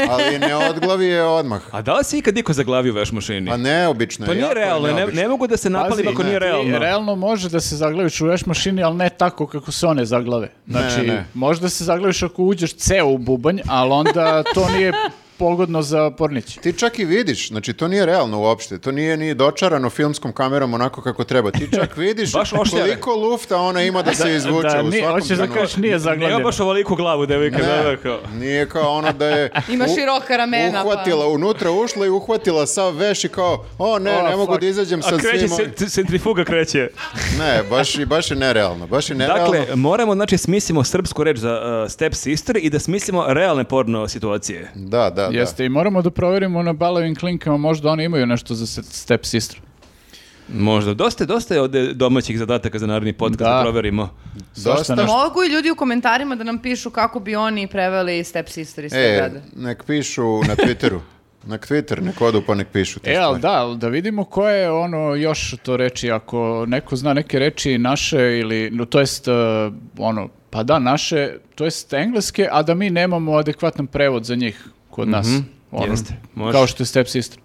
ali ne odglavi je odmah.
A da li se ikad niko zaglavio u veš mašini?
Pa ne, obično. je,
Pa nije
jako je
realno, ne,
neobično. znači,
ne mogu da se napalim
Pazi,
ako nije
ne,
realno.
Realno može da se zaglaviš u veš mašini, ali ne tako kako se one zaglave. Znači,
ne.
možda se zaglaviš ako uđeš ceo u bubanj, ali onda to nije pogodno za Pornić.
Ti čak i vidiš, znači to nije realno uopšte, to nije ni dočarano filmskom kamerom onako kako treba. Ti čak vidiš
Baš ošljave.
koliko lufta ona ima da se izvuče
da,
u
nije,
svakom
hoćeš da
trenutku.
kažeš nije
Nema
zaglavljena.
baš ovoliku glavu, devojka, da, da, kao.
Nije kao ona da je
Ima
u-
široka ramena, pa-
uhvatila, unutra ušla i uhvatila sav veš i kao, o ne,
O,
ne mogu
fuck.
da izađem
A
sa
kreće
svim
se,
ovim."
c- centrifuga kreće.
Ne, baš, i- baš je nerealno, baš je nerealno.
Dakle, moramo, znači, smislimo srpsku reč za uh, Step Sister i da smislimo realne porno situacije.
da, da, da.
Jeste, i moramo da proverimo na balovim klinkama, možda oni imaju nešto za se- step sistru.
Možda. Dosta, dosta je ovde domaćih zadataka za naredni podcast da,
Da.
proverimo.
Zašto
Dosta.
ne?
Mogu i ljudi u komentarima da nam pišu kako bi oni preveli Step Sister i sve
E,
brade.
nek pišu na Twitteru. Na Twitter nek odu pa nek pišu. te
E, ali
stvari.
da, ali da vidimo koje je ono još to reči, ako neko zna neke reči naše ili, no to jest, e, ono, pa da, naše, to jest engleske, a da mi nemamo adekvatan prevod za njih kod nas.
Mhm,
Ono,
jeste, može.
Kao što je step sister.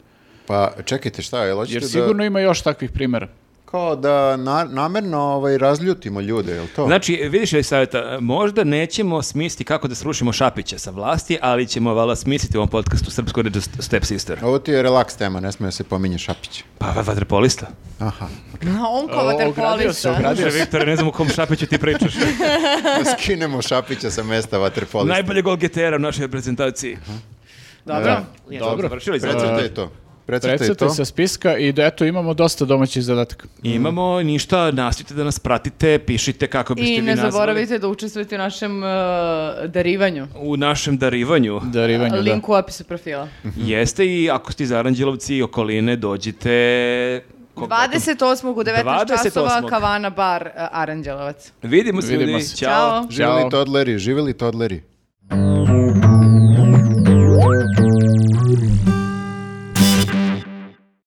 Pa čekajte šta, jel hoćete
Jer
da...
sigurno ima još takvih primjera.
Kao da na, namerno ovaj, razljutimo ljude, jel to?
Znači, vidiš li savjeta, možda nećemo smisliti kako da srušimo Šapića sa vlasti, ali ćemo vala smisliti u ovom podcastu srpsku reč za st- Step Sister.
Ovo ti je relaks tema, ne smije da se pominje Šapić.
Pa, va- vaterpolista.
Aha.
On
O,
kao
ogradio se,
vaterpolista.
ogradio.
Kaže, Viktor, ne znam o kom Šapiću ti pričaš.
Skinemo Šapića sa mesta vaterpolista.
Najbolje golgetera u našoj reprezentaciji.
Mhm.
Dobro.
Da.
Dobro. Završili smo. E,
Precrtaj to. Precrtaj
Precrtaj
to.
sa spiska i da eto imamo dosta domaćih zadataka.
Imamo ništa, nastavite da nas pratite, pišite kako biste
I
vi
ne
nazvali.
zaboravite da učestvujete u našem e, darivanju.
U našem darivanju. Mhm.
Darivanje, da.
Link u opisu profila.
Jeste i ako ste iz Aranđelovci i okoline, dođite... Kog-
28. u 19 časova
28..
Kavana bar e, Aranđelovac.
Vidimo se,
Vidimo
ljudi.
se.
Ćao.
Ćao.
Živeli
Ćao.
todleri, živeli todleri.